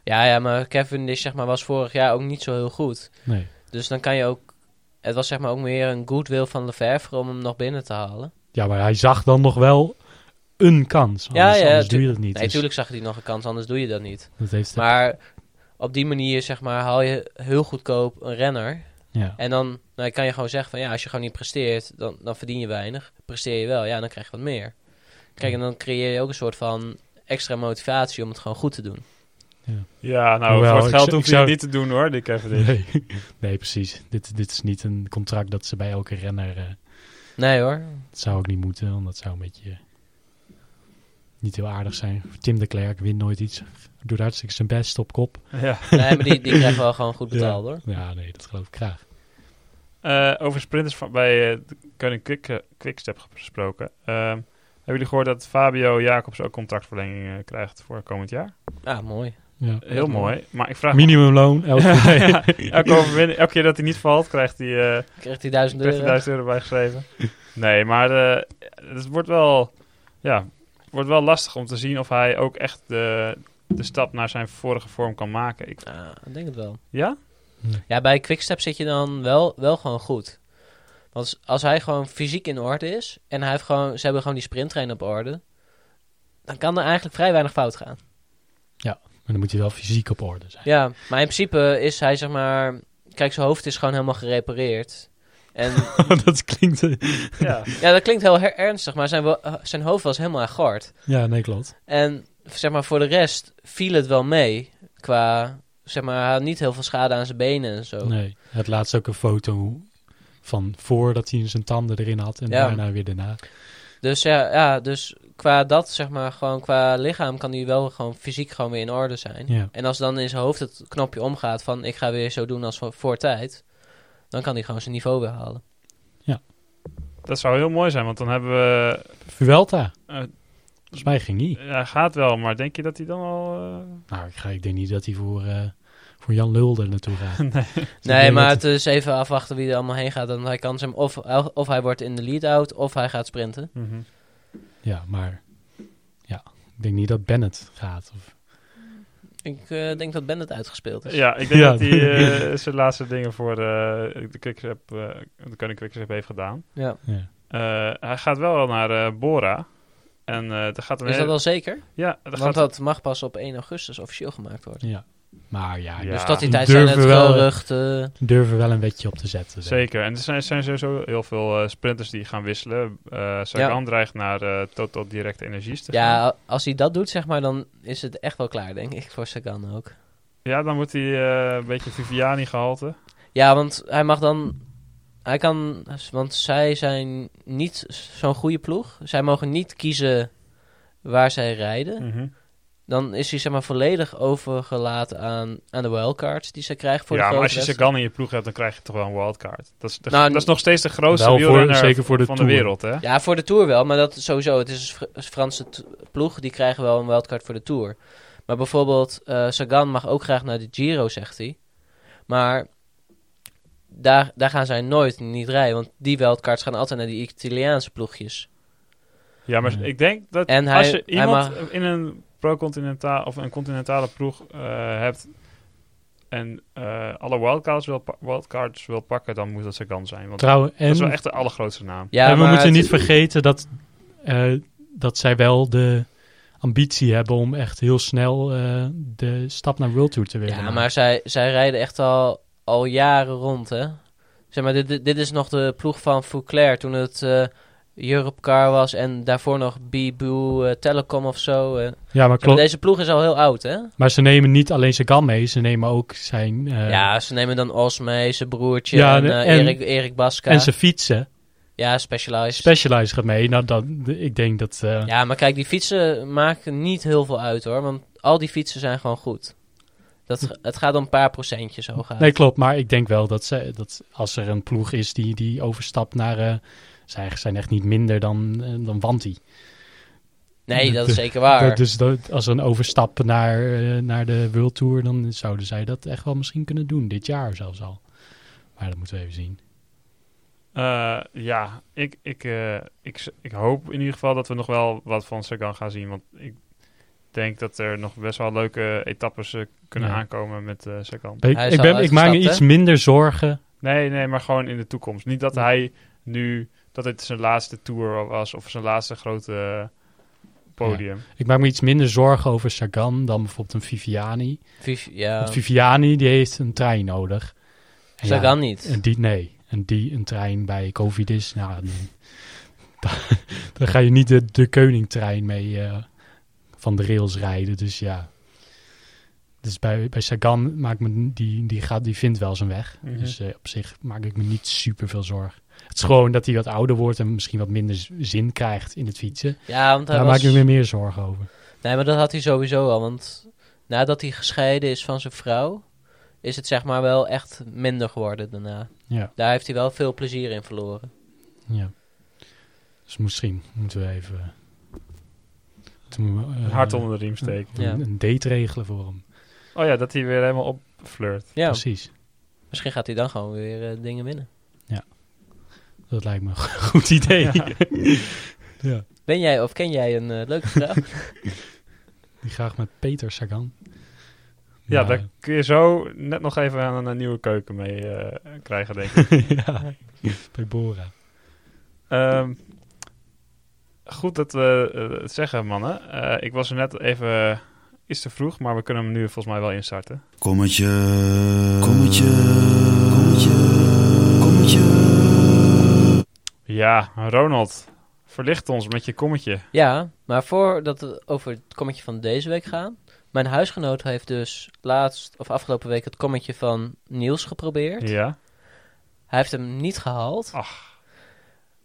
[SPEAKER 3] Ja, ja, maar Kevin is, zeg maar, was vorig jaar ook niet zo heel goed.
[SPEAKER 2] nee.
[SPEAKER 3] Dus dan kan je ook. Het was zeg maar ook meer een goodwill van Lefevre om hem nog binnen te halen.
[SPEAKER 2] Ja, maar hij zag dan nog wel een kans.
[SPEAKER 3] Ja,
[SPEAKER 2] Anders,
[SPEAKER 3] ja,
[SPEAKER 2] anders
[SPEAKER 3] tu-
[SPEAKER 2] doe je dat niet.
[SPEAKER 3] Nee,
[SPEAKER 2] Dus
[SPEAKER 3] natuurlijk zag hij nog een kans, anders doe je dat niet.
[SPEAKER 2] Dat heeft hij-
[SPEAKER 3] Maar op die manier, zeg maar, haal je heel goedkoop een renner.
[SPEAKER 2] ja.
[SPEAKER 3] En dan nou, kan je gewoon zeggen van ja, als je gewoon niet presteert, dan, dan verdien je weinig. Presteer je wel, ja, dan krijg je wat meer. Kijk, en dan creëer je ook een soort van extra motivatie om het gewoon goed te doen.
[SPEAKER 1] Ja, nou,
[SPEAKER 2] Hoewel,
[SPEAKER 1] voor het
[SPEAKER 2] ik
[SPEAKER 1] geld
[SPEAKER 2] zou-
[SPEAKER 1] hoef je
[SPEAKER 2] ik
[SPEAKER 1] het
[SPEAKER 2] zou-
[SPEAKER 1] niet te doen hoor, die Cavendish.
[SPEAKER 2] Nee, nee precies. Dit, dit is niet een contract dat ze bij elke renner... eh,
[SPEAKER 3] Nee hoor.
[SPEAKER 2] dat zou ook niet moeten, want dat zou een beetje... eh, niet heel aardig zijn. Tim de Klerk wint nooit iets. Doet hartstikke zijn best op kop.
[SPEAKER 1] Ja.
[SPEAKER 3] Nee, maar die, die krijgen wel gewoon goed betaald hoor.
[SPEAKER 2] Ja, nee, dat geloof ik graag.
[SPEAKER 1] Eh, over sprinters van, bij eh de Koning Quick, eh, Quickstep gesproken. Ehm, hebben jullie gehoord dat Fabio Jacobs ook contractverlenging eh, krijgt voor komend jaar?
[SPEAKER 3] Ah, mooi.
[SPEAKER 2] Ja.
[SPEAKER 1] Heel mooi. Maar ik vraag
[SPEAKER 2] Minimumloon, elke
[SPEAKER 1] Ja,
[SPEAKER 2] keer.
[SPEAKER 1] ja. elke, overwinning- elke keer dat hij niet valt, krijgt hij eh,
[SPEAKER 3] Krijgt hij duizend
[SPEAKER 1] krijgt
[SPEAKER 3] euro.
[SPEAKER 1] hij 1000 euro bijgeschreven. Nee, maar eh, het wordt wel, ja, wordt wel lastig om te zien of hij ook echt de, de stap naar zijn vorige vorm kan maken. Ik,
[SPEAKER 3] Ah, ik denk het wel.
[SPEAKER 1] ja?
[SPEAKER 3] Ja, bij Quickstep zit je dan wel, wel gewoon goed. Want als- als hij gewoon fysiek in orde is en hij heeft gewoon, ze hebben gewoon die sprinttrein op orde, dan kan er eigenlijk vrij weinig fout gaan.
[SPEAKER 2] Maar dan moet je wel fysiek op orde zijn.
[SPEAKER 3] Ja, maar in principe is hij zeg maar, kijk, zijn hoofd is gewoon helemaal gerepareerd. En
[SPEAKER 2] Oh, dat klinkt... eh,
[SPEAKER 1] ja.
[SPEAKER 3] ja, dat klinkt heel her- ernstig, maar zijn, wo- zijn hoofd was helemaal aan gort.
[SPEAKER 2] Ja, nee, klopt.
[SPEAKER 3] En zeg maar, voor de rest viel het wel mee qua, zeg maar, hij had niet heel veel schade aan zijn benen en zo.
[SPEAKER 2] Nee, het laatst ook een foto van voordat hij zijn tanden erin had en
[SPEAKER 3] Ja.
[SPEAKER 2] daarna weer daarna.
[SPEAKER 3] Dus ja, ja, dus qua dat, zeg maar, gewoon qua lichaam kan hij wel gewoon fysiek gewoon weer in orde zijn.
[SPEAKER 2] Ja.
[SPEAKER 3] En als dan in zijn hoofd het knopje omgaat van ik ga weer zo doen als voor, voor tijd, dan kan hij gewoon zijn niveau weer halen.
[SPEAKER 2] Dus
[SPEAKER 1] Dat zou heel mooi zijn, want dan hebben we...
[SPEAKER 2] Vuelta.
[SPEAKER 1] eh,
[SPEAKER 2] Volgens mij ging hij.
[SPEAKER 1] hij gaat wel, maar denk je dat hij dan al... eh,
[SPEAKER 2] Nou, ik, ga, ik denk niet dat hij voor, eh, voor Jan Lulder naartoe gaat. nee,
[SPEAKER 3] Nee, maar het is even afwachten wie er allemaal heen gaat. En hij kan zijn, of, of hij wordt in de lead-out, of hij gaat sprinten.
[SPEAKER 1] mhm.
[SPEAKER 2] Ja, maar... Ja, ik denk niet dat Bennett gaat. Of,
[SPEAKER 3] Ik eh, denk dat Bennett uitgespeeld is.
[SPEAKER 1] Ja, ik denk
[SPEAKER 2] Ja.
[SPEAKER 1] dat hij eh, zijn laatste dingen voor eh, de Quickstep, eh de Koning Quickstep heeft gedaan.
[SPEAKER 3] Ja.
[SPEAKER 2] ja.
[SPEAKER 1] Eh, hij gaat wel naar eh, Bora. En eh, daar gaat een
[SPEAKER 3] Is dat
[SPEAKER 1] hele-
[SPEAKER 3] wel zeker?
[SPEAKER 1] Ja, daar
[SPEAKER 3] Want
[SPEAKER 1] gaat...
[SPEAKER 3] dat mag pas op 1 augustus officieel gemaakt worden.
[SPEAKER 2] ja. Maar ja,
[SPEAKER 1] Ja.
[SPEAKER 3] Dus tot die tijd zijn
[SPEAKER 2] Durven
[SPEAKER 3] het
[SPEAKER 2] wel,
[SPEAKER 3] geruchten.
[SPEAKER 2] we durven wel een wetje op te zetten. denk ik.
[SPEAKER 1] Zeker. En er zijn, zijn sowieso heel veel eh, sprinters die gaan wisselen. Eh Sagan dreigt naar eh, Total Direct Energies te gaan.
[SPEAKER 3] Ja, als hij dat doet, zeg maar, dan is het echt wel klaar, denk ik, voor Sagan ook.
[SPEAKER 1] Ja, dan moet hij eh, een beetje Viviani gehalte.
[SPEAKER 3] Ja, want hij mag dan... Hij kan... Want zij zijn niet zo'n goede ploeg. Zij mogen niet kiezen waar zij
[SPEAKER 1] Hm.
[SPEAKER 3] rijden. Dan is hij, zeg maar, volledig overgelaten aan, aan de wildcards die ze krijgen voor de
[SPEAKER 1] Ja, maar
[SPEAKER 3] grote
[SPEAKER 1] als je
[SPEAKER 3] wedstrijden.
[SPEAKER 1] Sagan in je ploeg hebt, dan krijg je toch wel een wildcard. Dat is, dat, is-
[SPEAKER 3] Nou,
[SPEAKER 1] dat is nog steeds de grootste
[SPEAKER 2] wel voor-
[SPEAKER 1] wielrenner
[SPEAKER 2] zeker voor de
[SPEAKER 1] van de
[SPEAKER 2] Tour.
[SPEAKER 1] wereld, hè?
[SPEAKER 3] Ja, voor de Tour wel, maar dat sowieso. Het is een Fr- een Franse t- ploeg, die krijgen wel een wildcard voor de Tour. Maar bijvoorbeeld, eh, Sagan mag ook graag naar de Giro, zegt hij. Maar daar, daar gaan zij nooit niet rijden, want die wildcards gaan altijd naar die Italiaanse ploegjes.
[SPEAKER 1] Ja, maar
[SPEAKER 2] Ja.
[SPEAKER 1] ik denk dat
[SPEAKER 3] En
[SPEAKER 1] als
[SPEAKER 3] hij-
[SPEAKER 1] je
[SPEAKER 3] hij
[SPEAKER 1] iemand
[SPEAKER 3] mag-
[SPEAKER 1] in een pro-continentale of een continentale ploeg eh, hebt en eh, alle wildcards wil, pa- wildcards wil pakken, dan moet dat Sagan zijn. Want
[SPEAKER 2] Trouwen, en
[SPEAKER 1] dat is wel echt de allergrootste naam.
[SPEAKER 3] Ja,
[SPEAKER 2] en we
[SPEAKER 3] maar
[SPEAKER 2] moeten
[SPEAKER 3] het-
[SPEAKER 2] niet vergeten dat, eh, dat zij wel de ambitie hebben om echt heel snel eh, de stap naar World Tour te willen
[SPEAKER 3] Ja,
[SPEAKER 2] maken.
[SPEAKER 3] maar zij, zij rijden echt al, al jaren rond, hè. Zeg maar, dit, dit, dit is nog de ploeg van Fouclair toen het eh Europe Car was en daarvoor nog Bibu eh, Telecom of zo. eh.
[SPEAKER 2] Ja, maar
[SPEAKER 3] Zeg maar,
[SPEAKER 2] klopt.
[SPEAKER 3] deze ploeg is al heel oud, hè.
[SPEAKER 2] Maar ze nemen niet alleen Sagan mee, ze nemen ook zijn... eh,
[SPEAKER 3] Ja, ze nemen dan Os mee, zijn broertje
[SPEAKER 2] Ja,
[SPEAKER 3] en,
[SPEAKER 2] en-
[SPEAKER 3] eh,
[SPEAKER 2] en-
[SPEAKER 3] Erik, Erik Baska.
[SPEAKER 2] En zijn fietsen.
[SPEAKER 3] Ja, Specialized.
[SPEAKER 2] Specialized gaat mee. Nou, dat, ik denk dat... eh,
[SPEAKER 3] ja, maar kijk, die fietsen maken niet heel veel uit hoor. Want al die fietsen zijn gewoon goed. Dat, het gaat om een paar procentjes zo gaat.
[SPEAKER 2] Nee, klopt. Maar ik denk wel dat, ze, dat als er een ploeg is die, die overstapt naar... eh zij zijn echt niet minder dan, eh, dan Wanty.
[SPEAKER 3] Nee, dat is
[SPEAKER 2] De-
[SPEAKER 3] zeker waar.
[SPEAKER 2] Dat- dus dat, als er een overstap naar, eh, naar de World Tour, dan zouden zij dat echt wel misschien kunnen doen. Dit jaar zelfs al. Maar dat moeten we even zien.
[SPEAKER 1] Eh, ja, ik, ik, eh, ik, s- ik hoop in ieder geval dat we nog wel wat van Sagan gaan zien. Want ik denk dat er nog best wel leuke etappes eh, kunnen
[SPEAKER 2] Ja.
[SPEAKER 1] aankomen met eh Sagan.
[SPEAKER 2] Ik,
[SPEAKER 3] Hij is
[SPEAKER 2] ik,
[SPEAKER 3] al
[SPEAKER 2] ben, ik maak me
[SPEAKER 3] uitgestapt,
[SPEAKER 2] iets minder zorgen.
[SPEAKER 1] Nee, nee, maar gewoon in de toekomst. Niet dat hij nu, dat het zijn laatste tour was of zijn laatste grote eh, podium.
[SPEAKER 2] Ik maak me iets minder zorgen over Sagan dan bijvoorbeeld een Viviani.
[SPEAKER 3] Viv- ja,
[SPEAKER 2] Want Viviani die heeft een trein nodig. En ja,
[SPEAKER 3] Sagan niet.
[SPEAKER 2] En die nee. En die een trein bij COVID is. Nou, dan, dan ga je niet de, de Koning-trein mee eh, van de rails rijden. Dus ja. Dus bij, bij Sagan maakt me, die, die, gaat, die vindt wel zijn weg.
[SPEAKER 1] Mhm.
[SPEAKER 2] Dus eh, op zich maak ik me niet super veel zorgen. Het is gewoon dat hij wat ouder wordt en misschien wat minder z- zin krijgt in het fietsen.
[SPEAKER 3] Ja, want hij
[SPEAKER 2] Daar
[SPEAKER 3] was...
[SPEAKER 2] maak ik me meer zorgen over.
[SPEAKER 3] Nee, maar dat had hij sowieso al. Want nadat hij gescheiden is van zijn vrouw, is het zeg maar wel echt minder geworden daarna.
[SPEAKER 2] Ja,
[SPEAKER 3] Daar heeft hij wel veel plezier in verloren.
[SPEAKER 2] ja. Dus misschien moeten we even... eh, moeten we, eh,
[SPEAKER 1] Hard onder de riem steken.
[SPEAKER 2] een,
[SPEAKER 3] Ja.
[SPEAKER 2] een date regelen voor hem.
[SPEAKER 1] Oh ja, dat hij weer helemaal opflirt.
[SPEAKER 3] Ja,
[SPEAKER 2] Precies.
[SPEAKER 3] misschien gaat hij dan gewoon weer eh, dingen winnen.
[SPEAKER 2] Dat lijkt me een goed idee.
[SPEAKER 1] Ja.
[SPEAKER 2] ja.
[SPEAKER 3] Ben jij of ken jij een eh, leuke vrouw?
[SPEAKER 2] Die graag met Peter Sagan.
[SPEAKER 1] Ja,
[SPEAKER 2] Maar-
[SPEAKER 1] daar kun je zo net nog even aan een, eh, nieuwe keuken mee eh, krijgen, denk ik.
[SPEAKER 2] ja, bij Bora.
[SPEAKER 1] Ehm, goed dat we eh, het zeggen, mannen. Eh, ik was er net even iets te vroeg, maar we kunnen hem nu volgens mij wel instarten.
[SPEAKER 6] Kommetje. Kommetje. Kommetje. Kommetje.
[SPEAKER 1] Ja, Ronald, verlicht ons met je kommetje.
[SPEAKER 3] ja, maar voordat we over het kommetje van deze week gaan. Mijn huisgenoot heeft dus laatst of afgelopen week het kommetje van Niels geprobeerd.
[SPEAKER 1] Ja.
[SPEAKER 3] Hij heeft hem niet gehaald.
[SPEAKER 1] Ach.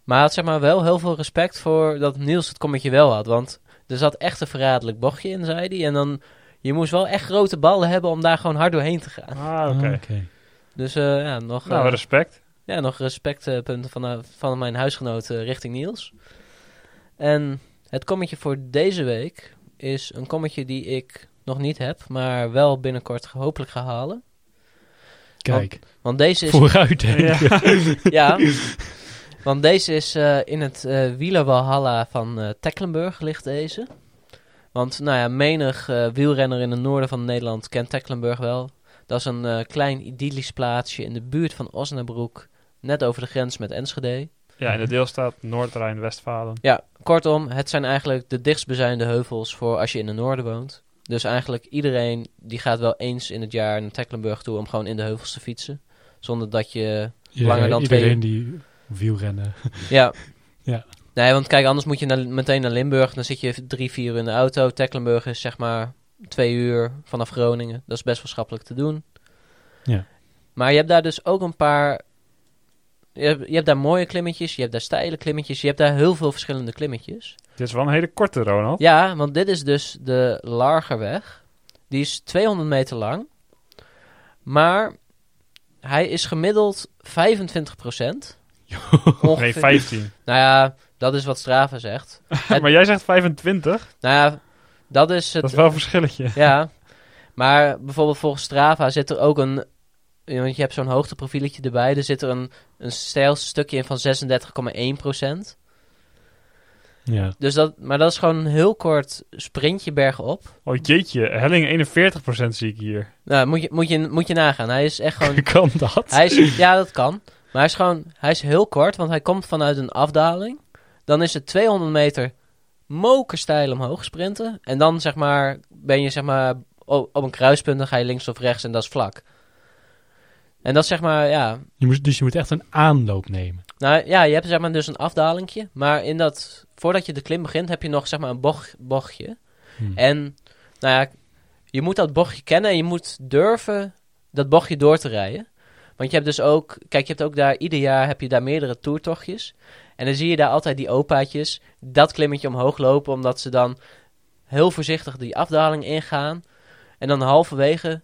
[SPEAKER 3] Maar hij had zeg maar wel heel veel respect voor dat Niels het kommetje wel had. Want er zat echt een verraderlijk bochtje in, zei hij. En dan, je moest wel echt grote ballen hebben om daar gewoon hard doorheen te gaan.
[SPEAKER 1] Ah, oké.
[SPEAKER 2] Ah,
[SPEAKER 3] Dus eh, ja, nog,
[SPEAKER 1] Nou,
[SPEAKER 3] eh,
[SPEAKER 1] respect.
[SPEAKER 3] ja, nog respectpunten van, eh, van mijn huisgenoot eh, richting Niels. En het kommetje voor deze week is een kommetje die ik nog niet heb. Maar wel binnenkort hopelijk ga halen.
[SPEAKER 2] Kijk,
[SPEAKER 3] Want deze Oh, is
[SPEAKER 2] vooruit hè.
[SPEAKER 1] Ja.
[SPEAKER 3] Ja, want deze is eh, in het eh wielerwalhalla van eh, Tecklenburg ligt deze. Want nou ja, menig eh, wielrenner in het noorden van Nederland kent Tecklenburg wel. Dat is een eh, klein idyllisch plaatsje in de buurt van Osnabrück, net over de grens met Enschede.
[SPEAKER 1] ja, in de deelstaat Noord-Rijn-Westfalen.
[SPEAKER 3] Ja, kortom, het zijn eigenlijk de dichtstbijzijnde heuvels voor als je in het noorden woont. Dus eigenlijk iedereen die gaat wel eens in het jaar naar Tecklenburg toe om gewoon in de heuvels te fietsen. Zonder dat je Langer dan twee
[SPEAKER 2] Iedereen die wielrennen.
[SPEAKER 3] Ja.
[SPEAKER 2] Ja.
[SPEAKER 3] Nee, want kijk, anders moet je naar- meteen naar Limburg. Dan zit je drie, vier uur in de auto. Tecklenburg is zeg maar twee uur vanaf Groningen. Dat is best wel schappelijk te doen.
[SPEAKER 2] Ja.
[SPEAKER 3] Maar je hebt daar dus ook een paar... Je hebt, je hebt daar mooie klimmetjes, je hebt daar steile klimmetjes. Je hebt daar heel veel verschillende klimmetjes.
[SPEAKER 1] Dit is wel een hele korte, Ronald.
[SPEAKER 3] Ja, want dit is dus de Largerweg. Die is 200 meter lang. Maar hij is gemiddeld 25 procent.
[SPEAKER 1] Nee, 15.
[SPEAKER 3] Nou ja, dat is wat Strava zegt.
[SPEAKER 1] maar jij zegt 25.
[SPEAKER 3] Nou ja, dat is het.
[SPEAKER 1] Dat is wel een verschilletje.
[SPEAKER 3] Ja. Maar bijvoorbeeld volgens Strava zit er ook een. ja, Want je hebt zo'n hoogteprofieletje erbij. Er zit er een, een stijl stukje in van 36,1%.
[SPEAKER 2] Ja.
[SPEAKER 3] Dus dat, maar dat is gewoon een heel kort sprintje bergop.
[SPEAKER 1] Oh jeetje, helling 41% zie ik hier.
[SPEAKER 3] Nou, moet je, moet, je, moet je nagaan. Hij is echt gewoon.
[SPEAKER 2] Kan dat?
[SPEAKER 3] hij is, ja, dat kan. Maar hij is gewoon. Hij is heel kort, want hij komt vanuit een afdaling. Dan is het 200 meter mokerstijl omhoog sprinten. En dan zeg maar. Ben je zeg maar. Op, op een kruispunt, dan ga je links of rechts en dat is vlak. En dat is zeg maar. Ja,
[SPEAKER 2] Je moet, dus je moet echt een aanloop nemen.
[SPEAKER 3] nou ja, je hebt zeg maar dus een afdalingje. Maar in dat, voordat je de klim begint, heb je nog zeg maar een bocht, bochtje.
[SPEAKER 2] Hmm.
[SPEAKER 3] En nou ja, je moet dat bochtje kennen en je moet durven dat bochtje door te rijden. Want je hebt dus ook, kijk, je hebt ook daar, ieder jaar heb je daar meerdere toertochtjes. En dan zie je daar altijd die opaatjes dat klimmetje omhoog lopen, omdat ze dan heel voorzichtig die afdaling ingaan. En dan halverwege,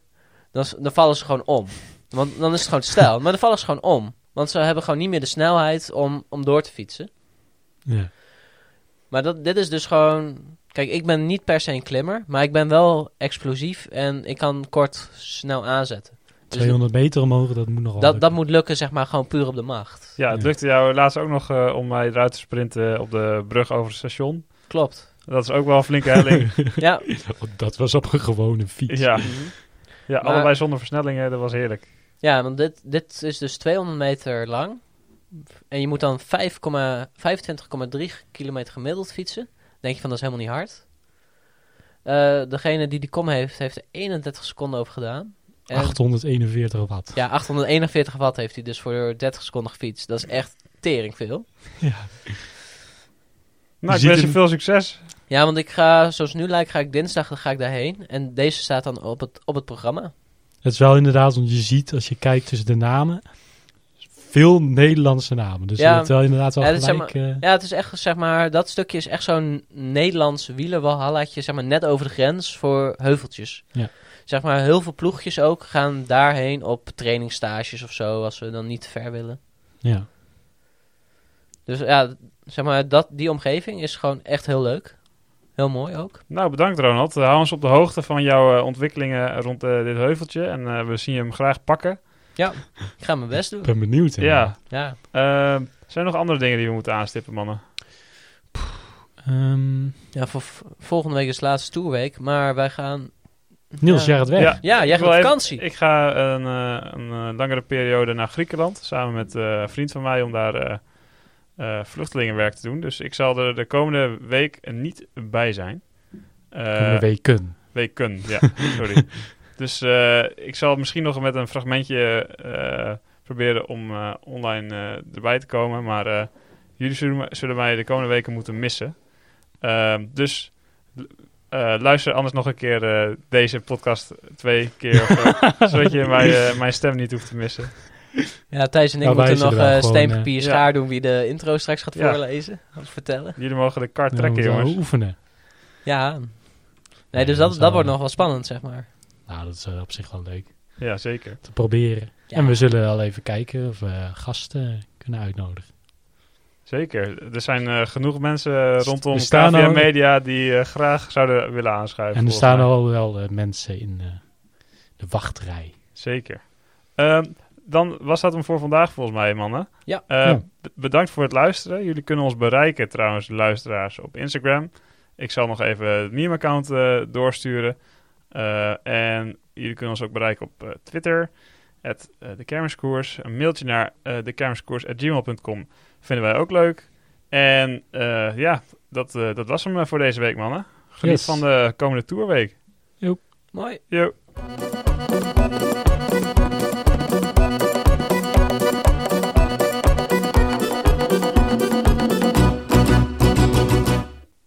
[SPEAKER 3] dan, s- dan vallen ze gewoon om. Want dan is het gewoon stijl, maar dan vallen ze gewoon om. Want ze hebben gewoon niet meer de snelheid om, om door te fietsen.
[SPEAKER 2] Ja.
[SPEAKER 3] Maar dat, dit is dus gewoon... Kijk, ik ben niet per se een klimmer, maar ik ben wel explosief en ik kan kort snel aanzetten. Dus
[SPEAKER 2] 200 meter omhoog, dat moet nogal
[SPEAKER 3] dat, dat
[SPEAKER 2] lukken.
[SPEAKER 3] moet lukken, zeg maar, gewoon puur op de macht.
[SPEAKER 1] Ja, het
[SPEAKER 2] Ja.
[SPEAKER 1] lukte jou laatst ook nog eh, om mij eruit te sprinten op de brug over het station.
[SPEAKER 3] Klopt.
[SPEAKER 1] Dat is ook wel een flinke helling.
[SPEAKER 3] Ja.
[SPEAKER 2] Oh, dat was op een gewone fiets.
[SPEAKER 1] ja,
[SPEAKER 3] Mhm.
[SPEAKER 1] ja allebei zonder versnellingen, dat was heerlijk.
[SPEAKER 3] Ja, want dit, dit is dus 200 meter lang. En je moet dan 5,25,3 kilometer gemiddeld fietsen. Denk je van, dat is helemaal niet hard. Eh, degene die die kom heeft, heeft er 31 seconden over gedaan. En,
[SPEAKER 2] 841 watt.
[SPEAKER 3] Ja, 841 watt heeft hij dus voor 30 seconden gefietst. Dat is echt tering veel.
[SPEAKER 2] Ja.
[SPEAKER 1] Nou, ik
[SPEAKER 2] ziet
[SPEAKER 1] wens je
[SPEAKER 2] hem.
[SPEAKER 1] veel succes.
[SPEAKER 3] Ja, want ik ga, zoals nu lijkt, ga ik dinsdag dan ga ik daarheen. En deze staat dan op het, op het programma.
[SPEAKER 2] Het is wel inderdaad, want je ziet als je kijkt tussen de namen, veel Nederlandse namen. Dus
[SPEAKER 3] Ja.
[SPEAKER 2] je hebt wel inderdaad wel
[SPEAKER 3] Ja, dat is
[SPEAKER 2] gelijk. eh,
[SPEAKER 3] Ja, het is echt, zeg maar, dat stukje is echt zo'n Nederlands wielerwalhallaatje, zeg maar, net over de grens voor heuveltjes.
[SPEAKER 2] Ja.
[SPEAKER 3] Zeg maar, heel veel ploegjes ook gaan daarheen op trainingsstages of zo, als ze dan niet te ver willen.
[SPEAKER 2] ja.
[SPEAKER 3] Dus ja, zeg maar, dat, die omgeving is gewoon echt heel leuk. Heel mooi ook.
[SPEAKER 1] Nou, bedankt Ronald. Eh, hou ons op de hoogte van jouw eh, ontwikkelingen rond eh, dit heuveltje. En eh, we zien je hem graag pakken.
[SPEAKER 3] Ik ga mijn best doen.
[SPEAKER 2] Ik ben benieuwd.
[SPEAKER 1] Ja.
[SPEAKER 2] inderdaad.
[SPEAKER 3] Ja.
[SPEAKER 1] Eh, zijn er nog andere dingen die we moeten aanstippen, mannen?
[SPEAKER 2] Ehm,
[SPEAKER 3] ja, voor v- volgende week is de laatste toerweek, maar wij gaan...
[SPEAKER 2] Niels,
[SPEAKER 3] Ja.
[SPEAKER 2] jij gaat weg.
[SPEAKER 1] Ja.
[SPEAKER 3] Ja, jij
[SPEAKER 1] Ik
[SPEAKER 3] gaat
[SPEAKER 1] wil
[SPEAKER 3] op
[SPEAKER 1] even-
[SPEAKER 3] vakantie.
[SPEAKER 1] Ik ga een, eh, een eh, langere periode naar Griekenland samen met eh, een vriend van mij om daar eh, eh, vluchtelingenwerk te doen. Dus ik zal er de komende week niet bij zijn.
[SPEAKER 2] Kunnen
[SPEAKER 1] Eh
[SPEAKER 2] we weken.
[SPEAKER 1] weken, ja, sorry. Dus eh, ik zal misschien nog met een fragmentje eh, proberen om eh, online eh, erbij te komen. Maar eh, jullie zullen, me- zullen mij de komende weken moeten missen. Ehm, dus l- eh, luister anders nog een keer eh, deze podcast twee keer. of zo, zodat je mijn, eh, mijn stem niet hoeft te missen.
[SPEAKER 3] Ja, Thijs en ik
[SPEAKER 2] Nou, wij
[SPEAKER 3] moeten nog
[SPEAKER 2] zullen wel
[SPEAKER 3] eh,
[SPEAKER 2] gewoon,
[SPEAKER 3] steen, papier,
[SPEAKER 1] eh,
[SPEAKER 3] schaar doen wie de intro straks gaat
[SPEAKER 1] Ja.
[SPEAKER 3] voorlezen. Of vertellen.
[SPEAKER 1] Jullie mogen de kaart
[SPEAKER 2] Ja,
[SPEAKER 1] trekken,
[SPEAKER 2] we moeten
[SPEAKER 1] jongens.
[SPEAKER 2] Oefenen.
[SPEAKER 3] Ja. Nee,
[SPEAKER 2] Nee,
[SPEAKER 3] dus
[SPEAKER 2] dat
[SPEAKER 3] dat,
[SPEAKER 2] is
[SPEAKER 3] dat
[SPEAKER 2] wel-
[SPEAKER 3] wordt nog wel spannend, zeg maar.
[SPEAKER 2] Nou, dat is eh, op zich wel leuk.
[SPEAKER 1] Ja, zeker.
[SPEAKER 2] Te proberen.
[SPEAKER 3] Ja.
[SPEAKER 2] En we zullen wel even kijken of we eh, gasten kunnen uitnodigen.
[SPEAKER 1] Zeker. Er zijn eh, genoeg mensen rondom
[SPEAKER 2] er staan
[SPEAKER 1] KVM
[SPEAKER 2] al-
[SPEAKER 1] Media die eh, graag zouden willen aanschuiven.
[SPEAKER 2] en er
[SPEAKER 1] volgens
[SPEAKER 2] staan
[SPEAKER 1] mij.
[SPEAKER 2] al wel eh, mensen in eh, de wachtrij.
[SPEAKER 1] Zeker. Ehm, dan was dat hem voor vandaag volgens mij, mannen.
[SPEAKER 3] Ja.
[SPEAKER 1] Eh,
[SPEAKER 2] Ja.
[SPEAKER 1] b- Bedankt voor het luisteren. Jullie kunnen ons bereiken trouwens, luisteraars, op Instagram. Ik zal nog even het meme-account eh, doorsturen. Eh, en jullie kunnen ons ook bereiken op eh, Twitter, at, eh, de kermiskoers. Een mailtje naar eh dekermiskoers.gmail.com vinden wij ook leuk. En eh, ja, dat, eh, dat was hem eh, voor deze week, mannen. Geniet
[SPEAKER 2] Yes.
[SPEAKER 1] van de komende tourweek.
[SPEAKER 3] Mooi.
[SPEAKER 1] Yo.